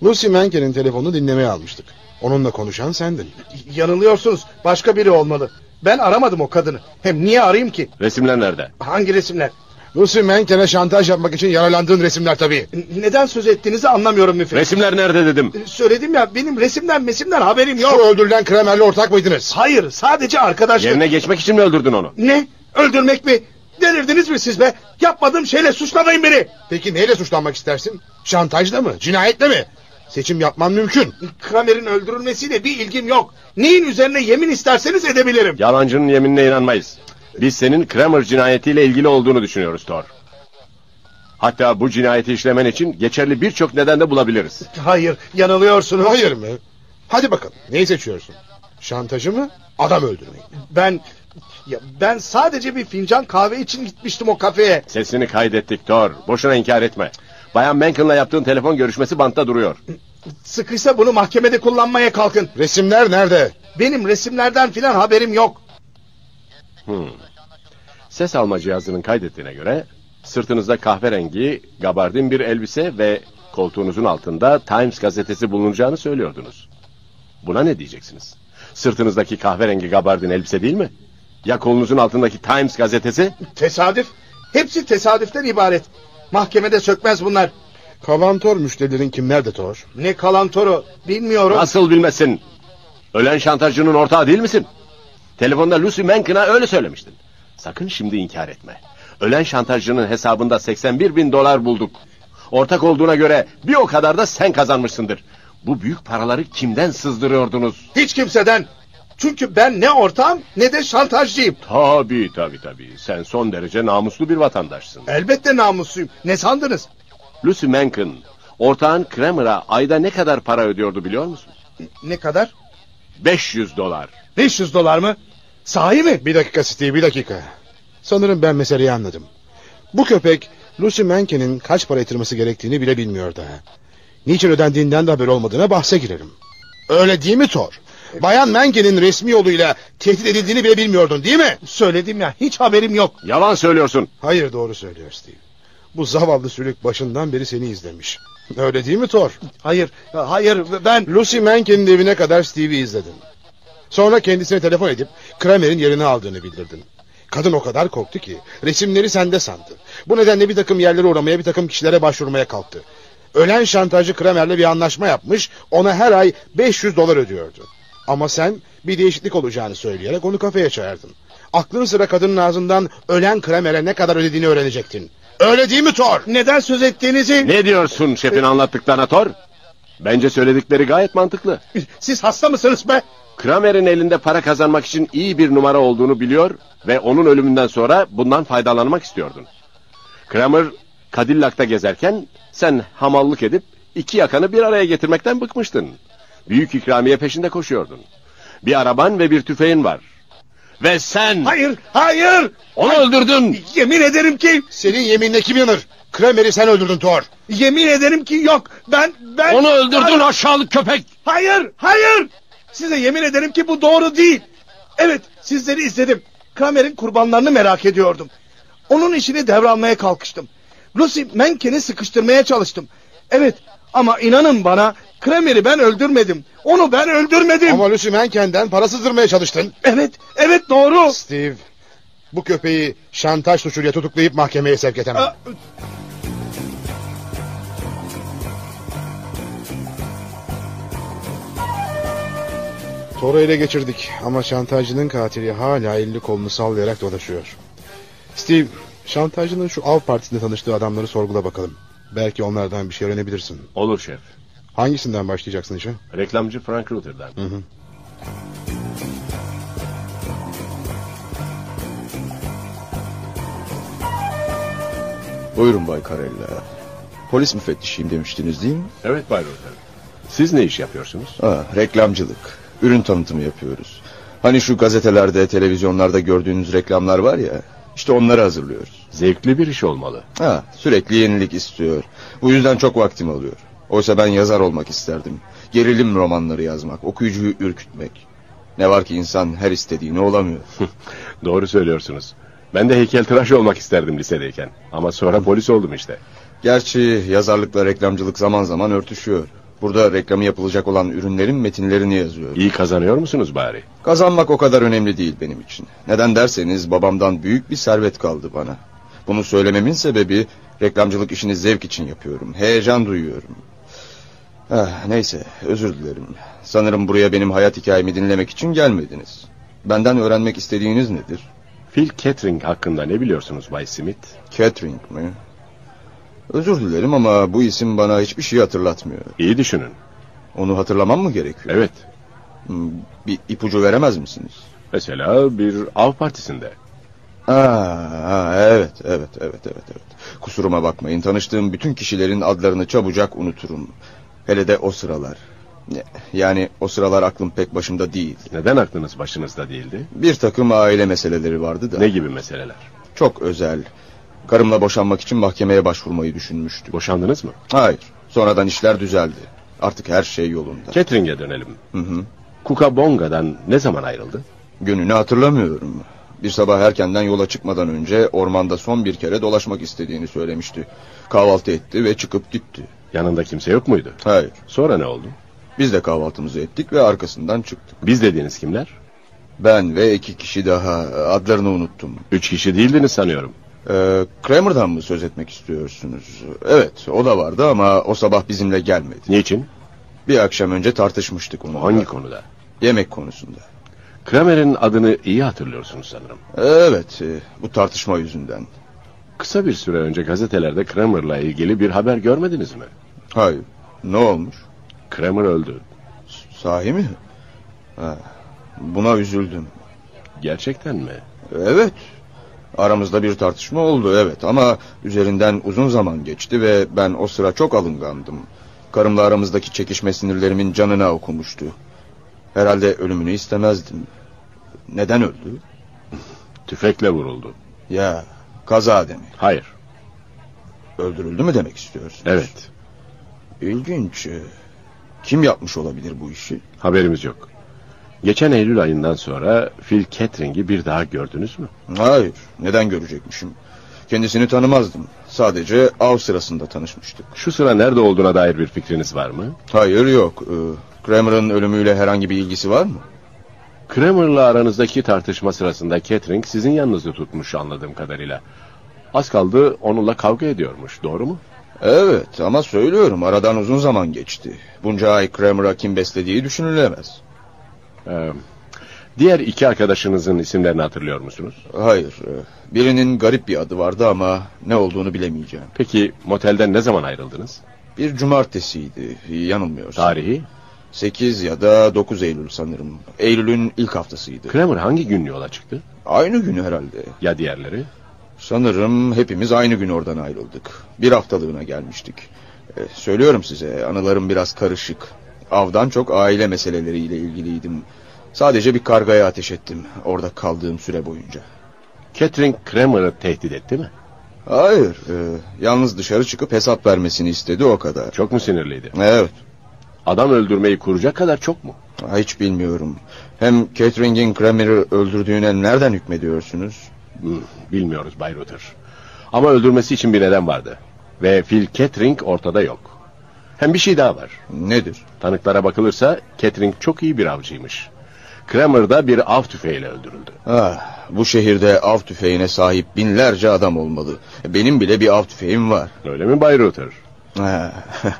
Lucy Menken'in telefonunu dinlemeye almıştık. Onunla konuşan sendin.
Yanılıyorsunuz. Başka biri olmalı. Ben aramadım o kadını. Hem niye arayayım ki?
Resimler nerede?
Hangi resimler?
Lucy Menken'e şantaj yapmak için yaralandığın resimler tabii.
N- Neden söz ettiğinizi anlamıyorum müfettiş. E,
Resimler nerede dedim.
Söyledim ya benim resimden mesimden haberim yok.
Şu öldürülen Kramer'le ortak mıydınız?
Hayır sadece arkadaşlık.
Yerine geçmek için mi öldürdün onu?
Ne? Öldürmek mi? Delirdiniz mi siz be? Yapmadığım şeyle suçlamayın beni.
Peki neyle suçlanmak istersin? Şantajla mı? Cinayetle mi? Seçim yapmam mümkün.
Kramer'in öldürülmesiyle bir ilgim yok. Neyin üzerine yemin isterseniz edebilirim.
Yalancının yeminine inanmayız. Biz senin Kramer cinayetiyle ilgili olduğunu düşünüyoruz Thor. Hatta bu cinayeti işlemen için geçerli birçok neden de bulabiliriz.
Hayır, yanılıyorsunuz.
Hayır mı? Hadi bakalım. Neyi seçiyorsun? Şantajı mı? Adam öldürmeyi.
Ben ya ben sadece bir fincan kahve için gitmiştim o kafeye.
Sesini kaydettik Thor. Boşuna inkar etme. Bayan Menken'la yaptığın telefon görüşmesi bantta duruyor.
Sıkıysa bunu mahkemede kullanmaya kalkın.
Resimler nerede?
Benim resimlerden filan haberim yok.
Hmm. Ses alma cihazının kaydettiğine göre sırtınızda kahverengi, gabardin bir elbise ve koltuğunuzun altında Times gazetesi bulunacağını söylüyordunuz. Buna ne diyeceksiniz? Sırtınızdaki kahverengi gabardin elbise değil mi? Ya kolunuzun altındaki Times gazetesi?
Tesadüf. Hepsi tesadüften ibaret. Mahkemede sökmez bunlar.
Kalantor müşterilerin kimlerde Thor?
Ne kalantoru bilmiyorum.
Nasıl bilmesin? Ölen şantajcının ortağı değil misin? Telefonda Lucy Mankin'a öyle söylemiştin. Sakın şimdi inkar etme. Ölen şantajcının hesabında 81 bin dolar bulduk. Ortak olduğuna göre bir o kadar da sen kazanmışsındır. Bu büyük paraları kimden sızdırıyordunuz?
Hiç kimseden. Çünkü ben ne ortağım ne de şantajcıyım.
Tabii tabii tabii. Sen son derece namuslu bir vatandaşsın.
Elbette namusluyum. Ne sandınız?
Lucy Mankin, ortağın Kramer'a ayda ne kadar para ödüyordu biliyor musun?
Ne kadar?
500 dolar.
500 dolar mı? Sahi mi?
Bir dakika Steve bir dakika. Sanırım ben meseleyi anladım. Bu köpek Lucy Mankin'in kaç para yatırması gerektiğini bile bilmiyor daha. Niçin ödendiğinden de haber olmadığına bahse girerim. Öyle değil mi Thor? Bayan Mankin'in resmi yoluyla tehdit edildiğini bile bilmiyordun değil mi?
Söyledim ya hiç haberim yok.
Yalan söylüyorsun.
Hayır doğru söylüyor Steve. Bu zavallı sülük başından beri seni izlemiş. Öyle değil mi Thor?
Hayır, hayır ben...
Lucy Mankin'in evine kadar Steve'i izledin. Sonra kendisine telefon edip Kramer'in yerini aldığını bildirdin. Kadın o kadar korktu ki resimleri sende sandı. Bu nedenle bir takım yerlere uğramaya bir takım kişilere başvurmaya kalktı. Ölen şantajcı Kramer'le bir anlaşma yapmış ona her ay 500 dolar ödüyordu. Ama sen bir değişiklik olacağını söyleyerek onu kafeye çağırdın. Aklın sıra kadının ağzından ölen Kramer'e ne kadar ödediğini öğrenecektin. Öyle değil mi Thor?
Neden söz ettiğinizi... Ee,
Ne diyorsun şefin anlattıklarına Thor? Bence söyledikleri gayet mantıklı.
Siz hasta mısınız be?
Kramer'in elinde para kazanmak için iyi bir numara olduğunu biliyor ve onun ölümünden sonra bundan faydalanmak istiyordun. Kramer Cadillac'ta gezerken sen hamallık edip iki yakanı bir araya getirmekten bıkmıştın. Büyük ikramiye peşinde koşuyordun. Bir araban ve bir tüfeğin var. Ve sen
Hayır, hayır!
onu öldürdün.
Yemin ederim ki...
Senin yeminle kim yanır? Kramer'i sen öldürdün Thor.
Yemin ederim ki yok. Ben, ben...
Onu öldürdün aşağılık köpek.
Hayır, hayır! Size yemin ederim ki bu doğru değil. Evet, sizleri izledim. Kramer'in kurbanlarını merak ediyordum. Onun işini devralmaya kalkıştım. Lucy Menken'i sıkıştırmaya çalıştım. Evet, ama inanın bana Kramer'i ben öldürmedim. Onu ben öldürmedim.
Ama Lucy Manken'den para sızdırmaya çalıştın.
Evet, evet doğru.
Steve, bu köpeği şantaj suçuyla tutuklayıp mahkemeye sevk edemem.
Aa,
Thor'u ele geçirdik ama şantajcının katili hala elini kolunu sallayarak dolaşıyor. Steve, şantajcının şu av partisinde tanıştığı adamları sorgula bakalım. Belki onlardan bir şey öğrenebilirsin.
Olur şef.
Hangisinden başlayacaksın işe?
Reklamcı Frank Ruther'dan.
Hı hı.
Buyurun Bay Karella. Polis müfettişiyim demiştiniz değil mi?
Evet Bay Ruther. Siz ne iş yapıyorsunuz?
Ha, reklamcılık. Ürün tanıtımı yapıyoruz. Hani şu gazetelerde, televizyonlarda gördüğünüz reklamlar var ya. İşte onları hazırlıyoruz.
Zevkli bir iş olmalı.
Ha, sürekli yenilik istiyor. Bu yüzden çok vaktim alıyor. Oysa ben yazar olmak isterdim. Gerilim romanları yazmak, okuyucuyu ürkütmek. Ne var ki insan her istediğini olamıyor.
Doğru söylüyorsunuz. Ben de heykeltıraş olmak isterdim lisedeyken. Ama sonra polis oldum işte.
Gerçi yazarlıkla reklamcılık zaman zaman örtüşüyor. Burada reklamı yapılacak olan ürünlerin metinlerini yazıyor.
İyi kazanıyor musunuz bari?
Kazanmak o kadar önemli değil benim için. Neden derseniz babamdan büyük bir servet kaldı bana. Bunu söylememin sebebi reklamcılık işini zevk için yapıyorum. Heyecan duyuyorum. Ah, neyse özür dilerim. Sanırım buraya benim hayat hikayemi dinlemek için gelmediniz. Benden öğrenmek istediğiniz nedir?
Phil Kettering hakkında ne biliyorsunuz Bay Smith?
Catering mi? Özür dilerim ama bu isim bana hiçbir şey hatırlatmıyor.
İyi düşünün.
Onu hatırlamam mı gerekiyor? Hmm,
Evet.
Bir ipucu veremez misiniz?
Mesela bir av partisinde.
Aa, aa, evet, evet, evet, evet, evet. Kusuruma bakmayın. Tanıştığım bütün kişilerin adlarını çabucak unuturum. Hele de o sıralar. Ne- Yani o sıralar aklım pek başımda değil.
Neden aklınız başınızda değildi?
Bir takım aile meseleleri vardı da.
Ne gibi meseleler?
Çok özel. Karımla boşanmak için mahkemeye başvurmayı düşünmüştük.
Boşandınız mı?
Hayır. Sonradan işler düzeldi. Artık her şey yolunda.
Catering'e dönelim.
Hı hı.
Kuka Bonga'dan ne zaman ayrıldı?
Gününü hatırlamıyorum. Bir sabah erkenden yola çıkmadan önce ormanda son bir kere dolaşmak istediğini söylemişti. Kahvaltı etti ve çıkıp gitti.
Yanında kimse yok muydu?
Hayır.
Sonra ne oldu?
Biz de kahvaltımızı ettik ve arkasından çıktık.
Biz dediğiniz kimler?
Ben ve iki kişi daha. Adlarını unuttum.
Üç kişi değildiniz sanıyorum.
Ee, Kramer'dan mı söz etmek istiyorsunuz? Evet, o da vardı ama o sabah bizimle gelmedi.
Niçin?
Bir akşam önce tartışmıştık onunla.
Hangi konuda?
Yemek konusunda.
Kramer'in adını iyi hatırlıyorsunuz sanırım.
Evet, e, bu tartışma yüzünden.
Kısa bir süre önce gazetelerde Kramer'la ilgili bir haber görmediniz mi?
Hayır. Ne olmuş?
Kramer öldü.
Sahi mi? Ha, buna üzüldüm.
Gerçekten mi?
Evet. Aramızda bir tartışma oldu evet ama üzerinden uzun zaman geçti ve ben o sıra çok alıngandım. Karımla aramızdaki çekişme sinirlerimin canına okumuştu. Herhalde ölümünü istemezdim. Neden öldü?
Tüfekle vuruldu.
Ya kaza demek.
Hayır.
Öldürüldü mü demek istiyorsun?
Evet.
İlginç. Kim yapmış olabilir bu işi?
Haberimiz yok. Geçen Eylül ayından sonra Phil Catering'i bir daha gördünüz mü?
Hayır. Neden görecekmişim? Kendisini tanımazdım. Sadece av sırasında tanışmıştık.
Şu sıra nerede olduğuna dair bir fikriniz var mı?
Hayır yok. Ee, Kramer'ın ölümüyle herhangi bir ilgisi var mı?
Kramer'la aranızdaki tartışma sırasında Catering sizin yanınızda tutmuş anladığım kadarıyla. Az kaldı onunla kavga ediyormuş, doğru mu?
Evet ama söylüyorum aradan uzun zaman geçti. Bunca ay Kramer'a kim beslediği düşünülemez.
Ee, diğer iki arkadaşınızın isimlerini hatırlıyor musunuz?
Hayır. e, Birinin garip bir adı vardı ama ne olduğunu bilemeyeceğim.
Peki motelden ne zaman ayrıldınız?
Bir cumartesiydi yanılmıyorsam.
Tarihi?
8 ya da 9 Eylül sanırım. Eylül'ün ilk haftasıydı.
Kramer hangi gün yola çıktı?
Aynı günü herhalde.
Ya diğerleri?
Sanırım hepimiz aynı gün oradan ayrıldık. Bir haftalığına gelmiştik. E, söylüyorum size anılarım biraz karışık. Avdan çok aile meseleleriyle ilgiliydim. Sadece bir kargaya ateş ettim orada kaldığım süre boyunca.
Catering Kramer'ı tehdit etti mi?
Hayır, e, yalnız dışarı çıkıp hesap vermesini istedi o kadar.
Çok mu sinirliydi?
Evet,
Adam öldürmeyi kuracak kadar çok mu?
hiç bilmiyorum. Hem Catering'in Kramer'ı öldürdüğüne nereden hükmediyorsunuz?
Hmm, Bilmiyoruz Bay Rutter. Ama öldürmesi için bir neden vardı. Ve Phil Kettering ortada yok. Hem bir şey daha var.
Nedir?
Tanıklara bakılırsa Kettering çok iyi bir avcıymış. Kramer da bir av tüfeğiyle öldürüldü.
Ah, bu şehirde av tüfeğine sahip binlerce adam olmalı. Benim bile bir av tüfeğim var.
Öyle mi Bay Rutter?
Ha,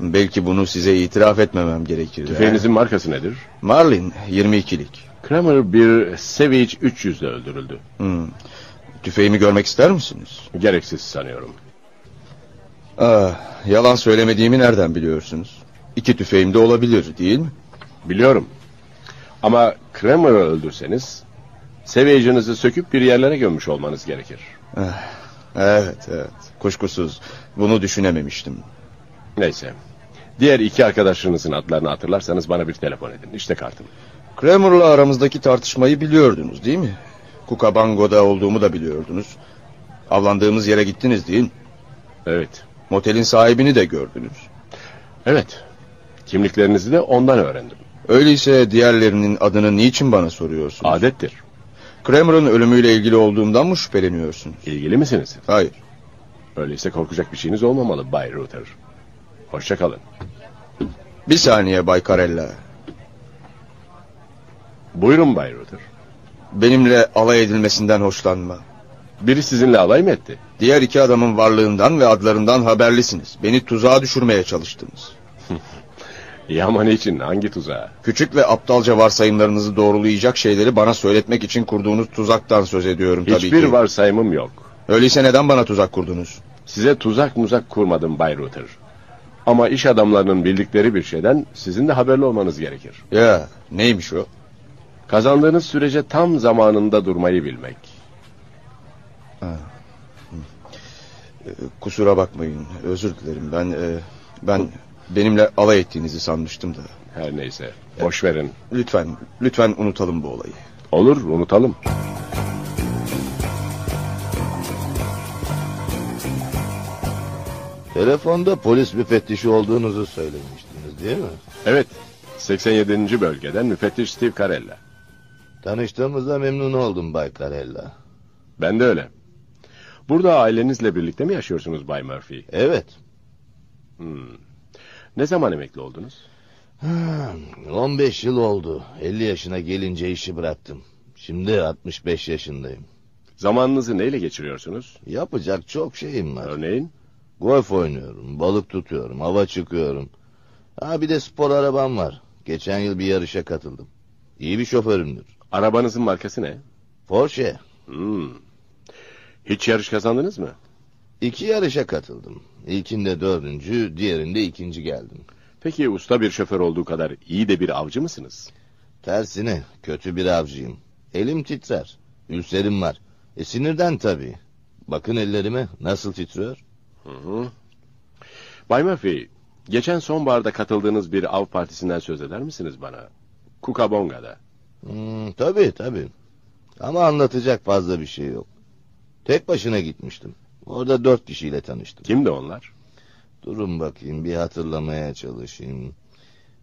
Belki bunu size itiraf etmemem gerekirdi.
Tüfeğinizin markası nedir?
Marlin 22'lik.
Kramer bir Savage 300 ile öldürüldü.
Hmm. Tüfeğimi görmek ister misiniz?
Gereksiz sanıyorum.
Ah, yalan söylemediğimi nereden biliyorsunuz? İki tüfeğim de olabilir değil mi?
Biliyorum. Ama Kramer'ı öldürseniz Savage'ınızı söküp bir yerlere gömmüş olmanız gerekir.
Evet, evet. Kuşkusuz. Bunu düşünememiştim.
Neyse. Diğer iki arkadaşınızın adlarını hatırlarsanız bana bir telefon edin. İşte kartım.
Kramer'la aramızdaki tartışmayı biliyordunuz değil mi? Kukabango'da olduğumu da biliyordunuz. Avlandığımız yere gittiniz değil mi?
Evet.
Motelin sahibini de gördünüz.
Evet. Kimliklerinizi de ondan öğrendim.
Öyleyse diğerlerinin adını niçin bana soruyorsunuz?
Adettir.
Kramer'ın ölümüyle ilgili olduğumdan mı şüpheleniyorsunuz?
İlgili misiniz?
Hayır.
Öyleyse korkacak bir şeyiniz olmamalı Bay Rutter. Hoşça kalın.
Bir saniye Bay Karella.
Buyurun Bay Rutter.
Benimle alay edilmesinden hoşlanma.
Biri sizinle alay mı etti?
Diğer iki adamın varlığından ve adlarından haberlisiniz. Beni tuzağa düşürmeye çalıştınız.
Yaman için hangi tuzağa?
Küçük ve aptalca varsayımlarınızı doğrulayacak şeyleri bana söyletmek için kurduğunuz tuzaktan söz ediyorum tabii
Hiçbir
ki.
varsayımım yok.
Öyleyse neden bana tuzak kurdunuz?
Size tuzak muzak kurmadım Bay Rutter. Ama iş adamlarının bildikleri bir şeyden sizin de haberli olmanız gerekir.
Ya neymiş o?
Kazandığınız sürece tam zamanında durmayı bilmek.
Ee, Kusura bakmayın. Özür dilerim. Ben e, ben benimle alay ettiğinizi sanmıştım da.
Her neyse. Boş verin.
Lütfen lütfen unutalım bu olayı.
Olur unutalım.
Telefonda polis müfettişi olduğunuzu söylemiştiniz değil mi?
Evet. 87. bölgeden müfettiş Steve Carella.
Tanıştığımıza memnun oldum Bay Carella.
Ben de öyle. Burada ailenizle birlikte mi yaşıyorsunuz Bay Murphy?
Evet.
Hmm. Ne zaman emekli oldunuz?
Ha,
Hmm.
15 yıl oldu. 50 yaşına gelince işi bıraktım. Şimdi 65 yaşındayım.
Zamanınızı neyle geçiriyorsunuz?
Yapacak çok şeyim var.
Örneğin?
Golf oynuyorum, balık tutuyorum, hava çıkıyorum. Ha bir de spor arabam var. Geçen yıl bir yarışa katıldım. İyi bir şoförümdür.
Arabanızın markası ne?
Porsche.
Hmm. Hiç yarış kazandınız mı?
İki yarışa katıldım. İlkinde dördüncü, diğerinde ikinci geldim.
Peki usta bir şoför olduğu kadar iyi de bir avcı mısınız?
Tersine kötü bir avcıyım. Elim titrer. Ülserim var. E sinirden tabii. Bakın ellerime nasıl titriyor.
Hı hı. Bay Murphy, geçen sonbaharda katıldığınız bir av partisinden söz eder misiniz bana? Kukabonga'da.
Hmm, tabii tabii. Ama anlatacak fazla bir şey yok. Tek başına gitmiştim. Orada dört kişiyle tanıştım.
Kimdi onlar?
Durun bakayım bir hatırlamaya çalışayım.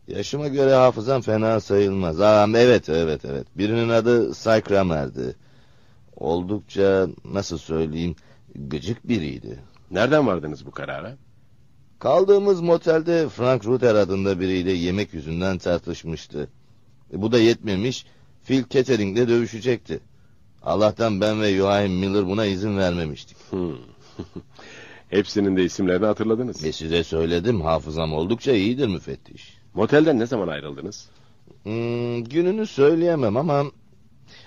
Yaşıma göre hafızam fena sayılmaz. Aa, evet evet evet. Birinin adı Cy Kramer'di. Oldukça nasıl söyleyeyim gıcık biriydi.
Nereden vardınız bu karara?
Kaldığımız motelde Frank Rutter adında biriyle yemek yüzünden tartışmıştı. E, bu da yetmemiş, Phil Kettering'le dövüşecekti. Allah'tan ben ve Joachim Miller buna izin vermemiştik.
Hmm. Hepsinin de isimlerini hatırladınız.
E size söyledim, hafızam oldukça iyidir müfettiş.
Motelden ne zaman ayrıldınız?
Hmm, gününü söyleyemem ama...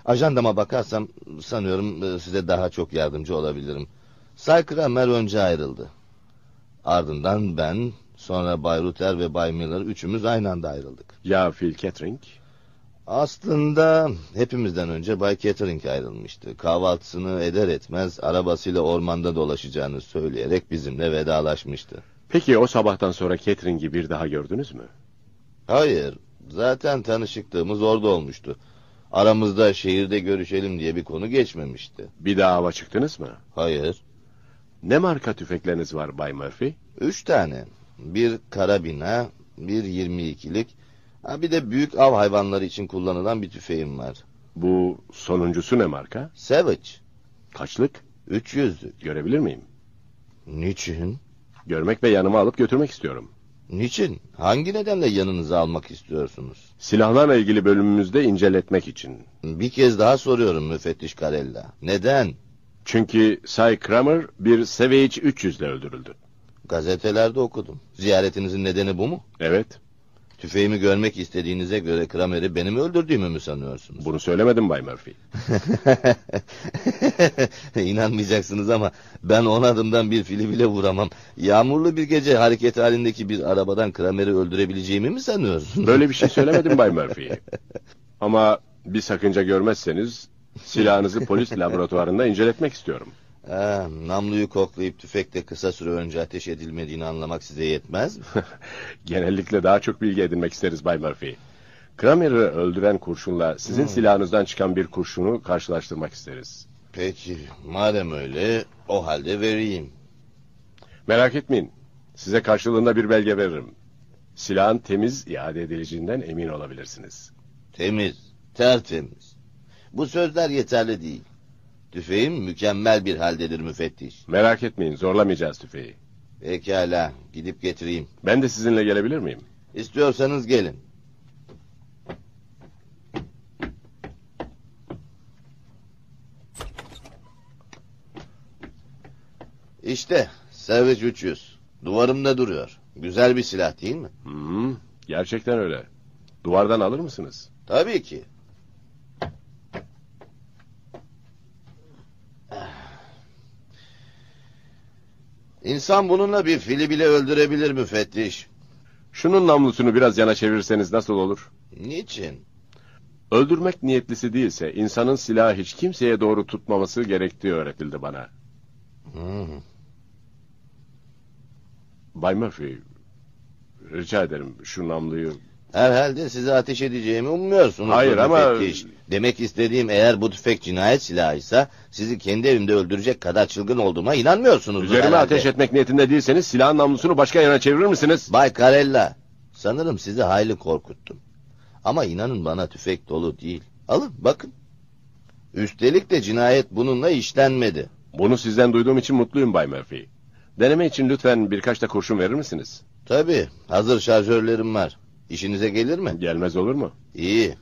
Ajandama bakarsam sanıyorum e, size daha çok yardımcı olabilirim. Say Kramer önce ayrıldı. Ardından ben, sonra Bay Rutter ve Bay Miller üçümüz aynı anda ayrıldık.
Ya Phil Kettering?
Aslında hepimizden önce Bay Kettering ayrılmıştı. Kahvaltısını eder etmez arabasıyla ormanda dolaşacağını söyleyerek bizimle vedalaşmıştı.
Peki o sabahtan sonra Kettering'i bir daha gördünüz mü?
Hayır, zaten tanışıklığımız orada olmuştu. Aramızda şehirde görüşelim diye bir konu geçmemişti.
Bir daha hava çıktınız mı?
Hayır,
Ne marka tüfekleriniz var Bay Murphy?
üç tane. Bir karabina, bir 22'lik, ha bir de büyük av hayvanları için kullanılan bir tüfeğim var.
Bu sonuncusu ne marka?
Savage,
Kaçlık?
300'lük.
Görebilir miyim?
Niçin?
Görmek ve yanıma alıp götürmek istiyorum.
Niçin? Hangi nedenle yanınıza almak istiyorsunuz?
Silahlarla ilgili bölümümüzde inceletmek için.
Bir kez daha soruyorum müfettiş Karella. Neden?
Çünkü Cy Kramer bir Savage 300 ile öldürüldü.
Gazetelerde okudum. Ziyaretinizin nedeni bu mu?
Evet,
Tüfeğimi görmek istediğinize göre Kramer'i benim öldürdüğümü mü sanıyorsunuz?
bunu söylemedim Bay Murphy.
İnanmayacaksınız ama ben on adımdan bir fili bile vuramam. Yağmurlu bir gece hareket halindeki bir arabadan Kramer'i öldürebileceğimi mi sanıyorsunuz?
Böyle bir şey söylemedim Bay Murphy. Ama bir sakınca görmezseniz silahınızı polis laboratuvarında inceletmek istiyorum.
Ha, namluyu koklayıp tüfekle kısa süre önce ateş edilmediğini anlamak size yetmez mi?
Genellikle daha çok bilgi edinmek isteriz Bay Murphy. Kramer'ı öldüren kurşunla sizin
Hmm.
silahınızdan çıkan bir kurşunu karşılaştırmak isteriz.
Peki madem öyle o halde vereyim.
Merak etmeyin. Size karşılığında bir belge veririm. Silahın temiz iade edileceğinden emin olabilirsiniz.
Temiz, tertemiz. Bu sözler yeterli değil. Tüfeğim mükemmel bir haldedir müfettiş.
Merak etmeyin, zorlamayacağız tüfeği.
Pekala, gidip getireyim.
Ben de sizinle gelebilir miyim?
İstiyorsanız gelin. İşte Savage 300. Duvarımda duruyor. Güzel bir silah değil mi?
Hmm, gerçekten öyle. Duvardan alır mısınız?
Tabii ki. İnsan bununla bir fili bile öldürebilir müfettiş.
Şunun namlusunu biraz yana çevirirseniz nasıl olur?
Niçin?
Öldürmek niyetlisi değilse insanın silahı hiç kimseye doğru tutmaması gerektiği öğretildi bana.
Hmm.
Bay Murphy, rica ederim şu namluyu...
Herhalde size ateş edeceğimi ummuyorsunuz.
Hayır ama-
müfettiş. Demek istediğim eğer bu tüfek cinayet silahıysa sizi kendi evimde öldürecek kadar çılgın olduğuma inanmıyorsunuz.
Üzerime ateş etmek niyetinde değilseniz silahın namlusunu başka yöne çevirir misiniz?
Bay Karella, sanırım sizi hayli korkuttum. Ama inanın bana tüfek dolu değil. Alın bakın. Üstelik de cinayet bununla işlenmedi.
Bunu sizden duyduğum için mutluyum Bay Murphy. Deneme için lütfen birkaç da kurşun verir misiniz?
Tabii, hazır şarjörlerim var. İşinize gelir mi?
Gelmez olur mu?
İyi.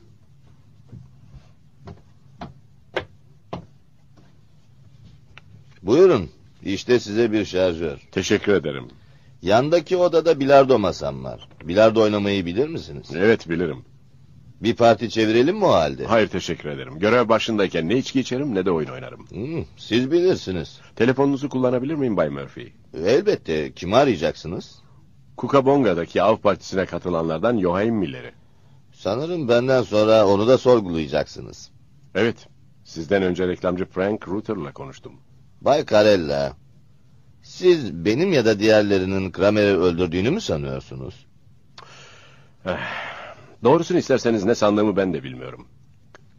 Buyurun. İşte size bir şarjör.
Teşekkür ederim.
Yandaki odada bilardo masam var. Bilardo oynamayı bilir misiniz?
Evet bilirim.
Bir parti çevirelim mi o halde?
Hayır teşekkür ederim. Görev başındayken ne içki içerim ne de oyun oynarım.
Hmm, siz bilirsiniz.
Telefonunuzu kullanabilir miyim Bay Murphy?
Elbette. Kimi arayacaksınız?
Kukabonga'daki av partisine katılanlardan Joachim Miller'i.
Sanırım benden sonra onu da sorgulayacaksınız.
Evet. Sizden önce reklamcı Frank Rutter'la konuştum.
Bay Karella, siz benim ya da diğerlerinin Kramer'i öldürdüğünü mü sanıyorsunuz?
Eh, Doğrusunu isterseniz ne sandığımı ben de bilmiyorum.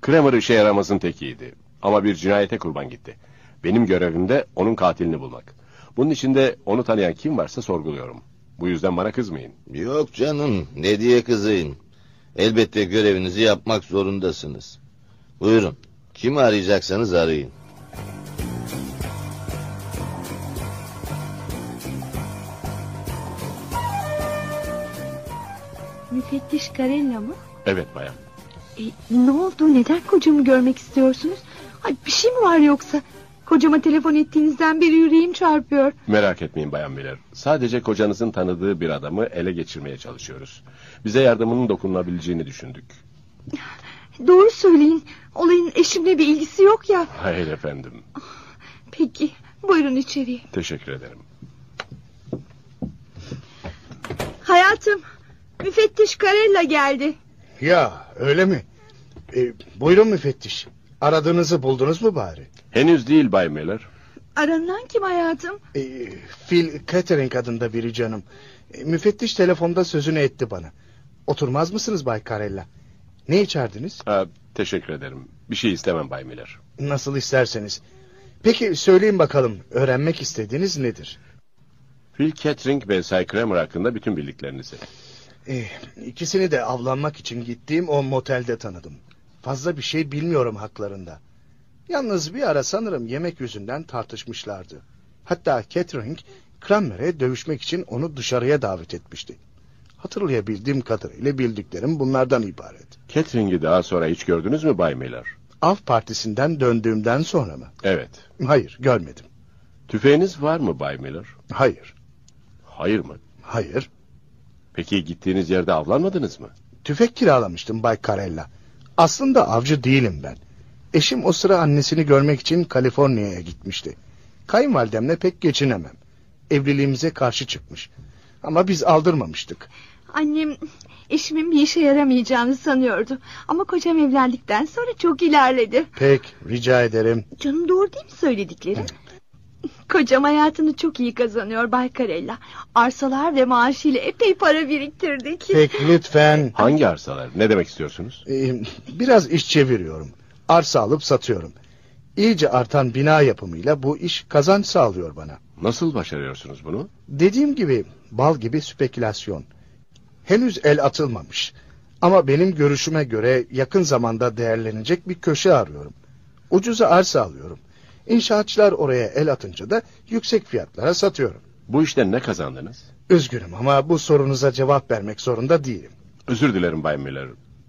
Kramer işe yaramazın tekiydi. Ama bir cinayete kurban gitti. Benim görevim de onun katilini bulmak. Bunun için de onu tanıyan kim varsa sorguluyorum. Bu yüzden bana kızmayın.
Yok canım, ne diye kızayım. Elbette görevinizi yapmak zorundasınız. Buyurun, kimi arayacaksanız arayın.
Müfettiş Karella mı?
Evet bayan.
E, ne oldu? Neden kocamı görmek istiyorsunuz? Ay, bir şey mi var yoksa? Kocama telefon ettiğinizden beri yüreğim çarpıyor.
Merak etmeyin bayan Miller. Sadece kocanızın tanıdığı bir adamı ele geçirmeye çalışıyoruz. Bize yardımının dokunulabileceğini düşündük.
Doğru söyleyin. Olayın eşimle bir ilgisi yok ya.
Hayır efendim.
Peki, buyurun içeriye.
Teşekkür ederim.
Hayatım, müfettiş Karella geldi.
Ya öyle mi? E, buyurun müfettiş. Aradığınızı buldunuz mu bari?
Henüz değil Bay Miller.
Aranılan kim hayatım?
E, Phil Catering adında biri canım. E, müfettiş telefonda sözünü etti bana. Oturmaz mısınız Bay Karella? Ne içerdiniz?
Ha, teşekkür ederim. Bir şey istemem Bay Miller.
Nasıl isterseniz. Peki söyleyin bakalım öğrenmek istediğiniz nedir?
Phil Kettering ve Cy Kramer hakkında bütün bildiklerinizi.
E, ikisini de avlanmak için gittiğim o motelde tanıdım. Fazla bir şey bilmiyorum haklarında. Yalnız bir ara sanırım yemek yüzünden tartışmışlardı. Hatta Catering, Kramer'e dövüşmek için onu dışarıya davet etmişti. Hatırlayabildiğim kadarıyla bildiklerim bunlardan ibaret.
Kettering'i daha sonra hiç gördünüz mü Bay Miller?
Av partisinden döndüğümden sonra mı?
Evet.
Hayır, görmedim.
Tüfeğiniz var mı Bay Miller?
Hayır.
Hayır mı?
Hayır.
Peki gittiğiniz yerde avlanmadınız mı?
Tüfek kiralamıştım Bay Karella. Aslında avcı değilim ben. Eşim o sıra annesini görmek için Kaliforniya'ya gitmişti. Kayınvalidemle pek geçinemem. Evliliğimize karşı çıkmış. Ama biz aldırmamıştık.
Annem eşimin bir işe yaramayacağını sanıyordu. Ama kocam evlendikten sonra çok ilerledi.
Pek rica ederim.
Canım doğru değil mi söyledikleri? Kocam hayatını çok iyi kazanıyor Bay Karella. Arsalar ve maaşıyla epey para biriktirdik.
lütfen.
Hangi arsalar? Ne demek istiyorsunuz?
Ee, biraz iş çeviriyorum. Arsa alıp satıyorum. İyice artan bina yapımıyla bu iş kazanç sağlıyor bana.
Nasıl başarıyorsunuz bunu?
Dediğim gibi bal gibi spekülasyon. Henüz el atılmamış. Ama benim görüşüme göre yakın zamanda değerlenecek bir köşe arıyorum. Ucuza arsa alıyorum. İnşaatçılar oraya el atınca da yüksek fiyatlara satıyorum.
Bu işten ne kazandınız?
Üzgünüm ama bu sorunuza cevap vermek zorunda değilim.
Özür dilerim Bay Miller.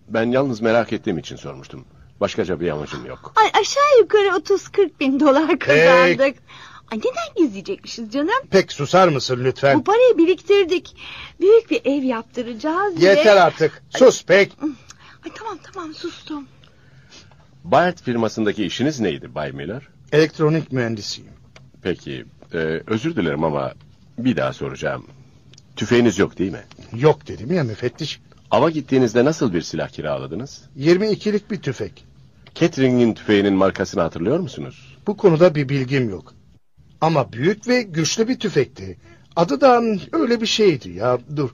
Ben yalnız merak ettiğim için sormuştum. Başkaca bir amacım yok.
Ay aşağı yukarı 30-40 bin dolar kazandık. Ay neden gizleyecekmişiz canım?
Pek susar mısın
Bu
lütfen?
parayı biriktirdik. Büyük bir ev yaptıracağız ve-
Yeter artık. Sus pek.
Ay tamam tamam sustum.
Bayard firmasındaki işiniz neydi Bay Miller?
Elektronik mühendisiyim.
Peki, e, özür dilerim ama Bir daha soracağım. Tüfeğiniz yok değil mi?
Yok dedim ya müfettiş.
Ava gittiğinizde nasıl bir silah kiraladınız?
22'lik bir tüfek.
Catering'in tüfeğinin markasını hatırlıyor musunuz?
Bu konuda bir bilgim yok. Ama büyük ve güçlü bir tüfekti. Adı da öyle bir şeydi ya dur.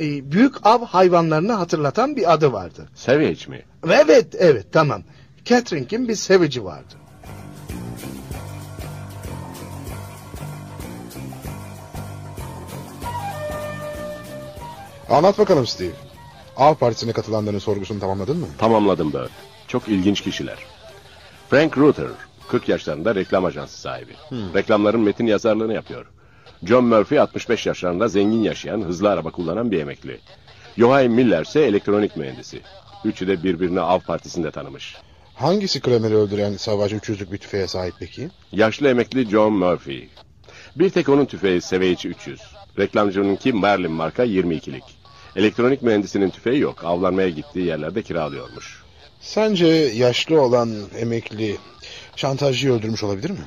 Ee, büyük av hayvanlarını hatırlatan bir adı vardı.
Savage mi?
Evet evet tamam. Catherine'in bir sevici vardı.
Anlat bakalım Steve. Av partisine katılanların sorgusunu tamamladın mı?
Tamamladım da. Çok ilginç kişiler. Frank Ruther, 40 yaşlarında reklam ajansı sahibi.
Hmm.
Reklamların metin yazarlığını yapıyor. John Murphy 65 yaşlarında zengin yaşayan, hızlı araba kullanan bir emekli. Joachim Miller ise elektronik mühendisi. Üçü de birbirini av partisinde tanımış.
Hangisi Kramer'i öldüren savcı 300'lük bir tüfeğe sahip peki?
Yaşlı emekli John Murphy. Bir tek onun tüfeği Savage 300. Reklamcınınki Merlin marka 22'lik. Elektronik mühendisinin tüfeği yok. Avlanmaya gittiği yerlerde kiralıyormuş.
Sence yaşlı olan emekli şantajcıyı öldürmüş olabilir mi?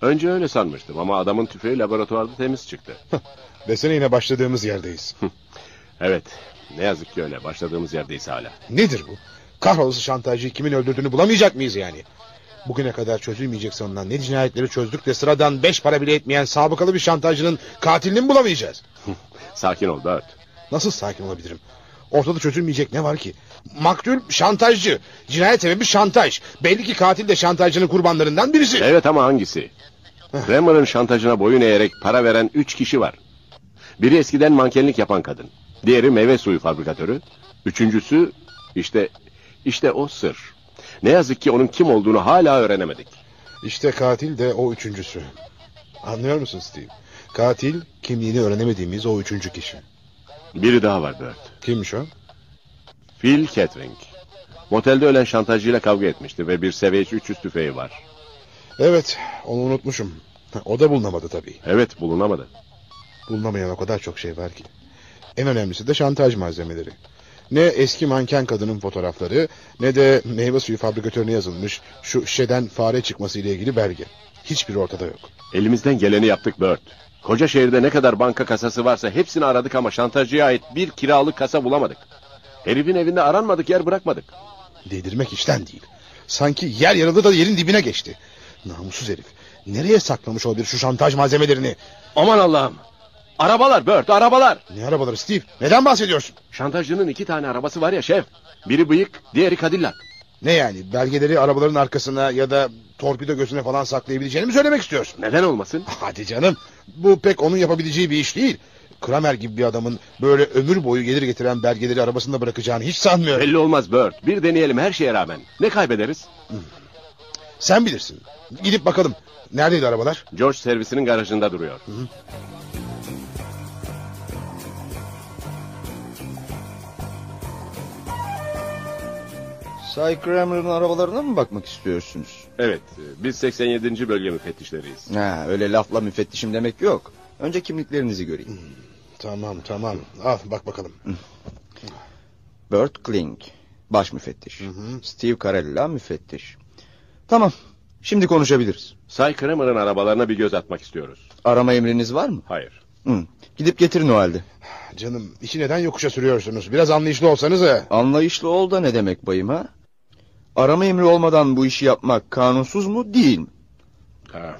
Önce öyle sanmıştım ama adamın tüfeği laboratuvarda temiz çıktı.
Desene yine başladığımız yerdeyiz.
Evet, ne yazık ki öyle. Başladığımız yerdeyiz hala.
Nedir bu? Kahrolası şantajcıyı kimin öldürdüğünü bulamayacak mıyız yani? Bugüne kadar çözülmeyecek sanılan ne cinayetleri çözdük de sıradan beş para bile etmeyen sabıkalı bir şantajcının katilini mi bulamayacağız?
Sakin ol Bert.
Nasıl sakin olabilirim? Ortada çözülmeyecek ne var ki? Maktul şantajcı. Cinayet sebebi şantaj. Belli ki katil de şantajcının kurbanlarından birisi.
Evet ama hangisi? Kramer'ın şantajına boyun eğerek para veren üç kişi var. Biri eskiden mankenlik yapan kadın. Diğeri meyve suyu fabrikatörü. Üçüncüsü işte işte o sır. Ne yazık ki onun kim olduğunu hala öğrenemedik.
İşte katil de o üçüncüsü. Anlıyor musun Steve? Katil kimliğini öğrenemediğimiz o üçüncü kişi.
Biri daha var Bert.
Kimmiş o?
Phil Kettering. Motelde ölen şantajcıyla kavga etmişti ve bir seviye 300 tüfeği var.
Evet onu unutmuşum. O da bulunamadı tabii.
Evet bulunamadı.
Bulunamayan o kadar çok şey var ki. En önemlisi de şantaj malzemeleri. Ne eski manken kadının fotoğrafları ne de meyve suyu fabrikatörüne yazılmış şu şişeden fare çıkması ile ilgili belge. Hiçbiri ortada yok.
Elimizden geleni yaptık Bert. Koca şehirde ne kadar banka kasası varsa hepsini aradık ama şantajcıya ait bir kiralık kasa bulamadık. Herifin evinde aranmadık yer bırakmadık.
Dedirmek işten değil. Sanki yer yarıldı da yerin dibine geçti. Namussuz herif. Nereye saklamış olabilir şu şantaj malzemelerini?
Aman Allah'ım. Arabalar Bert arabalar.
Ne arabaları Steve? Neden bahsediyorsun?
Şantajcının iki tane arabası var ya şef. Biri bıyık diğeri Cadillac.
Ne yani belgeleri arabaların arkasına ya da torpido gözüne falan saklayabileceğini mi söylemek istiyorsun?
Neden olmasın?
Hadi canım bu pek onun yapabileceği bir iş değil. Kramer gibi bir adamın böyle ömür boyu gelir getiren belgeleri arabasında bırakacağını hiç sanmıyorum.
Belli olmaz Bert. Bir deneyelim her şeye rağmen. Ne kaybederiz?
Sen bilirsin. Gidip bakalım. Neredeydi arabalar?
George servisinin garajında duruyor.
Cy Kramer'ın arabalarına mı bakmak istiyorsunuz?
Evet e, biz 87. bölge müfettişleriyiz.
Ha, öyle lafla müfettişim demek yok. Önce kimliklerinizi göreyim. Hmm.
Tamam tamam. Al bak bakalım.
Bert Kling, baş müfettiş. Steve Carella müfettiş. Tamam, şimdi konuşabiliriz.
Cy Kramer'ın arabalarına bir göz atmak istiyoruz.
Arama emriniz var mı?
Hayır.
Hı. Gidip getirin o halde.
Canım işi neden yokuşa sürüyorsunuz? Biraz anlayışlı olsanız ha.
Anlayışlı ol da ne demek bayım ha? Arama emri olmadan bu işi yapmak kanunsuz mu değil mi?
Ha,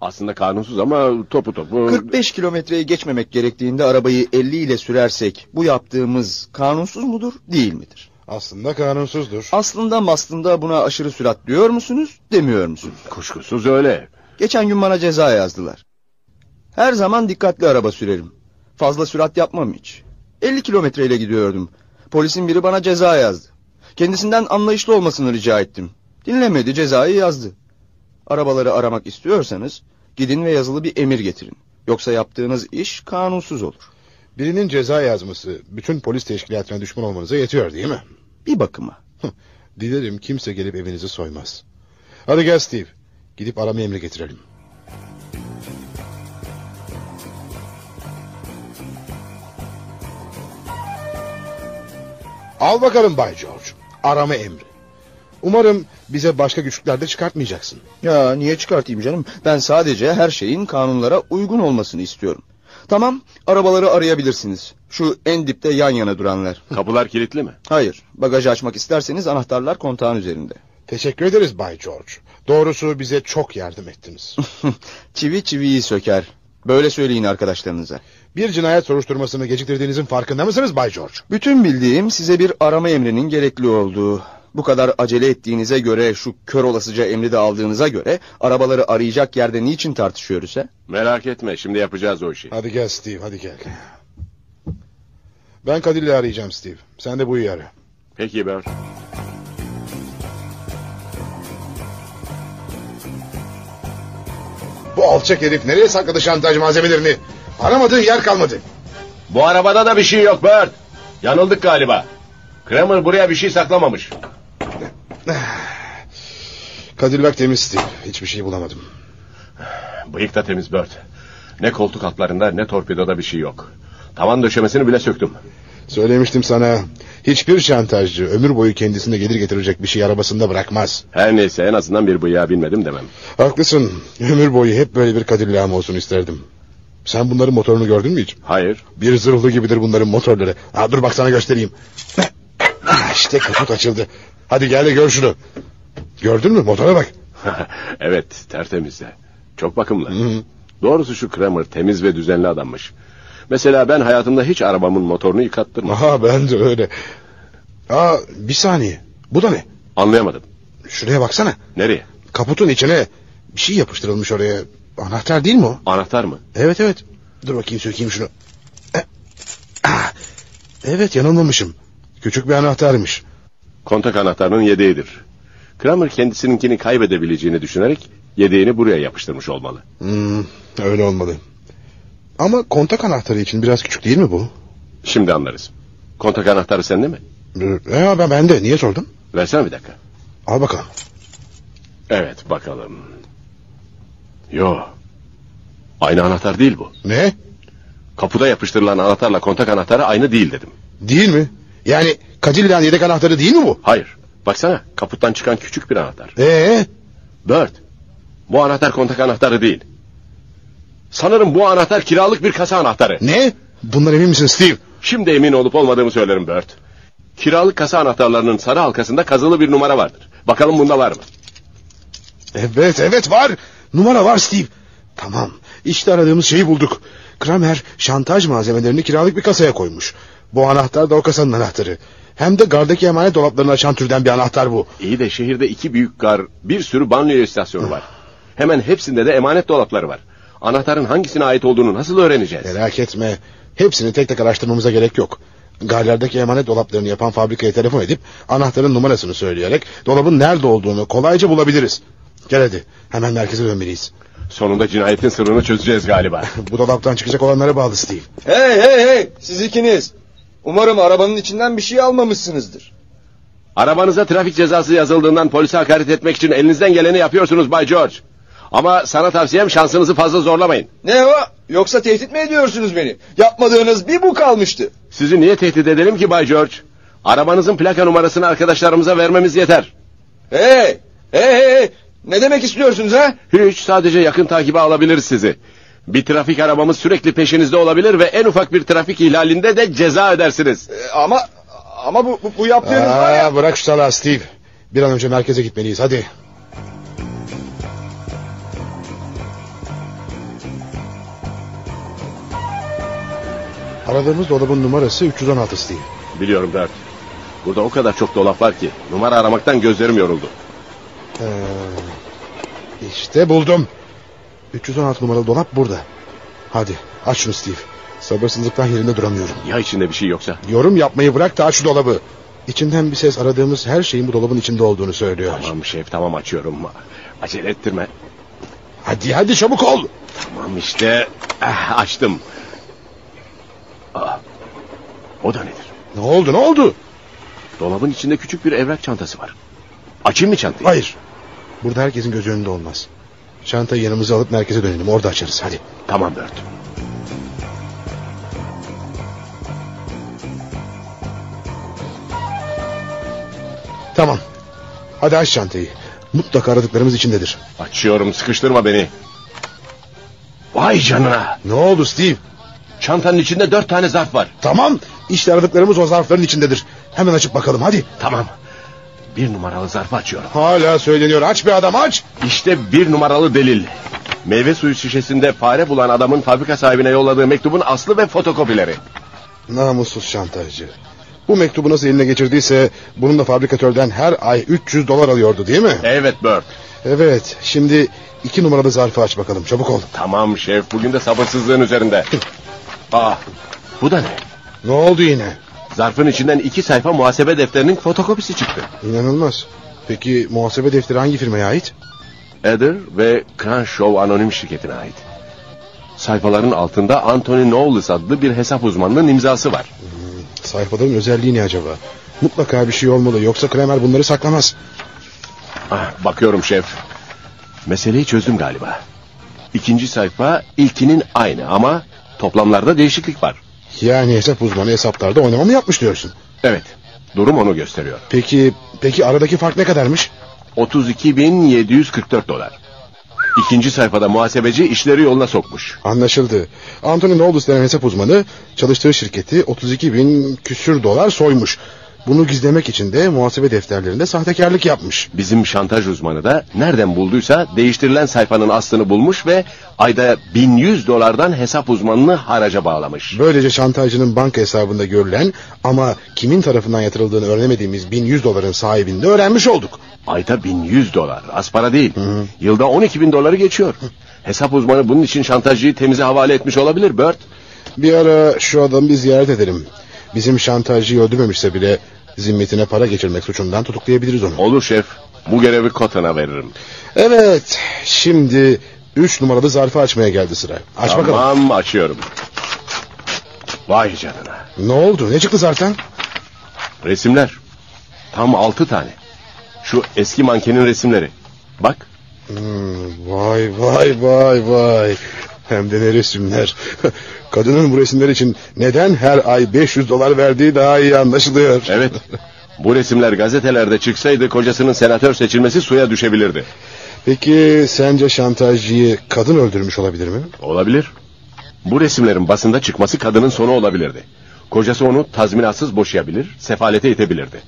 Aslında kanunsuz ama topu topu...
45 kilometreyi geçmemek gerektiğinde arabayı 50 ile sürersek bu yaptığımız kanunsuz mudur değil midir?
Aslında kanunsuzdur.
Aslında maslında buna aşırı sürat diyor musunuz demiyor musunuz?
Kuşkusuz öyle.
Geçen gün bana ceza yazdılar. Her zaman dikkatli araba sürerim. Fazla sürat yapmam hiç. 50 kilometreyle gidiyordum. Polisin biri bana ceza yazdı. Kendisinden anlayışlı olmasını rica ettim. Dinlemedi cezayı yazdı. Arabaları aramak istiyorsanız gidin ve yazılı bir emir getirin. Yoksa yaptığınız iş kanunsuz olur.
Birinin ceza yazması bütün polis teşkilatına düşman olmanıza yetiyor değil mi?
Bir bakıma.
Dilerim kimse gelip evinizi soymaz. Hadi gel Steve. Gidip arama emri getirelim. Al bakalım Bay George. Arama emri. Umarım bize başka güçlüklerde çıkartmayacaksın.
Ya niye çıkartayım canım? Ben sadece her şeyin kanunlara uygun olmasını istiyorum. Tamam, arabaları arayabilirsiniz. Şu en dipte yan yana duranlar.
Kapılar kilitli mi?
Hayır, bagajı açmak isterseniz anahtarlar kontağın üzerinde.
Teşekkür ederiz Bay George. Doğrusu bize çok yardım ettiniz.
Çivi çiviyi söker. Böyle söyleyin arkadaşlarınıza.
Bir cinayet soruşturmasını geciktirdiğinizin farkında mısınız Bay George?
Bütün bildiğim size bir arama emrinin gerekli olduğu. Bu kadar acele ettiğinize göre şu kör olasıca emri de aldığınıza göre arabaları arayacak yerde niçin tartışıyoruz he?
Merak etme şimdi yapacağız o işi.
Hadi gel Steve, hadi gel. Ben Kadir'le arayacağım Steve. Sen de bu ara.
Peki Bert.
Bu alçak herif nereye sakladı şantaj malzemelerini? Aramadığı yer kalmadı.
Bu arabada da bir şey yok Bert. Yanıldık galiba. Kramer buraya bir şey saklamamış.
Cadillac temiz Steve. Hiçbir şey bulamadım.
Bıyık da temiz Bert. Ne koltuk altlarında ne torpidoda bir şey yok. Tavan döşemesini bile söktüm.
Söylemiştim sana. Hiçbir şantajcı ömür boyu kendisine gelir getirecek bir şey arabasında bırakmaz.
Her neyse en azından bir bıyığa binmedim demem.
Haklısın. Ömür boyu hep böyle bir Cadillac'ım olsun isterdim. Sen bunların motorunu gördün mü hiç?
Hayır.
Bir zırhlı gibidir bunların motorları. Ha, dur bak sana göstereyim. Ah, İşte kaput açıldı. Hadi gel de gör şunu. Gördün mü? Motora bak.
evet tertemiz de. Çok bakımlı. Doğrusu şu Kramer temiz ve düzenli adammış. Mesela ben hayatımda hiç arabamın motorunu yıkattırmadım.
Aha ben de öyle. Aa bir saniye. Bu da ne?
Anlayamadım.
Şuraya baksana.
Nereye?
Kaputun içine bir şey yapıştırılmış oraya. Anahtar değil mi o?
Anahtar mı?
Evet evet. Dur bakayım sökeyim şunu. Eh, ah, Evet yanılmamışım. Küçük bir anahtarmış.
Kontak anahtarının yedeğidir. Kramer kendisininkini kaybedebileceğini düşünerek yedeğini buraya yapıştırmış olmalı.
Hmm, öyle olmalı. Ama kontak anahtarı için biraz küçük değil mi bu?
Şimdi anlarız. Kontak anahtarı sende mi?
Ya ben bende. Niye sordum?
Versene bir dakika.
Al bakalım.
Evet bakalım. Yo. Aynı anahtar değil bu.
Ne?
Kapıda yapıştırılan anahtarla kontak anahtarı aynı değil dedim.
Değil mi? Yani Cadillac'ın yedek anahtarı değil mi bu?
Hayır. Baksana kaputtan çıkan küçük bir anahtar.
Ee?
Dört. Bu anahtar kontak anahtarı değil. Sanırım bu anahtar kiralık bir kasa anahtarı.
Ne? Bundan emin misin Steve?
Şimdi emin olup olmadığımı söylerim Bert. Kiralık kasa anahtarlarının sarı halkasında kazılı bir numara vardır. Bakalım bunda var mı?
Evet evet var. Numara var Steve. Tamam. İşte aradığımız şeyi bulduk. Kramer şantaj malzemelerini kiralık bir kasaya koymuş. Bu anahtar da o kasanın anahtarı. Hem de gardaki emanet dolaplarını açan türden bir anahtar bu.
İyi de şehirde iki büyük gar, bir sürü banliyö istasyonu var. Hemen hepsinde de emanet dolapları var. Anahtarın hangisine ait olduğunu nasıl öğreneceğiz?
Merak etme. Hepsini tek tek araştırmamıza gerek yok. Garlardaki emanet dolaplarını yapan fabrikaya telefon edip anahtarın numarasını söyleyerek dolabın nerede olduğunu kolayca bulabiliriz. Gel hadi hemen merkeze dönmeliyiz.
Sonunda cinayetin sırrını çözeceğiz galiba.
Bu dolaptan çıkacak olanlara bağlı Steve.
Hey hey hey siz ikiniz. Umarım arabanın içinden bir şey almamışsınızdır.
Arabanıza trafik cezası yazıldığından polise hakaret etmek için elinizden geleni yapıyorsunuz Bay George. Ama sana tavsiyem şansınızı fazla zorlamayın.
Ne o? Yoksa tehdit mi ediyorsunuz beni? Yapmadığınız bir bu kalmıştı.
Sizi niye tehdit edelim ki Bay George? Arabanızın plaka numarasını arkadaşlarımıza vermemiz yeter.
Hey! Hey hey hey! Ne demek istiyorsunuz ha?
Hiç sadece yakın takibe alabilir sizi. Bir trafik arabamız sürekli peşinizde olabilir ve en ufak bir trafik ihlalinde de ceza ödersiniz.
Ee, Ama ama bu, bu, bu yaptığınız
Aa, Bırak şu salağı Steve. Bir an önce merkeze gitmeliyiz hadi. Aradığımız dolabın numarası 316 Steve.
Biliyorum Bert. Burada o kadar çok dolap var ki numara aramaktan gözlerim yoruldu.
Ee, işte buldum. 316 numaralı dolap burada. Hadi aç şunu Steve. Sabırsızlıktan yerinde duramıyorum.
Ya içinde bir şey yoksa?
Yorum yapmayı bırak da aç şu dolabı. İçinden bir ses aradığımız her şeyin bu dolabın içinde olduğunu söylüyor.
Tamam şef tamam açıyorum. Acele ettirme.
Hadi hadi çabuk ol.
Tamam işte Ah, açtım. Aa, o da nedir?
Ne oldu ne oldu?
Dolabın içinde küçük bir evrak çantası var. Açayım mı çantayı?
Hayır. Burada herkesin gözü önünde olmaz. Çantayı yanımıza alıp merkeze dönelim. Orada açarız hadi.
Tamam Bert.
Tamam. Hadi aç çantayı. Mutlaka aradıklarımız içindedir.
Açıyorum sıkıştırma beni. Vay canına.
Ne oldu Steve? Çantanın içinde dört tane zarf var. Tamam. İşte aradıklarımız o zarfların içindedir. Hemen açıp bakalım hadi. Tamam.
Bir numaralı zarfı açıyorum.
Hala söyleniyor. Aç bir adam aç.
İşte bir numaralı delil. Meyve suyu şişesinde fare bulan adamın fabrika sahibine yolladığı mektubun aslı ve fotokopileri.
Namussuz şantajcı. Bu mektubu nasıl eline geçirdiyse bunun da fabrikatörden her ay 300 dolar alıyordu değil mi?
Evet Bert.
Evet. Şimdi iki numaralı zarfı aç bakalım. Çabuk ol.
Tamam şef bugün de sabırsızlığın üzerinde. Aa bu da ne?
Ne oldu yine?
Zarfın içinden iki sayfa muhasebe defterinin fotokopisi çıktı.
İnanılmaz. Peki muhasebe defteri hangi firmaya ait?
Eder ve Crenshaw Anonim Şirketi'ne ait. Sayfaların altında Anthony Knowles adlı bir hesap uzmanının imzası var.
Hmm, Sayfaların özelliği ne acaba? Mutlaka bir şey olmalı yoksa Kramer bunları saklamaz.
Ah, bakıyorum şef. Meseleyi çözdüm galiba. İkinci sayfa ilkinin aynı ama toplamlarda değişiklik var.
Yani hesap uzmanı hesaplarda oynama mı yapmış diyorsun?
Evet. Durum onu gösteriyor.
Peki peki aradaki fark ne kadarmış?
32.744 dolar. İkinci sayfada muhasebeci işleri yoluna sokmuş.
Anlaşıldı. Anthony Knowles denen hesap uzmanı çalıştığı şirketi 32 bin küsür dolar soymuş. Bunu gizlemek için de muhasebe defterlerinde sahtekarlık yapmış.
Bizim şantaj uzmanı da nereden bulduysa değiştirilen sayfanın aslını bulmuş ve ayda 1100 dolardan hesap uzmanını haraca bağlamış.
Böylece şantajcının banka hesabında görülen ama kimin tarafından yatırıldığını öğrenemediğimiz 1100 doların sahibini de öğrenmiş olduk.
Ayda 1100 dolar. Az para değil. Yılda 12 bin doları geçiyor. Hesap uzmanı bunun için şantajcıyı temize havale etmiş olabilir Bert.
Bir ara şu adamı bir ziyaret edelim. Bizim şantajcıyı öldürmemişse bile zimmetine para geçirmek suçundan tutuklayabiliriz onu.
Olur şef. Bu görevi Kotan'a veririm.
Evet, şimdi 3 numaralı zarfı açmaya geldi sıra. Aç
tamam,
bakalım.
açıyorum. Vay canına.
Ne oldu? Ne çıktı zarftan?
Resimler. Tam 6 tane. Şu eski mankenin resimleri. Bak.
Hmm, vay vay vay vay. Hem de ne resimler. Kadının bu resimler için neden her ay 500 dolar verdiği daha iyi anlaşılıyor.
Evet. Bu resimler gazetelerde çıksaydı kocasının senatör seçilmesi suya düşebilirdi.
Peki sence şantajcıyı kadın öldürmüş olabilir mi?
Olabilir. Bu resimlerin basında çıkması kadının sonu olabilirdi. Kocası onu tazminatsız boşayabilir, sefalete itebilirdi.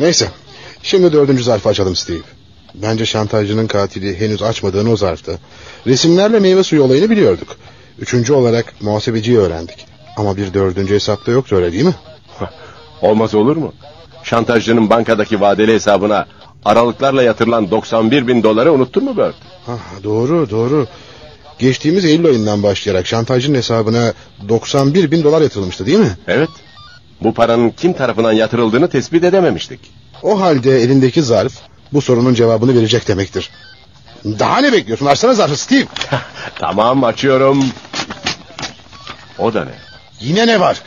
Neyse. Şimdi dördüncü zarfı açalım Steve. Bence şantajcının katili henüz açmadığını o zarfta. Resimlerle meyve suyu olayını biliyorduk. Üçüncü olarak muhasebeciyi öğrendik. Ama bir dördüncü hesapta yoktu öyle değil mi?
Olmaz olur mu? Şantajcının bankadaki vadeli hesabına aralıklarla yatırılan 91 bin doları unuttun mu Bert?
Ah, doğru doğru. Geçtiğimiz Eylül ayından başlayarak şantajcının hesabına 91 bin dolar yatırılmıştı değil mi?
Evet. Bu paranın kim tarafından yatırıldığını tespit edememiştik.
O halde elindeki zarf bu sorunun cevabını verecek demektir. Daha ne bekliyorsun? Açsana zarfı Steve.
Tamam açıyorum. O da ne?
Yine ne var?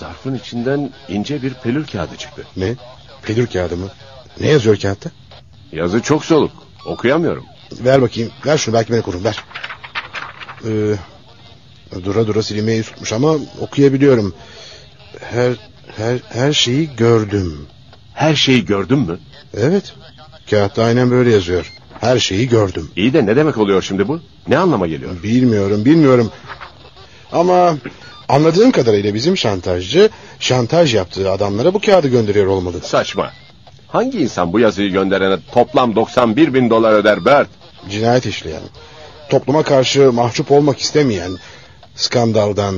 Zarfın içinden ince bir pelür kağıdı çıktı.
Ne? Pelür kağıdı mı? Ne yazıyor kağıtta?
Yazı çok soluk. Okuyamıyorum.
Ver bakayım. Ver şunu belki beni korur. Ver. Ee, dura dura silmeyi tutmuş ama okuyabiliyorum. Her her her şeyi gördüm.
Her şeyi gördün mü?
Evet. Kağıtta aynen böyle yazıyor. Her şeyi gördüm.
İyi de ne demek oluyor şimdi bu? Ne anlama geliyor?
Bilmiyorum, bilmiyorum. Ama anladığım kadarıyla bizim şantajcı şantaj yaptığı adamlara bu kağıdı gönderiyor olmalı.
Saçma. Hangi insan bu yazıyı gönderene toplam 91 bin dolar öder Bert?
Cinayet işleyen, topluma karşı mahcup olmak istemeyen, skandaldan,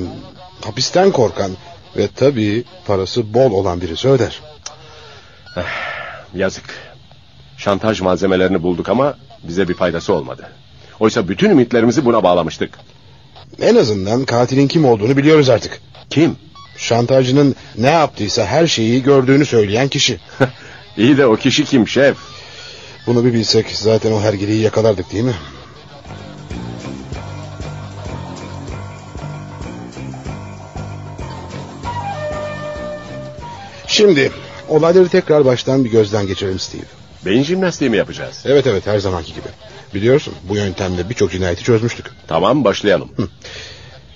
hapisten korkan ve tabii parası bol olan birisi öder.
Eh, Yazık. Şantaj malzemelerini bulduk ama bize bir faydası olmadı. Oysa bütün ümitlerimizi buna bağlamıştık.
En azından katilin kim olduğunu biliyoruz artık.
Kim?
Şantajcının ne yaptıysa her şeyi gördüğünü söyleyen kişi.
İyi de o kişi kim şef?
Bunu bir bilsek zaten o hergeliyi yakalardık değil mi? Şimdi olayları tekrar baştan bir gözden geçirelim Steve.
Beyin jimnastiği mi yapacağız?
Evet evet her zamanki gibi. Biliyorsun bu yöntemle birçok cinayeti çözmüştük.
Tamam başlayalım.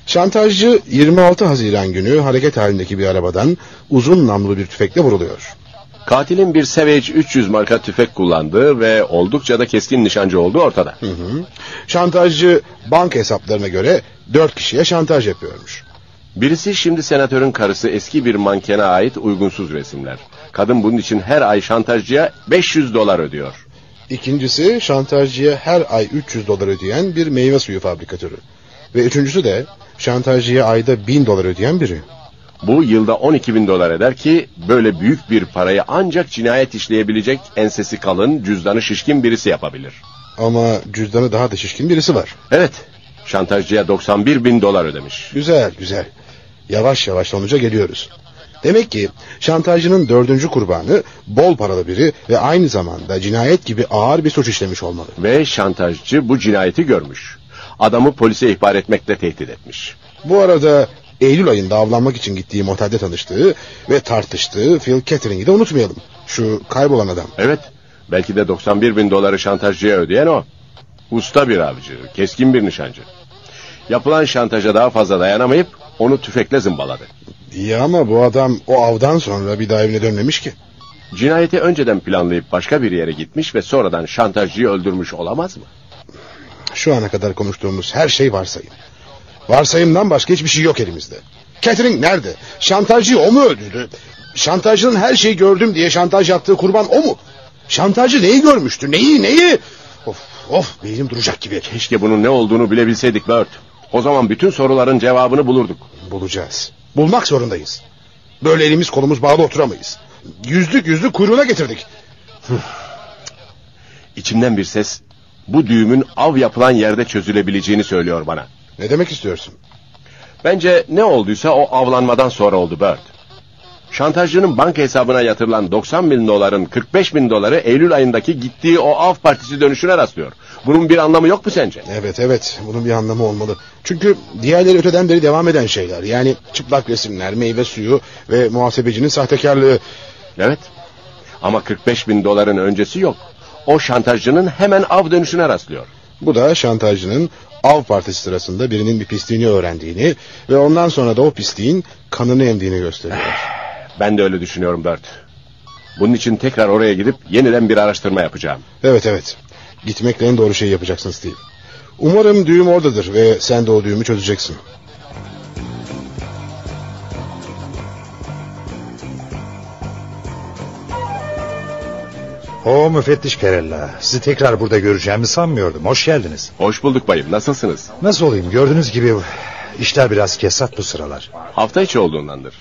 Şantajcı 26 Haziran günü hareket halindeki bir arabadan uzun namlulu bir tüfekle vuruluyor.
Katilin bir Savage 300 marka tüfek kullandığı ve oldukça da keskin nişancı olduğu ortada.
Hı hı. Şantajcı banka hesaplarına göre dört kişiye şantaj yapıyormuş.
Birisi şimdi senatörün karısı eski bir mankene ait uygunsuz resimler. Kadın bunun için her ay şantajcıya 500 dolar ödüyor.
İkincisi şantajcıya her ay 300 dolar ödeyen bir meyve suyu fabrikatörü. Ve üçüncüsü de şantajcıya ayda 1000 dolar ödeyen biri.
Bu yılda 12 bin dolar eder ki böyle büyük bir parayı ancak cinayet işleyebilecek ensesi kalın, cüzdanı şişkin birisi yapabilir.
Ama cüzdanı daha da şişkin birisi var.
Evet, şantajcıya 91 bin dolar ödemiş.
Güzel güzel. Yavaş yavaş sonuca geliyoruz. Demek ki şantajcının dördüncü kurbanı bol paralı biri ve aynı zamanda cinayet gibi ağır bir suç işlemiş olmalı.
Ve şantajcı bu cinayeti görmüş. Adamı polise ihbar etmekle tehdit etmiş.
Bu arada Eylül ayında avlanmak için gittiği motelde tanıştığı ve tartıştığı Phil Catering'i de unutmayalım. Şu kaybolan adam.
Evet, belki de 91 bin doları şantajcıya ödeyen o. Usta bir avcı, keskin bir nişancı. Yapılan şantaja daha fazla dayanamayıp onu tüfekle zımbaladı.
İyi ama bu adam o avdan sonra bir daha evine dönmemiş ki.
Cinayeti önceden planlayıp başka bir yere gitmiş ve sonradan şantajcıyı öldürmüş olamaz mı?
Şu ana kadar konuştuğumuz her şey varsayım. Varsayımdan başka hiçbir şey yok elimizde. Catering nerede? Şantajcıyı o mu öldürdü? Şantajcının her şeyi gördüm diye şantaj yaptığı kurban o mu? Şantajcı neyi görmüştü? Neyi neyi? Of of beynim duracak gibi.
Keşke bunun ne olduğunu bilebilseydik Bert. O zaman bütün soruların cevabını bulurduk.
Bulacağız. Bulmak zorundayız. Böyle elimiz kolumuz bağlı oturamayız. Yüzlük yüzlük kuyruğuna getirdik.
İçimden bir ses bu düğümün av yapılan yerde çözülebileceğini söylüyor bana.
Ne demek istiyorsun?
Bence ne olduysa o avlanmadan sonra oldu Bird. Şantajcının banka hesabına yatırılan 90 bin doların 45 bin doları Eylül ayındaki gittiği o av partisi dönüşüne rastlıyor. Bunun bir anlamı yok mu sence?
Evet evet bunun bir anlamı olmalı. Çünkü diğerleri öteden beri devam eden şeyler. Yani çıplak resimler, meyve suyu ve muhasebecinin sahtekarlığı.
Evet ama 45 bin doların öncesi yok. O şantajcının hemen av dönüşüne rastlıyor.
Bu da şantajcının av partisi sırasında birinin bir pisliğini öğrendiğini ve ondan sonra da o pisliğin kanını emdiğini gösteriyor.
Ben de öyle düşünüyorum Bert. Bunun için tekrar oraya gidip yeniden bir araştırma yapacağım.
Evet evet. Gitmekle en doğru şeyi yapacaksın Steve. Umarım düğüm oradadır ve sen de o düğümü çözeceksin.
O müfettiş Kerella. Sizi tekrar burada göreceğimi sanmıyordum. Hoş geldiniz.
Hoş bulduk bayım. Nasılsınız?
Nasıl olayım? Gördüğünüz gibi işler biraz kesat bu sıralar.
Hafta içi olduğundandır.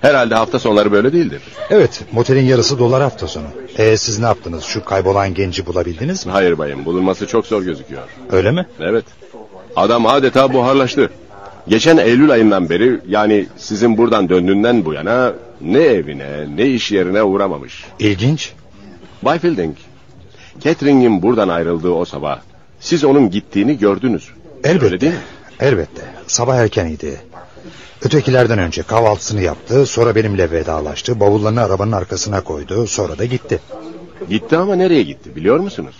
Herhalde hafta sonları böyle değildir.
Evet, motelin yarısı dolar hafta sonu. E siz ne yaptınız? Şu kaybolan genci bulabildiniz mi?
Hayır bayım. Bulunması çok zor gözüküyor.
Öyle mi?
Evet. Adam adeta buharlaştı. Geçen Eylül ayından beri yani sizin buradan döndüğünden bu yana ne evine ne iş yerine uğramamış.
İlginç.
Bay Fielding, Catering'in buradan ayrıldığı o sabah siz onun gittiğini gördünüz.
Elbette. Elbette. Sabah erkeniydi. Ötekilerden önce kahvaltısını yaptı, sonra benimle vedalaştı, bavullarını arabanın arkasına koydu, sonra da gitti.
Gitti ama nereye gitti biliyor musunuz?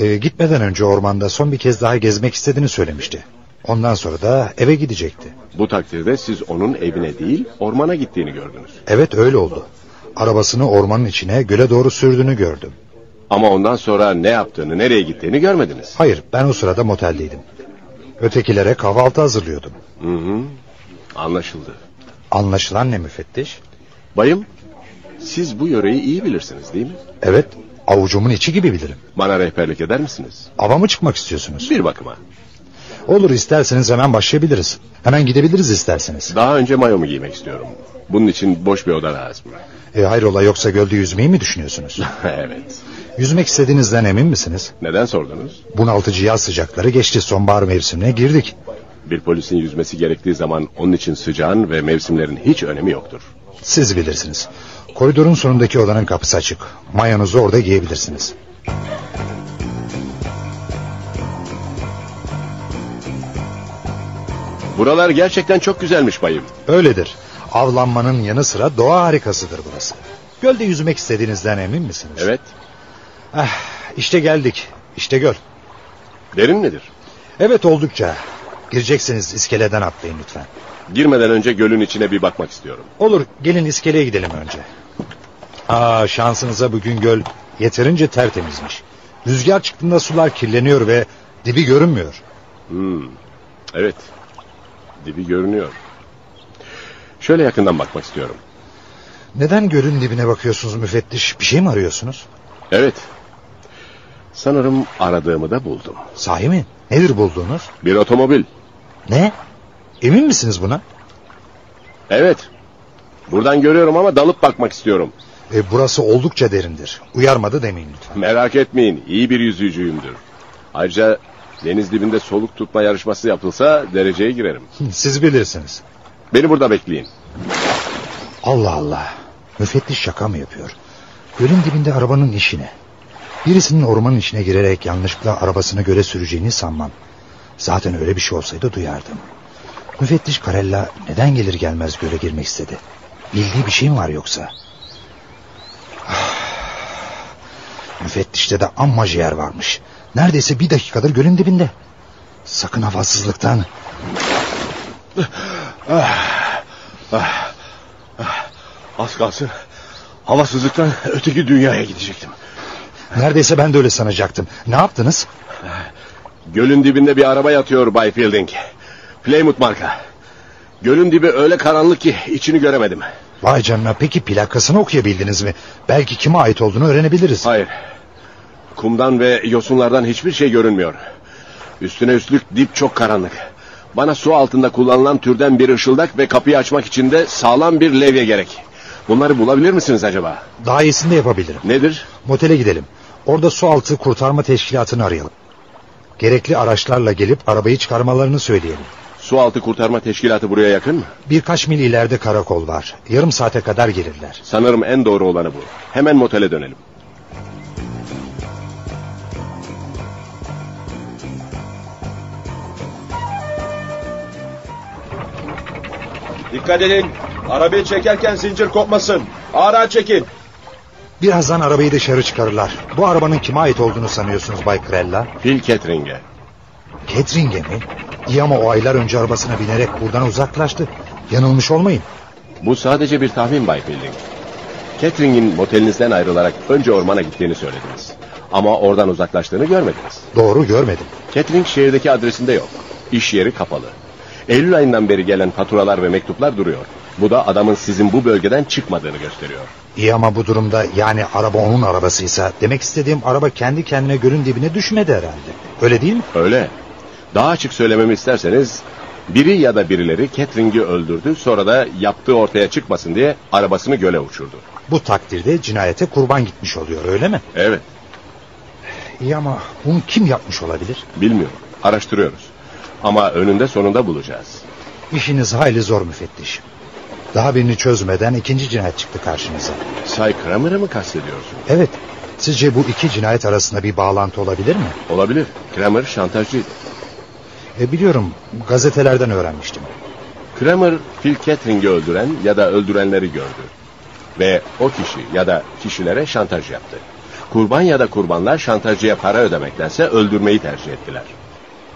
Ee, gitmeden önce ormanda son bir kez daha gezmek istediğini söylemişti. Ondan sonra da eve gidecekti.
Bu takdirde siz onun evine değil ormana gittiğini gördünüz.
Evet öyle oldu. Arabasını ormanın içine göle doğru sürdüğünü gördüm.
Ama ondan sonra ne yaptığını nereye gittiğini görmediniz.
Hayır ben o sırada moteldeydim. Ötekilere kahvaltı hazırlıyordum.
Hı hı. Anlaşıldı.
Anlaşılan ne müfettiş?
Bayım siz bu yöreyi iyi bilirsiniz değil mi?
Evet avucumun içi gibi bilirim.
Bana rehberlik eder misiniz?
Ava mı çıkmak istiyorsunuz?
Bir bakıma.
Olur isterseniz hemen başlayabiliriz. Hemen gidebiliriz isterseniz.
Daha önce mayomu giymek istiyorum. Bunun için boş bir oda lazım.
E, hayrola yoksa gölde yüzmeyi mi düşünüyorsunuz?
evet.
Yüzmek istediğinizden emin misiniz?
Neden sordunuz?
Bunaltıcı yaz sıcakları geçti sonbahar mevsimine girdik.
Bir polisin yüzmesi gerektiği zaman onun için sıcağın ve mevsimlerin hiç önemi yoktur.
Siz bilirsiniz. Koridorun sonundaki odanın kapısı açık. Mayonuzu orada giyebilirsiniz.
Buralar gerçekten çok güzelmiş bayım.
Öyledir. Avlanmanın yanı sıra doğa harikasıdır burası. Gölde yüzmek istediğinizden emin misiniz?
Evet.
Ah, işte geldik. İşte göl.
Derin nedir?
Evet oldukça. Gireceksiniz iskeleden atlayın lütfen.
Girmeden önce gölün içine bir bakmak istiyorum.
Olur gelin iskeleye gidelim önce. Aa şansınıza bugün göl yeterince tertemizmiş. Rüzgar çıktığında sular kirleniyor ve dibi görünmüyor.
Hmm. Evet. Dibi görünüyor. Şöyle yakından bakmak istiyorum.
Neden gölün dibine bakıyorsunuz müfettiş? Bir şey mi arıyorsunuz?
Evet. Sanırım aradığımı da buldum.
Sahi mi? Nedir bulduğunuz?
Bir otomobil.
Ne? Emin misiniz buna?
Evet. Buradan görüyorum ama dalıp bakmak istiyorum.
E, burası oldukça derindir. Uyarmadı demeyin lütfen.
Merak etmeyin, iyi bir yüzücüyümdür. Ayrıca deniz dibinde soluk tutma yarışması yapılsa dereceye girerim.
Siz bilirsiniz.
Beni burada bekleyin.
Allah Allah. Müfettiş şaka mı yapıyor? Gölün dibinde arabanın işine. Birisinin ormanın içine girerek yanlışlıkla arabasını göle süreceğini sanmam. Zaten öyle bir şey olsaydı duyardım. Müfettiş Karella neden gelir gelmez göle girmek istedi? Bildiği bir şey mi var yoksa? Ah. Müfettişte de amma ciğer varmış. Neredeyse bir dakikadır gölün dibinde. Sakın havasızlıktan. Ah.
Ah, ah, az kalsın havasızlıktan öteki dünyaya gidecektim.
Neredeyse ben de öyle sanacaktım. Ne yaptınız?
Gölün dibinde bir araba yatıyor Bay Fielding. Plymouth marka. Gölün dibi öyle karanlık ki içini göremedim.
Vay canına peki plakasını okuyabildiniz mi? Belki kime ait olduğunu öğrenebiliriz.
Hayır. Kumdan ve yosunlardan hiçbir şey görünmüyor. Üstüne üstlük dip çok karanlık. Bana su altında kullanılan türden bir ışıldak ve kapıyı açmak için de sağlam bir levye gerek. Bunları bulabilir misiniz acaba?
Daha iyisini de yapabilirim.
Nedir?
Motele gidelim. Orada su altı kurtarma teşkilatını arayalım. Gerekli araçlarla gelip arabayı çıkarmalarını söyleyelim.
Sualtı Kurtarma Teşkilatı buraya yakın mı?
Birkaç mil ileride karakol var. Yarım saate kadar gelirler.
Sanırım en doğru olanı bu. Hemen motele dönelim.
Dikkat edin. Arabayı çekerken zincir kopmasın. Ağır ağır çekin.
Birazdan arabayı dışarı çıkarırlar. Bu arabanın kime ait olduğunu sanıyorsunuz Bay Krella?
Phil Kettering'e.
Ketring'e mi? İyi ama o aylar önce arabasına binerek buradan uzaklaştı. Yanılmış olmayın.
Bu sadece bir tahmin Bay Fielding. Kettering'in motelinizden ayrılarak önce ormana gittiğini söylediniz. Ama oradan uzaklaştığını görmediniz.
Doğru görmedim.
Kettering şehirdeki adresinde yok. İş yeri kapalı. Eylül ayından beri gelen faturalar ve mektuplar duruyor. Bu da adamın sizin bu bölgeden çıkmadığını gösteriyor.
İyi ama bu durumda yani araba onun arabasıysa demek istediğim araba kendi kendine gölün dibine düşmedi herhalde. Öyle değil mi?
Öyle. Daha açık söylememi isterseniz biri ya da birileri Kettering'i öldürdü sonra da yaptığı ortaya çıkmasın diye arabasını göle uçurdu.
Bu takdirde cinayete kurban gitmiş oluyor öyle mi?
Evet
İyi ama Ah, bunu kim yapmış olabilir?
bilmiyorum araştırıyoruz ama önünde sonunda bulacağız.
İşiniz hayli zor müfettiş. Daha birini çözmeden ikinci cinayet çıktı karşınıza.
Say Kramer'ı mı kastediyorsun?
Evet. Sizce bu iki cinayet arasında bir bağlantı olabilir mi?
Olabilir Kramer şantajcıydı.
E, biliyorum gazetelerden öğrenmiştim.
Kramer Phil Kettering'i öldüren ya da öldürenleri gördü. Ve o kişi ya da kişilere şantaj yaptı. Kurban ya da kurbanlar şantajcıya para ödemektense öldürmeyi tercih ettiler.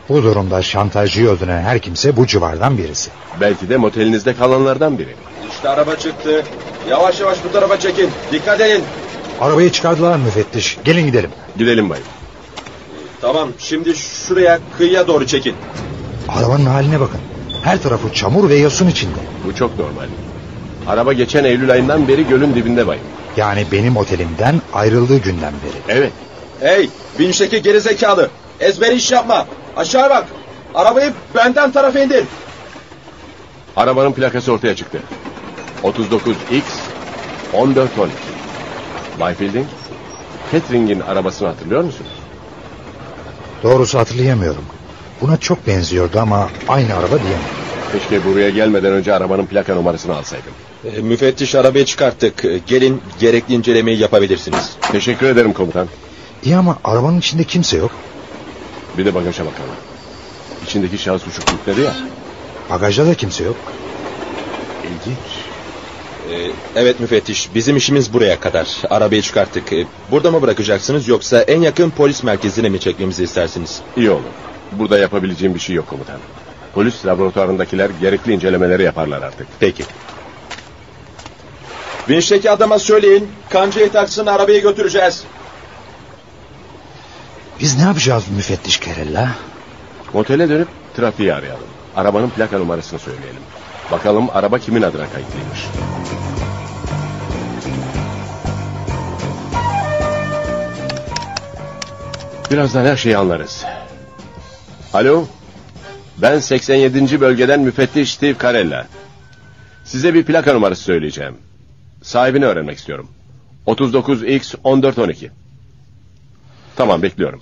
Bu durumda şantajcıyı öldüren her kimse bu civardan birisi.
Belki de motelinizde kalanlardan biri.
İşte araba çıktı. Yavaş yavaş bu tarafa çekin. Dikkat edin.
Arabayı çıkardılar müfettiş. Gelin gidelim.
Gidelim bayım.
Tamam şimdi şuraya kıyıya doğru çekin.
Arabanın haline bakın. Her tarafı çamur ve yosun içinde.
Bu çok normal. Araba geçen Eylül ayından beri gölün dibinde bayım.
Yani benim otelimden ayrıldığı günden beri.
Evet.
Hey binişteki gerizekalı. Ezberi iş yapma. Aşağı bak. Arabayı benden tarafa indir.
Arabanın plakası ortaya çıktı. 39X 1412. Bay Fielding, Kettering'in arabasını hatırlıyor musunuz?
Doğrusu hatırlayamıyorum. Buna çok benziyordu ama aynı araba diyemem.
Keşke buraya gelmeden önce arabanın plaka numarasını alsaydım.
E, müfettiş arabayı çıkarttık. E, Gelin gerekli incelemeyi yapabilirsiniz.
Teşekkür ederim komutan.
İyi ama arabanın içinde kimse yok.
Bir de bagaja bakalım. İçindeki şahıs uçuklukları ya.
Bagajda da kimse yok.
İlginç.
E, evet müfettiş bizim işimiz buraya kadar. Arabayı çıkarttık. E, burada mı bırakacaksınız yoksa en yakın polis merkezine mi çekmemizi istersiniz?
İyi olur. Burada yapabileceğim bir şey yok komutan. Polis laboratuvarındakiler gerekli incelemeleri yaparlar artık.
Peki. Vinçteki adama söyleyin. Kancayı taksın arabayı götüreceğiz.
Biz ne yapacağız müfettiş Kerella?
Otele dönüp trafiği arayalım. Arabanın plaka numarasını söyleyelim. Bakalım araba kimin adına kayıtlıymış. Birazdan her şeyi anlarız. Alo. Ben 87. bölgeden müfettiş Steve Carella. Size bir plaka numarası söyleyeceğim. Sahibini öğrenmek istiyorum. 39X1412. Tamam bekliyorum.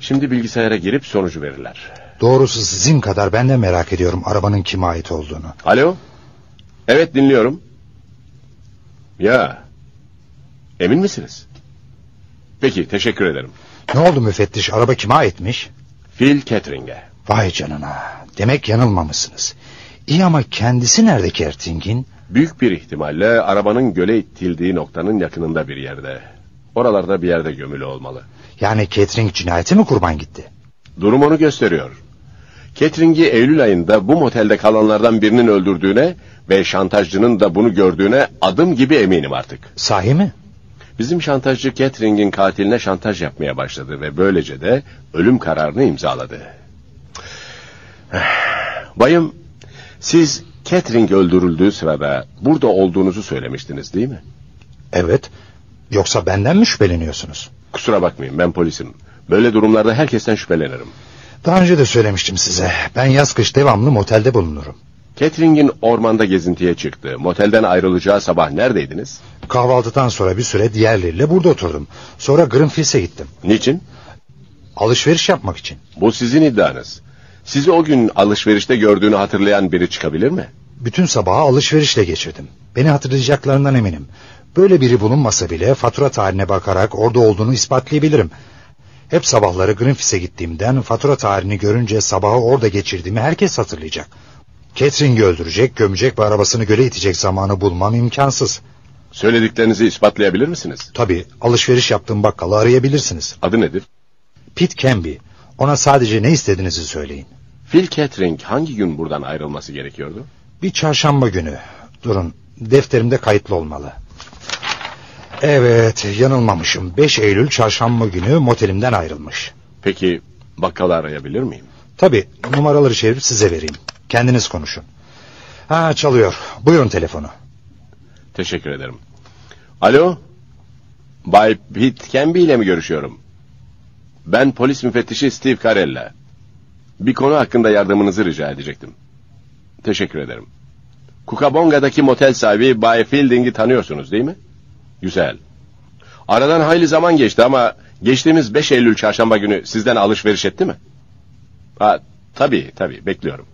Şimdi bilgisayara girip sonucu verirler.
Doğrusu sizin kadar ben de merak ediyorum arabanın kime ait olduğunu.
Alo. Evet dinliyorum. Ya. Emin misiniz? Peki teşekkür ederim.
Ne oldu müfettiş araba kime aitmiş?
Phil Catering'e.
Vay canına demek yanılmamışsınız. İyi ama kendisi nerede Kerting'in?
Büyük bir ihtimalle arabanın göle itildiği noktanın yakınında bir yerde. Oralarda bir yerde gömülü olmalı.
Yani Catering cinayeti mi kurban gitti?
Durum onu gösteriyor. Catering'i Eylül ayında bu motelde kalanlardan birinin öldürdüğüne ve şantajcının da bunu gördüğüne adım gibi eminim artık.
Sahi mi?
Bizim şantajcı Catering'in katiline şantaj yapmaya başladı ve böylece de ölüm kararını imzaladı. Bayım, siz Catering öldürüldüğü sırada burada olduğunuzu söylemiştiniz değil mi?
Evet. Yoksa benden mi şüpheleniyorsunuz?
Kusura bakmayın ben polisim. Böyle durumlarda herkesten şüphelenirim.
Daha önce de söylemiştim size. Ben yaz kış devamlı motelde bulunurum.
Catering'in ormanda gezintiye çıktı. Motelden ayrılacağı sabah neredeydiniz?
Kahvaltıdan sonra bir süre diğerleriyle burada oturdum. Sonra Greenpeace'e gittim.
Niçin?
Alışveriş yapmak için.
Bu sizin iddianız. Sizi o gün alışverişte gördüğünü hatırlayan biri çıkabilir mi?
Bütün sabahı alışverişle geçirdim. Beni hatırlayacaklarından eminim. Böyle biri bulunmasa bile fatura tarihine bakarak orada olduğunu ispatlayabilirim. Hep sabahları Greenpeace'e gittiğimden fatura tarihini görünce sabahı orada geçirdiğimi herkes hatırlayacak. Catering'i öldürecek, gömecek ve arabasını göle itecek zamanı bulmam imkansız.
Söylediklerinizi ispatlayabilir misiniz?
Tabii alışveriş yaptığım bakkalı arayabilirsiniz.
Adı nedir?
Pit Canby. Ona sadece ne istediğinizi söyleyin.
Phil Catering hangi gün buradan ayrılması gerekiyordu?
Bir çarşamba günü. Durun defterimde kayıtlı olmalı. Evet yanılmamışım. 5 Eylül çarşamba günü motelimden ayrılmış.
Peki bakkalı arayabilir miyim?
Tabii numaraları çevirip size vereyim. Kendiniz konuşun. Ha çalıyor. Buyurun telefonu.
Teşekkür ederim. Alo? Bay Pete Canby ile mi görüşüyorum? Ben polis müfettişi Steve Carella. Bir konu hakkında yardımınızı rica edecektim. Teşekkür ederim. Kukabonga'daki motel sahibi Bay Fielding'i tanıyorsunuz değil mi? Güzel. Aradan hayli zaman geçti ama geçtiğimiz 5 Eylül çarşamba günü sizden alışveriş etti mi? Ha, tabii tabii bekliyorum.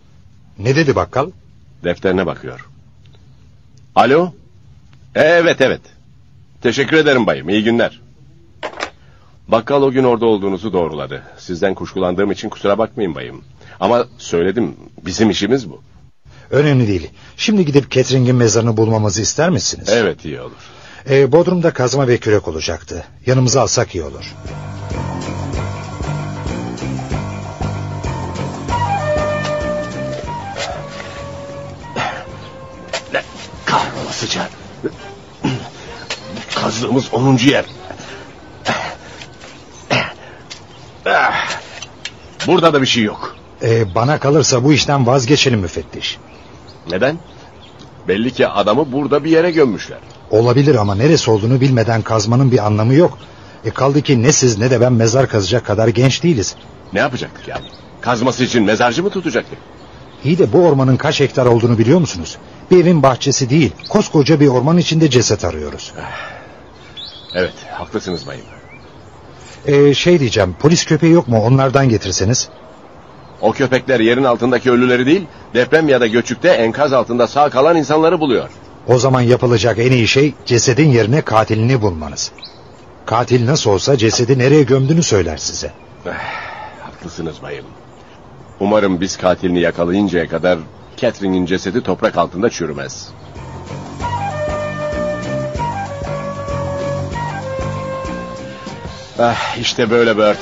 Ne dedi bakkal?
Defterine bakıyor. Alo? Evet evet. Teşekkür ederim bayım. İyi günler. Bakkal o gün orada olduğunuzu doğruladı. Sizden kuşkulandığım için kusura bakmayın bayım. Ama söyledim bizim işimiz bu.
Önemli değil. Şimdi gidip Catering'in mezarını bulmamızı ister misiniz?
Evet iyi olur.
Ee, Bodrum'da kazma ve kürek olacaktı. Yanımıza alsak iyi olur.
Kahrolasıca. Kazdığımız 10. yer. Burada da bir şey yok.
Ee, bana kalırsa bu işten vazgeçelim müfettiş.
Neden? Belli ki adamı burada bir yere gömmüşler.
Olabilir ama neresi olduğunu bilmeden kazmanın bir anlamı yok. E kaldı ki ne siz ne de ben mezar kazacak kadar genç değiliz.
Ne yapacaktık yani? Kazması için mezarcı mı tutacaktık?
İyi de bu ormanın kaç hektar olduğunu biliyor musunuz? Bir evin bahçesi değil, koskoca bir orman içinde ceset arıyoruz.
Evet, haklısınız bayım.
Ee, şey diyeceğim, polis köpeği yok mu? Onlardan getirseniz.
O köpekler yerin altındaki ölüleri değil, deprem ya da göçükte enkaz altında sağ kalan insanları buluyor.
O zaman yapılacak en iyi şey cesedin yerine katilini bulmanız. Katil nasıl olsa cesedi nereye gömdüğünü söyler size.
Eh, Haklısınız bayım. Umarım biz katilini yakalayıncaya kadar Catherine'in cesedi toprak altında çürümez. Ah, işte böyle Bert.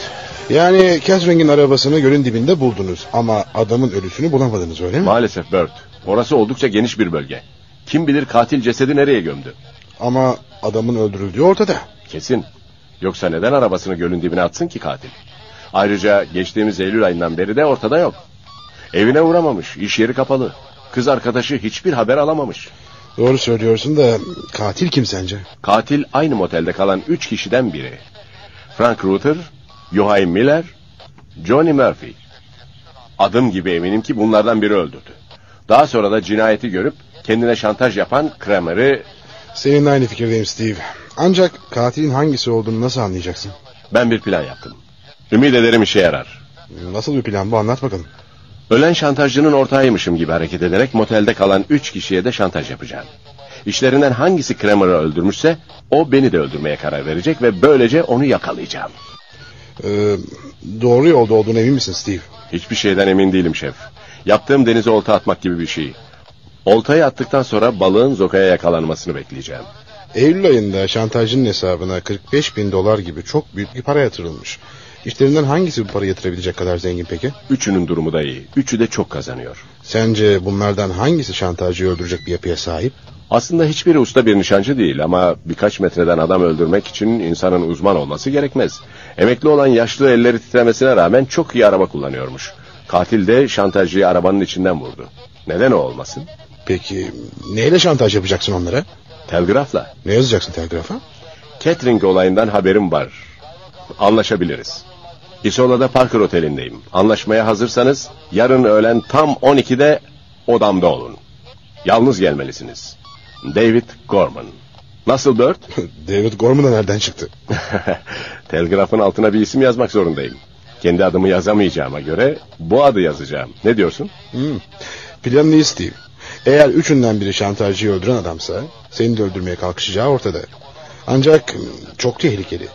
Yani Catering'in arabasını gölün dibinde buldunuz ama adamın ölüsünü bulamadınız öyle mi?
Maalesef Bert. Orası oldukça geniş bir bölge. Kim bilir katil cesedi nereye gömdü?
Ama adamın öldürüldüğü ortada.
Kesin. Yoksa neden arabasını gölün dibine atsın ki katil? Ayrıca geçtiğimiz Eylül ayından beri de ortada yok. Evine uğramamış, iş yeri kapalı. Kız arkadaşı hiçbir haber alamamış.
Doğru söylüyorsun da katil kim sence?
Katil aynı motelde kalan üç kişiden biri. Frank Ruther, Yohai Miller, Johnny Murphy. Adım gibi eminim ki bunlardan biri öldürdü. Daha sonra da cinayeti görüp kendine şantaj yapan Kramer'ı
Seninle aynı fikirdeyim Steve. Ancak katilin hangisi olduğunu nasıl anlayacaksın?
ben bir plan yaptım. Ümit ederim işe yarar.
Nasıl bir plan bu anlat bakalım.
Ölen şantajcının ortağıymışım gibi hareket ederek motelde kalan üç kişiye de şantaj yapacağım. İşlerinden hangisi Kramer'ı öldürmüşse o beni de öldürmeye karar verecek ve böylece onu yakalayacağım.
Ee, doğru yolda olduğuna emin misin Steve?
Hiçbir şeyden emin değilim şef. Yaptığım denize olta atmak gibi bir şey. Oltayı attıktan sonra balığın zokaya yakalanmasını bekleyeceğim.
Eylül ayında şantajcının hesabına 45 bin dolar gibi çok büyük bir para yatırılmış. İşlerinden hangisi bu parayı yatırabilecek kadar zengin peki?
Üçünün durumu da iyi. Üçü de çok kazanıyor.
Sence bunlardan hangisi şantajcıyı öldürecek bir yapıya sahip?
Aslında hiçbiri usta bir nişancı değil ama birkaç metreden adam öldürmek için insanın uzman olması gerekmez. Emekli olan yaşlı elleri titremesine rağmen çok iyi araba kullanıyormuş. Katil de şantajcıyı arabanın içinden vurdu. Neden o olmasın?
Peki neyle şantaj yapacaksın onlara?
Telgrafla.
Ne yazacaksın telgrafa?
Catering olayından haberim var. Anlaşabiliriz. İsola'da Parker Oteli'ndeyim. Anlaşmaya hazırsanız yarın öğlen tam 12'de odamda olun. Yalnız gelmelisiniz. David Gorman. Nasıl Bert?
David Gorman da nereden çıktı?
Telgrafın altına bir isim yazmak zorundayım. Kendi adımı yazamayacağıma göre bu adı yazacağım. Ne diyorsun?
Hmm. Planın iyi Steve. Eğer üçünden biri şantajcıyı öldüren adamsa seni de öldürmeye kalkışacağı ortada. Ancak hmm, çok tehlikeli.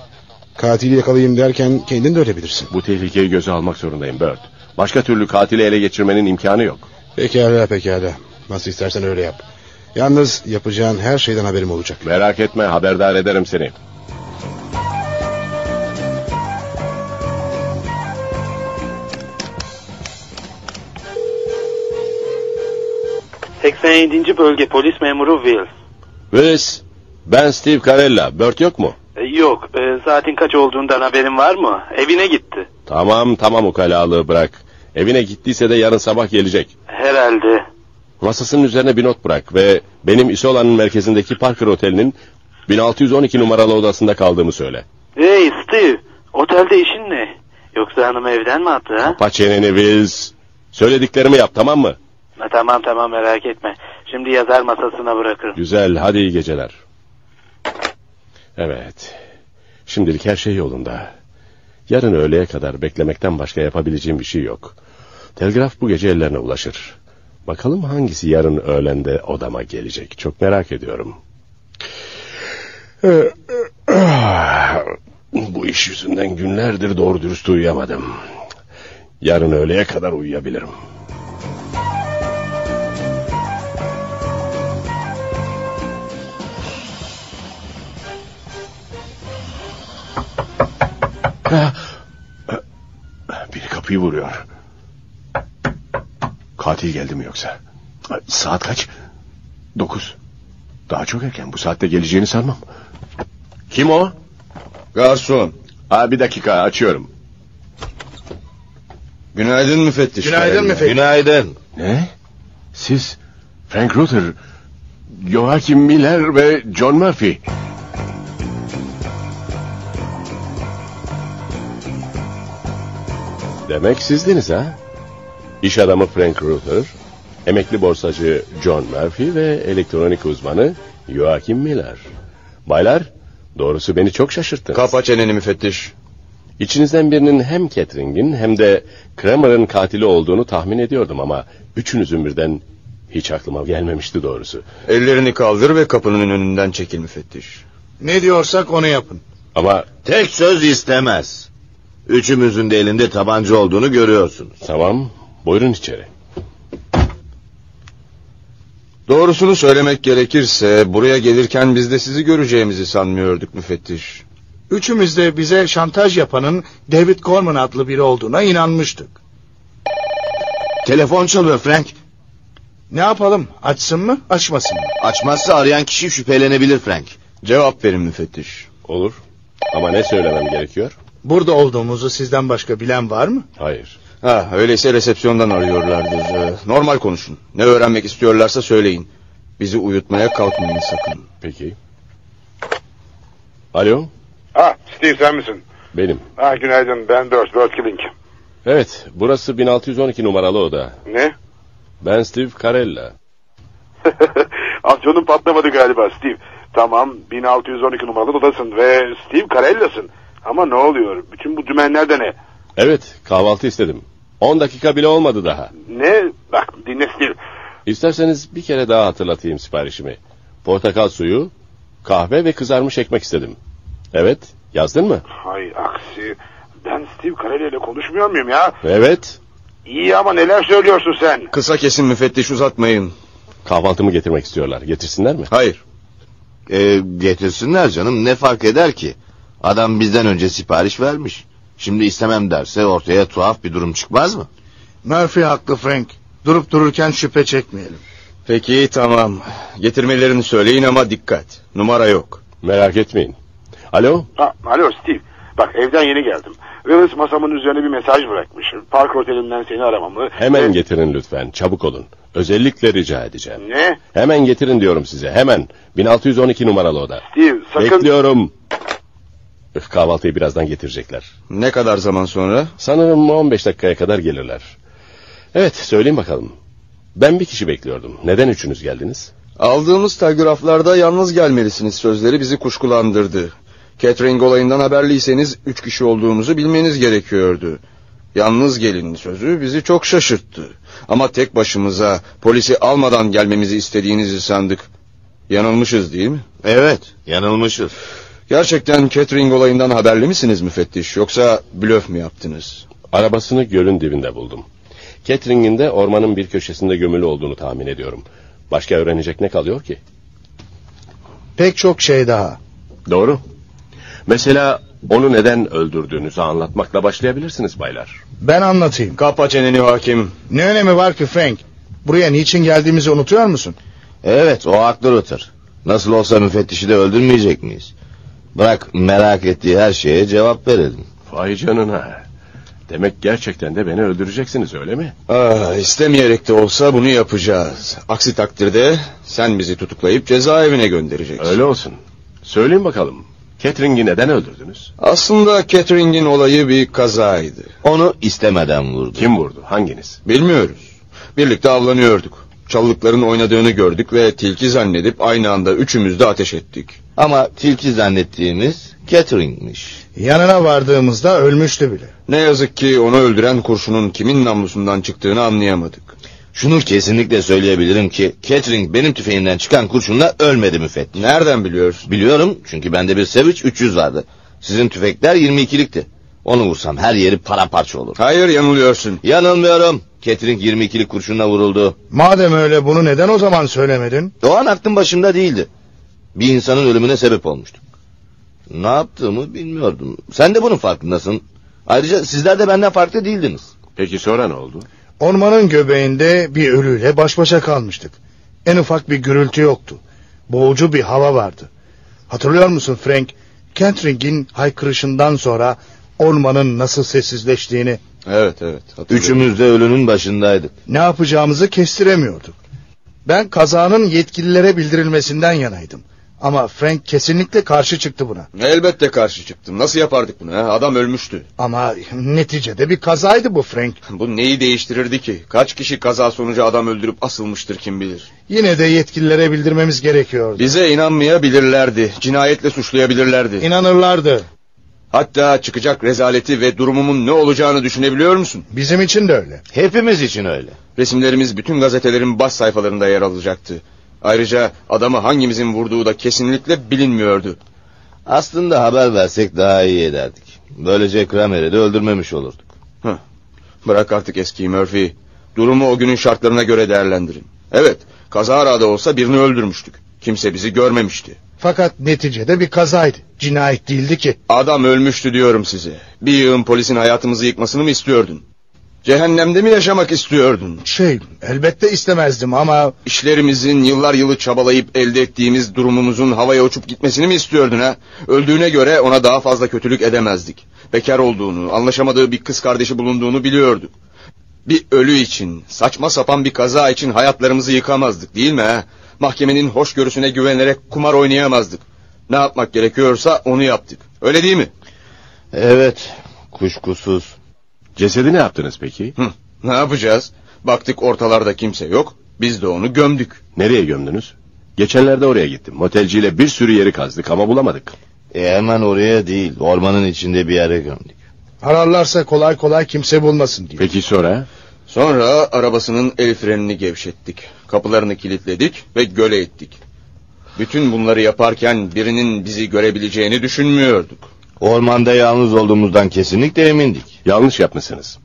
Katili yakalayayım derken kendin de ölebilirsin.
Bu tehlikeyi göze almak zorundayım Bert. Başka türlü katili ele geçirmenin imkanı yok.
Pekala pekala. Nasıl istersen öyle yap. Yalnız yapacağın her şeyden haberim olacak.
Merak etme haberdar ederim seni.
...87. bölge polis memuru Will.
Willis, ben Steve Carella. Bert yok mu?
E, yok, e, saatin kaç olduğundan haberin var mı? Evine gitti.
Tamam tamam ukalalığı bırak. Evine gittiyse de yarın sabah gelecek.
Herhalde.
Masasının üzerine bir not bırak ve benim Isola'nın merkezindeki Parker Oteli'nin 1612 numaralı odasında kaldığımı söyle.
Hey Steve, otelde işin ne? Yoksa hanım evden mi attı ha?
Kapa çeneni Wills. Söylediklerimi yap tamam mı?
Ha, Tamam tamam merak etme. Şimdi yazar masasına bırakırım.
Güzel hadi iyi geceler. Evet. Şimdilik her şey yolunda. Yarın öğleye kadar beklemekten başka yapabileceğim bir şey yok. Telgraf bu gece ellerine ulaşır. Bakalım hangisi yarın öğlende odama gelecek. Çok merak ediyorum. Bu iş yüzünden günlerdir doğru dürüst uyuyamadım. Yarın öğleye kadar uyuyabilirim. Biri kapıyı vuruyor. Katil geldi mi yoksa? Saat kaç? Dokuz. Daha çok erken. Bu saatte geleceğini sanmam. Kim o?
Garson.
Aa, bir dakika açıyorum.
Günaydın müfettiş.
Günaydın müfettiş.
Günaydın.
Ne? Siz Frank Ruther, Joachim Miller ve John Murphy. Demek sizdiniz ha? İş adamı Frank Ruther, emekli borsacı John Murphy ve elektronik uzmanı Joachim Miller. Baylar, doğrusu beni çok şaşırttınız.
Kapa çeneni müfettiş.
İçinizden birinin hem Catering'in hem de Kramer'ın katili olduğunu tahmin ediyordum ama üçünüzün birden hiç aklıma gelmemişti doğrusu.
Ellerini kaldır ve kapının önünden çekil müfettiş.
Ne diyorsak onu yapın.
Ama
Tek söz istemez. Üçümüzün de elinde tabanca olduğunu görüyorsunuz.
Tamam, buyurun içeri.
Doğrusunu söylemek gerekirse buraya gelirken biz de sizi göreceğimizi sanmıyorduk müfettiş.
Üçümüz de bize şantaj yapanın David Gorman adlı biri olduğuna inanmıştık.
Telefon çalıyor Frank.
Ne yapalım? Açsın mı? Açmasın mı?
Açmazsa arayan kişi şüphelenebilir Frank. Cevap verin müfettiş.
Olur. Ama ne söylemem gerekiyor?
Burada olduğumuzu sizden başka bilen var mı?
Hayır.
Ha, öyleyse resepsiyondan arıyorlardır. Ee, Normal konuşun. Ne öğrenmek istiyorlarsa söyleyin. Bizi uyutmaya kalkmayın sakın.
Peki. Alo,
Ha Ah, Steve sen misin?
benim.
Ha günaydın ben Bert, Bert Killing.
Evet, burası 1612 numaralı oda.
Ne?
Ben Steve Carella.
Afyonun patlamadı galiba Steve. Tamam 1612 numaralı odasın ve Steve Carella'sın. Ama ne oluyor? Bütün bu dümenler de ne?
Evet, kahvaltı istedim. 10 dakika bile olmadı daha.
Ne? Bak dinle Steve.
İsterseniz bir kere daha hatırlatayım siparişimi. Portakal suyu, kahve ve kızarmış ekmek istedim. Evet, yazdın mı?
Hay aksi. Ben Steve Carella ile konuşmuyor muyum ya?
Evet.
İyi ama neler söylüyorsun sen?
Kısa kesin müfettiş uzatmayın.
Kahvaltımı getirmek istiyorlar. Getirsinler mi?
Hayır. Ee, getirsinler canım ne fark eder ki? Adam bizden önce sipariş vermiş. Şimdi istemem derse ortaya tuhaf bir durum çıkmaz mı?
Murphy haklı Frank. Durup dururken şüphe çekmeyelim.
Peki tamam. Getirmelerini söyleyin ama dikkat. Numara yok.
Merak etmeyin. Alo,
Ha, alo Steve. Bak evden yeni geldim. Willis masamın üzerine bir mesaj bırakmış. Park otelinden seni aramamı.
hemen getirin lütfen. Çabuk olun. Özellikle rica edeceğim.
Ne?
Hemen getirin diyorum size. Hemen. 1612 numaralı oda.
Steve sakın...
Bekliyorum. Öf, kahvaltıyı birazdan getirecekler.
Ne kadar zaman sonra?
Sanırım 15 dakikaya kadar gelirler. Evet, söyleyin bakalım. Ben bir kişi bekliyordum. Neden üçünüz geldiniz?
Aldığımız telgraflarda yalnız gelmelisiniz sözleri bizi kuşkulandırdı. Catering olayından haberliyseniz üç kişi olduğumuzu bilmeniz gerekiyordu. Yalnız gelin sözü bizi çok şaşırttı. Ama tek başımıza polisi almadan gelmemizi istediğinizi sandık. Yanılmışız değil mi?
Evet, yanılmışız.
Gerçekten catering olayından haberli misiniz müfettiş yoksa blöf mü yaptınız?
Arabasını gölün dibinde buldum. Catering'in de ormanın bir köşesinde gömülü olduğunu tahmin ediyorum. Başka öğrenecek ne kalıyor ki?
Pek çok şey daha.
Doğru. Mesela onu neden öldürdüğünüzü anlatmakla başlayabilirsiniz baylar.
Ben anlatayım.
Kapa çeneni hakim.
Ne önemi var ki Frank? Buraya niçin geldiğimizi unutuyor musun?
Evet, o haklı Ruther. Nasıl olsa müfettişi de öldürmeyecek miyiz? Bırak merak ettiği her şeye cevap verelim.
Vay canına. Demek gerçekten de beni öldüreceksiniz öyle mi?
Ah, istemeyerek de olsa bunu yapacağız. Aksi takdirde sen bizi tutuklayıp cezaevine göndereceksin.
Öyle olsun. Söyleyin bakalım. Catering'i neden öldürdünüz?
Aslında catering'in olayı bir kazaydı.
Onu istemeden vurdu.
Kim vurdu? Hanginiz?
Bilmiyoruz. Birlikte avlanıyorduk. Çalılıkların oynadığını gördük ve tilki zannedip aynı anda üçümüz de ateş ettik.
Ama tilki zannettiğimiz Catering'miş.
Yanına vardığımızda ölmüştü bile.
Ne yazık ki onu öldüren kurşunun kimin namlusundan çıktığını anlayamadık.
Şunu kesinlikle söyleyebilirim ki Catering benim tüfeğimden çıkan kurşunla ölmedi müfettiş.
Nereden biliyorsun?
Biliyorum çünkü bende bir Savage 300 vardı. Sizin tüfekler 22'likti. Onu vursam her yeri paramparça olur.
Hayır yanılıyorsun.
Yanılmıyorum. Catering 22'lik kurşunla vuruldu.
Madem öyle bunu neden o zaman söylemedin?
O an aklım başımda değildi. Bir insanın ölümüne sebep olmuştum. Ne yaptığımı bilmiyordum. Sen de bunun farkındasın. Ayrıca sizler de benden farklı değildiniz.
Peki sonra ne oldu?
Ormanın göbeğinde bir ölüyle baş başa kalmıştık. En ufak bir gürültü yoktu. Boğucu bir hava vardı. Hatırlıyor musun Frank? Kentring'in haykırışından sonra ormanın nasıl sessizleştiğini,
Evet evet.
Üçümüz de ölünün başındaydık.
ne yapacağımızı kestiremiyorduk. Ben kazanın yetkililere bildirilmesinden yanaydım. Ama Frank kesinlikle karşı çıktı buna.
Elbette karşı çıktım. Nasıl yapardık bunu? ha? Adam ölmüştü.
Ama neticede bir kazaydı bu Frank.
Bu neyi değiştirirdi ki? Kaç kişi kaza sonucu adam öldürüp asılmıştır kim bilir.
Yine de yetkililere bildirmemiz gerekiyordu.
Bize inanmayabilirlerdi. Cinayetle suçlayabilirlerdi.
İnanırlardı.
Hatta çıkacak rezaleti ve durumumun ne olacağını düşünebiliyor musun?
Bizim için de öyle.
Hepimiz için öyle.
Resimlerimiz bütün gazetelerin baş sayfalarında yer alacaktı. Ayrıca adamı hangimizin vurduğu da kesinlikle bilinmiyordu.
Aslında haber versek daha iyi ederdik. Böylece Kramer'i de öldürmemiş olurduk.
Bırak artık eskiyi Murphy. Durumu o günün şartlarına göre değerlendirin. Evet, kazara da olsa birini öldürmüştük. Kimse bizi görmemişti.
Fakat neticede bir kazaydı. Cinayet değildi ki.
Adam ölmüştü diyorum size. Bir yığın polisin hayatımızı yıkmasını mı istiyordun? Cehennemde mi yaşamak istiyordun?
Şey, elbette istemezdim ama...
İşlerimizin yıllar yılı çabalayıp elde ettiğimiz durumumuzun havaya uçup gitmesini mi istiyordun ha? Öldüğüne göre ona daha fazla kötülük edemezdik. Bekar olduğunu, anlaşamadığı bir kız kardeşi bulunduğunu biliyorduk. Bir ölü için, saçma sapan bir kaza için hayatlarımızı yıkamazdık değil mi ha? Mahkemenin hoşgörüsüne güvenerek kumar oynayamazdık. Ne yapmak gerekiyorsa onu yaptık. Öyle değil mi?
Evet, kuşkusuz.
Cesedi ne yaptınız peki? ne yapacağız? Baktık ortalarda kimse yok. Biz de onu gömdük.
Nereye gömdünüz? Geçenlerde oraya gittim. Motelciyle bir sürü yeri kazdık ama bulamadık.
E hemen oraya değil, ormanın içinde bir yere gömdük.
Ararlarsa kolay kolay kimse bulmasın diye.
Peki sonra?
Sonra arabasının el frenini gevşettik. Kapılarını kilitledik ve göle ettik. Bütün bunları yaparken birinin bizi görebileceğini düşünmüyorduk.
Ormanda yalnız olduğumuzdan kesinlikle emindik.
Yanlış yapmışsınız.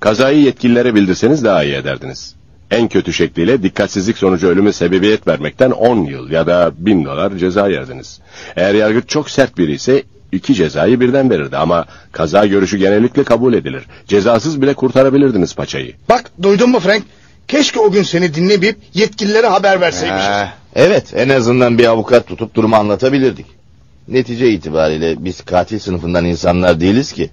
Kazayı yetkililere bildirseniz daha iyi ederdiniz. En kötü şekliyle dikkatsizlik sonucu ölüme sebebiyet vermekten 10 yıl ya da 1000 dolar ceza yerdiniz. Eğer yargıç çok sert biri ise iki cezayı birden verirdi ama kaza görüşü genellikle kabul edilir. Cezasız bile kurtarabilirdiniz paçayı.
Bak duydun mu Frank? Keşke o gün seni dinlemeyip yetkililere haber verseymişiz.
Ha, Ee, evet, en azından bir avukat tutup durumu anlatabilirdik. Netice itibariyle biz katil sınıfından insanlar değiliz ki.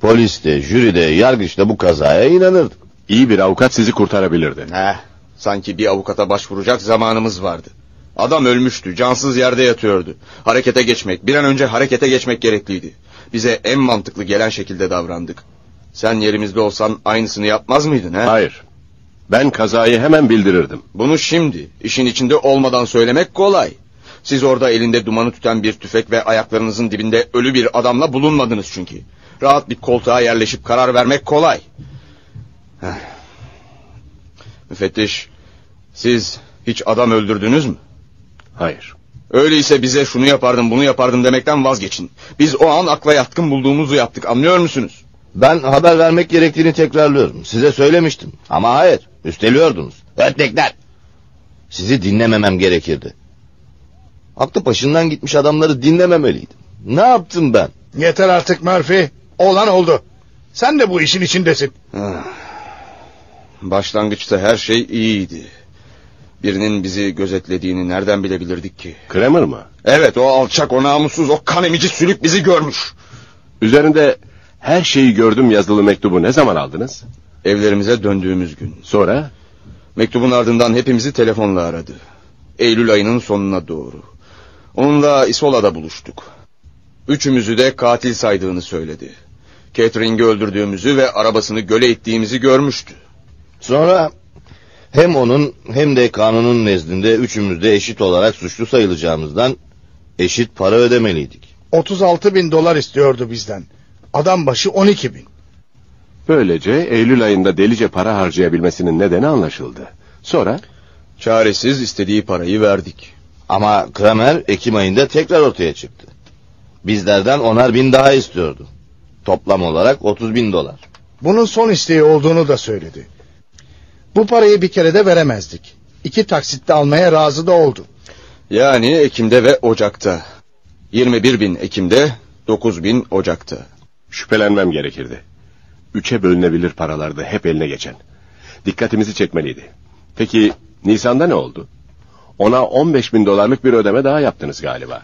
Polis de, jüri de, yargıç da bu kazaya inanırdık.
İyi bir avukat sizi kurtarabilirdi.
Heh, sanki bir avukata başvuracak zamanımız vardı. Adam ölmüştü, cansız yerde yatıyordu. Harekete geçmek, bir an önce harekete geçmek gerekliydi. Bize en mantıklı gelen şekilde davrandık. Sen yerimizde olsan aynısını yapmaz mıydın he?
Hayır. Ben kazayı hemen bildirirdim.
Bunu şimdi, işin içinde olmadan söylemek kolay. Siz orada elinde dumanı tüten bir tüfek ve ayaklarınızın dibinde ölü bir adamla bulunmadınız çünkü. Rahat bir koltuğa yerleşip karar vermek kolay. Heh. Müfettiş, siz hiç adam öldürdünüz mü?
Hayır.
Öyleyse bize şunu yapardım bunu yapardım demekten vazgeçin. Biz o an akla yatkın bulduğumuzu yaptık anlıyor musunuz?
Ben haber vermek gerektiğini tekrarlıyorum. Size söylemiştim ama hayır, üsteliyordunuz. Ötlekler! Sizi dinlememem gerekirdi. Aklı başından gitmiş adamları dinlememeliydim. Ne yaptım ben?
Yeter artık Murphy. Olan oldu. Sen de bu işin içindesin.
Ah.
Başlangıçta her şey iyiydi. Birinin bizi gözetlediğini nereden bilebilirdik ki?
Kramer mı?
Evet o alçak o namussuz o kan emici sülük bizi görmüş.
Üzerinde her şeyi gördüm yazılı mektubu ne zaman aldınız?
Evlerimize döndüğümüz gün.
Sonra?
Mektubun ardından hepimizi telefonla aradı. Eylül ayının sonuna doğru. Onunla Isola'da buluştuk. Üçümüzü de katil saydığını söyledi. Catering'i öldürdüğümüzü ve arabasını göle ittiğimizi görmüştü.
Sonra hem onun hem de kanunun nezdinde üçümüz de eşit olarak suçlu sayılacağımızdan eşit para ödemeliydik.
36 bin dolar istiyordu bizden. Adam başı 12 bin.
Böylece Eylül ayında delice para harcayabilmesinin nedeni anlaşıldı. Sonra?
Çaresiz istediği parayı verdik.
Ama Kramer Ekim ayında tekrar ortaya çıktı. Bizlerden onar bin daha istiyordu. Toplam olarak 30 bin dolar.
Bunun son isteği olduğunu da söyledi. Bu parayı bir kere de veremezdik. İki taksitte almaya razı da oldu.
Yani Ekim'de ve Ocak'ta. 21 bin Ekim'de, 9 bin Ocak'ta.
Şüphelenmem gerekirdi. Üçe bölünebilir paralarda hep eline geçen. Dikkatimizi çekmeliydi. Peki Nisan'da ne oldu? Ona 15 bin dolarlık bir ödeme daha yaptınız galiba.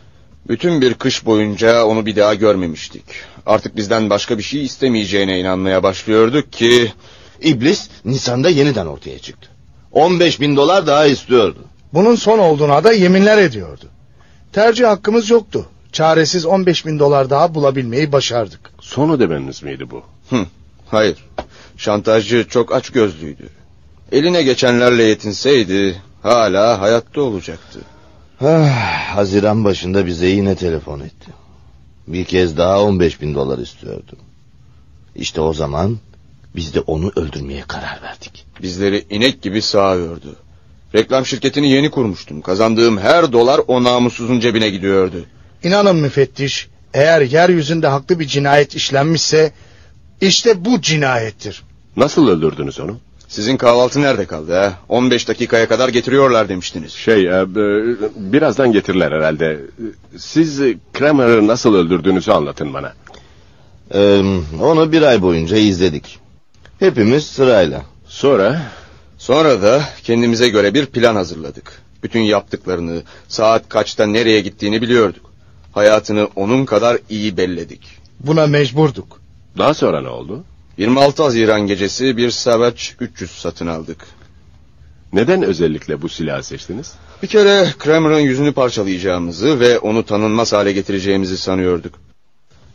Bütün bir kış boyunca onu bir daha görmemiştik. Artık bizden başka bir şey istemeyeceğine inanmaya başlıyorduk ki...
İblis Nisan'da yeniden ortaya çıktı. 15 bin dolar daha istiyordu.
Bunun son olduğuna da yeminler ediyordu. Tercih hakkımız yoktu. Çaresiz 15 bin dolar daha bulabilmeyi başardık.
Son ödememiz miydi bu?
Hı, hayır. Şantajcı çok açgözlüydü. Eline geçenlerle yetinseydi hala hayatta olacaktı.
Ah, Haziran başında bize yine telefon etti. Bir kez daha 15 bin dolar istiyordu. İşte o zaman biz de onu öldürmeye karar verdik.
Bizleri inek gibi sağıyordu. Reklam şirketini yeni kurmuştum. Kazandığım her dolar o namussuzun cebine gidiyordu.
İnanın müfettiş, eğer yeryüzünde haklı bir cinayet işlenmişse işte bu cinayettir.
Nasıl öldürdünüz onu?
Sizin kahvaltı nerede kaldı ha? 15 dakikaya kadar getiriyorlar demiştiniz.
Şey, e, e, birazdan getirirler herhalde. Siz e, Kramer'ı nasıl öldürdüğünüzü anlatın bana.
Ee, onu bir ay boyunca izledik. Hepimiz sırayla.
Sonra? Sonra da kendimize göre bir plan hazırladık. Bütün yaptıklarını, saat kaçta nereye gittiğini biliyorduk. Hayatını onun kadar iyi belledik.
Buna mecburduk.
Daha sonra ne oldu? 26 Haziran gecesi bir Savage 300 satın aldık.
Neden özellikle bu silahı seçtiniz?
Bir kere Kramer'ın yüzünü parçalayacağımızı ve onu tanınmaz hale getireceğimizi sanıyorduk.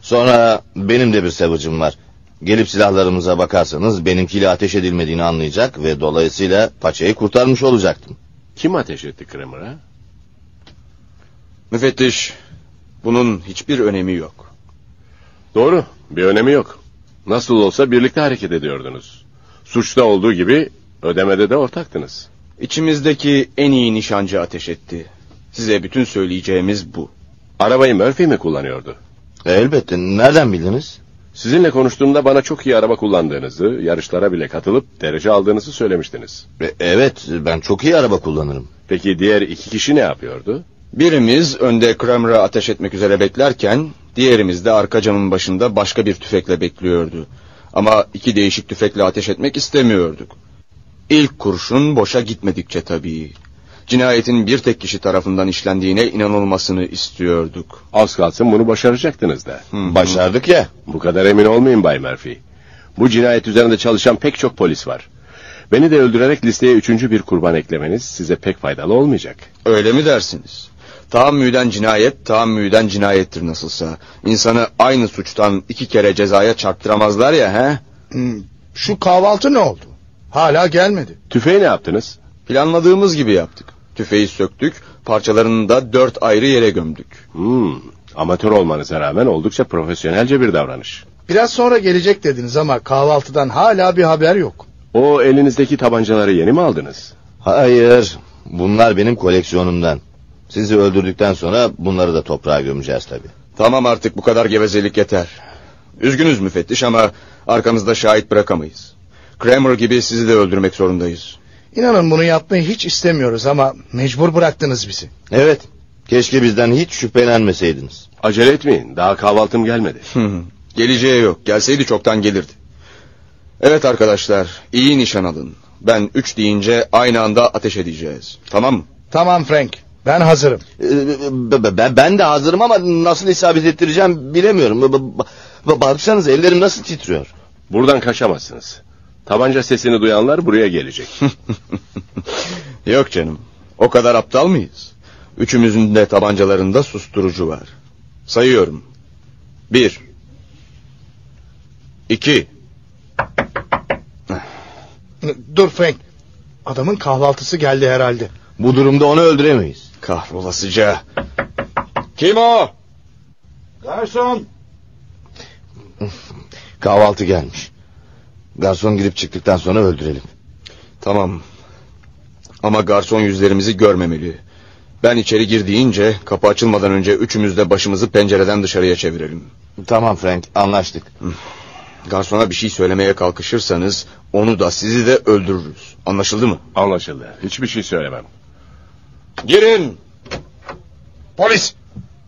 Sonra benim de bir sevacım var. Gelip silahlarımıza bakarsanız benimkiyle ateş edilmediğini anlayacak ve dolayısıyla paçayı kurtarmış olacaktım.
Kim ateş etti Kramer'a?
Müfettiş, bunun hiçbir önemi yok.
Doğru, bir önemi yok. Nasıl olsa birlikte hareket ediyordunuz. Suçta olduğu gibi ödemede de ortaktınız.
İçimizdeki en iyi nişancı ateş etti. Size bütün söyleyeceğimiz bu.
Arabayı Murphy mi kullanıyordu?
E, Elbette, nereden bildiniz?
Sizinle konuştuğumda bana çok iyi araba kullandığınızı, yarışlara bile katılıp derece aldığınızı söylemiştiniz.
E, evet, ben çok iyi araba kullanırım.
Peki diğer iki kişi ne yapıyordu?
Birimiz önde Kramer'a ateş etmek üzere beklerken, diğerimiz de arka camın başında başka bir tüfekle bekliyordu. Ama iki değişik tüfekle ateş etmek istemiyorduk. İlk kurşun boşa gitmedikçe tabii. Cinayetin bir tek kişi tarafından işlendiğine inanılmasını istiyorduk.
Az kalsın bunu başaracaktınız da.
Başardık ya.
Bu kadar emin olmayın Bay Murphy. Bu cinayet üzerinde çalışan pek çok polis var. Beni de öldürerek listeye üçüncü bir kurban eklemeniz size pek faydalı olmayacak.
Öyle mi dersiniz? Tahammüden cinayet, tahammüden cinayettir nasılsa. İnsanı aynı suçtan iki kere cezaya çarptıramazlar ya he?
Hmm, Şu kahvaltı ne oldu? Hala gelmedi.
Tüfeği ne yaptınız?
Planladığımız gibi yaptık. Tüfeği söktük, parçalarını da dört ayrı yere gömdük.
Hmm, amatör olmanıza rağmen oldukça profesyonelce bir davranış.
Biraz sonra gelecek dediniz ama kahvaltıdan hala bir haber yok.
O elinizdeki tabancaları yeni mi aldınız?
Hayır, bunlar benim koleksiyonumdan. Sizi öldürdükten sonra bunları da toprağa gömeceğiz tabii.
Tamam artık bu kadar gevezelik yeter. Üzgünüz müfettiş ama arkamızda şahit bırakamayız. Kramer gibi sizi de öldürmek zorundayız.
İnanın bunu yapmayı hiç istemiyoruz ama mecbur bıraktınız bizi.
Evet, keşke bizden hiç şüphelenmeseydiniz.
Acele etmeyin, daha kahvaltım gelmedi.
Geleceği yok. Gelseydi çoktan gelirdi. Evet arkadaşlar, iyi nişan alın. Ben üç deyince aynı anda ateş edeceğiz. Tamam mı?
Tamam Frank, ben hazırım.
Ee, Ben, ben de hazırım ama nasıl isabet ettireceğim bilemiyorum. Ba- ba- Baksanız ellerim nasıl titriyor.
Buradan kaçamazsınız. Tabanca sesini duyanlar buraya gelecek.
Yok canım. O kadar aptal mıyız? Üçümüzün de tabancalarında susturucu var. Sayıyorum. Bir. İki.
Dur Frank, adamın kahvaltısı geldi herhalde.
Bu durumda onu öldüremeyiz.
Kahrolasıca. Kim o?
Garson!
Kahvaltı gelmiş. Garson girip çıktıktan sonra öldürelim.
Tamam. Ama garson yüzlerimizi görmemeli. Ben içeri gir deyince kapı açılmadan önce üçümüz de başımızı pencereden dışarıya çevirelim.
Tamam Frank, anlaştık.
Garsona bir şey söylemeye kalkışırsanız onu da sizi de öldürürüz. Anlaşıldı mı?
Anlaşıldı. Hiçbir şey söylemem.
Girin.
Polis!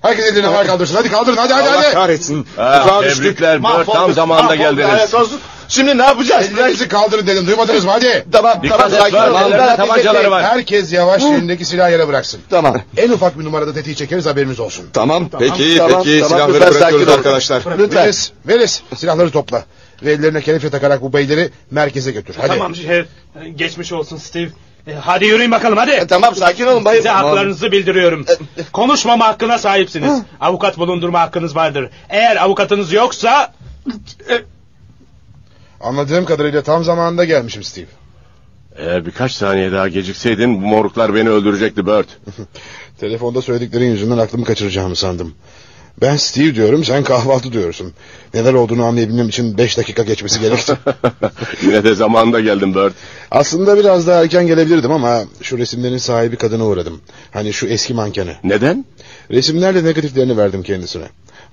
Herkes elini havaya kaldırsın. Hadi kaldırın hadi hadi
Allah
hadi.
kahretsin.
Ah,
Tuzağa düştük.
tebrikler, Bert,
Mahvolduk,
tam zamanında
mahvolduk,
geldiniz.
lanet olsun. Şimdi ne yapacağız? Ellerinizi kaldırın dedim. Duymadınız mı? Hadi. Tamam.
Dikkat tamam, et, sakin ol. ellerinde
Ellerinizi
tabancaları
bekleyin.
var.
Herkes yavaş elindeki silahı yere bıraksın.
Tamam.
En ufak bir numarada tetiği çekeriz haberimiz olsun.
Tamam, peki
Tamam,
peki
tamam,
silahları
lütfen
bırakıyoruz
sakin olun.
arkadaşlar.
Lütfen. Veris, Veris silahları topla. Ve ellerine kelepçe takarak bu beyleri merkeze götür. Hadi.
Tamam şef. Geçmiş olsun Steve. E, Hadi yürüyün bakalım hadi.
E, tamam sakin olun bayım. E,
Size haklarınızı bildiriyorum. Konuşmama hakkına sahipsiniz. Avukat bulundurma hakkınız vardır. Eğer avukatınız yoksa...
Anladığım kadarıyla tam zamanında gelmişim Steve.
Eğer birkaç saniye daha gecikseydin bu moruklar beni öldürecekti Bert.
Telefonda söylediklerin yüzünden aklımı kaçıracağımı sandım. Ben Steve diyorum, sen kahvaltı diyorsun. Neler olduğunu anlayabilmem için beş dakika geçmesi gerekti.
Yine de zamanında geldim Bert.
Aslında biraz daha erken gelebilirdim ama şu resimlerin sahibi kadına uğradım. Hani şu eski mankeni.
Neden?
Resimlerle negatiflerini verdim kendisine.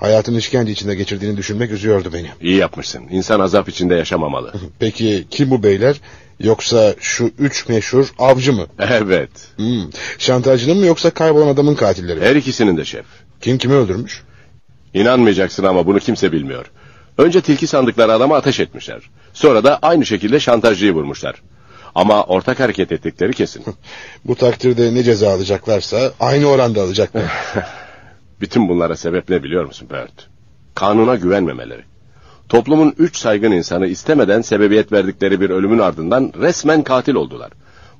Hayatını işkence içinde geçirdiğini düşünmek üzüyordu beni.
İyi yapmışsın. İnsan azap içinde yaşamamalı.
Peki kim bu beyler? Yoksa şu üç meşhur avcı mı?
Evet.
Hmm. Şantajcının mı yoksa kaybolan adamın katilleri mi?
Her ikisinin de şef.
Kim kimi öldürmüş?
İnanmayacaksın ama bunu kimse bilmiyor. Önce tilki sandıkları adama ateş etmişler. Sonra da aynı şekilde şantajcıyı vurmuşlar. Ama ortak hareket ettikleri kesin.
Bu takdirde ne ceza alacaklarsa aynı oranda alacaklar.
Bütün bunlara sebep ne biliyor musun Bert? Kanuna güvenmemeleri. Toplumun üç saygın insanı istemeden sebebiyet verdikleri bir ölümün ardından resmen katil oldular.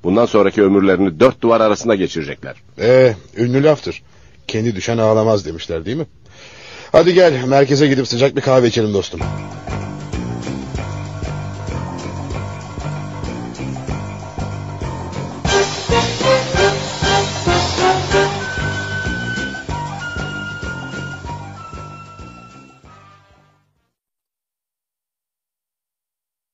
Bundan sonraki ömürlerini dört duvar arasında geçirecekler.
Ee, ünlü laftır. Kendi düşen ağlamaz demişler değil mi? Hadi gel merkeze gidip sıcak bir kahve içelim dostum.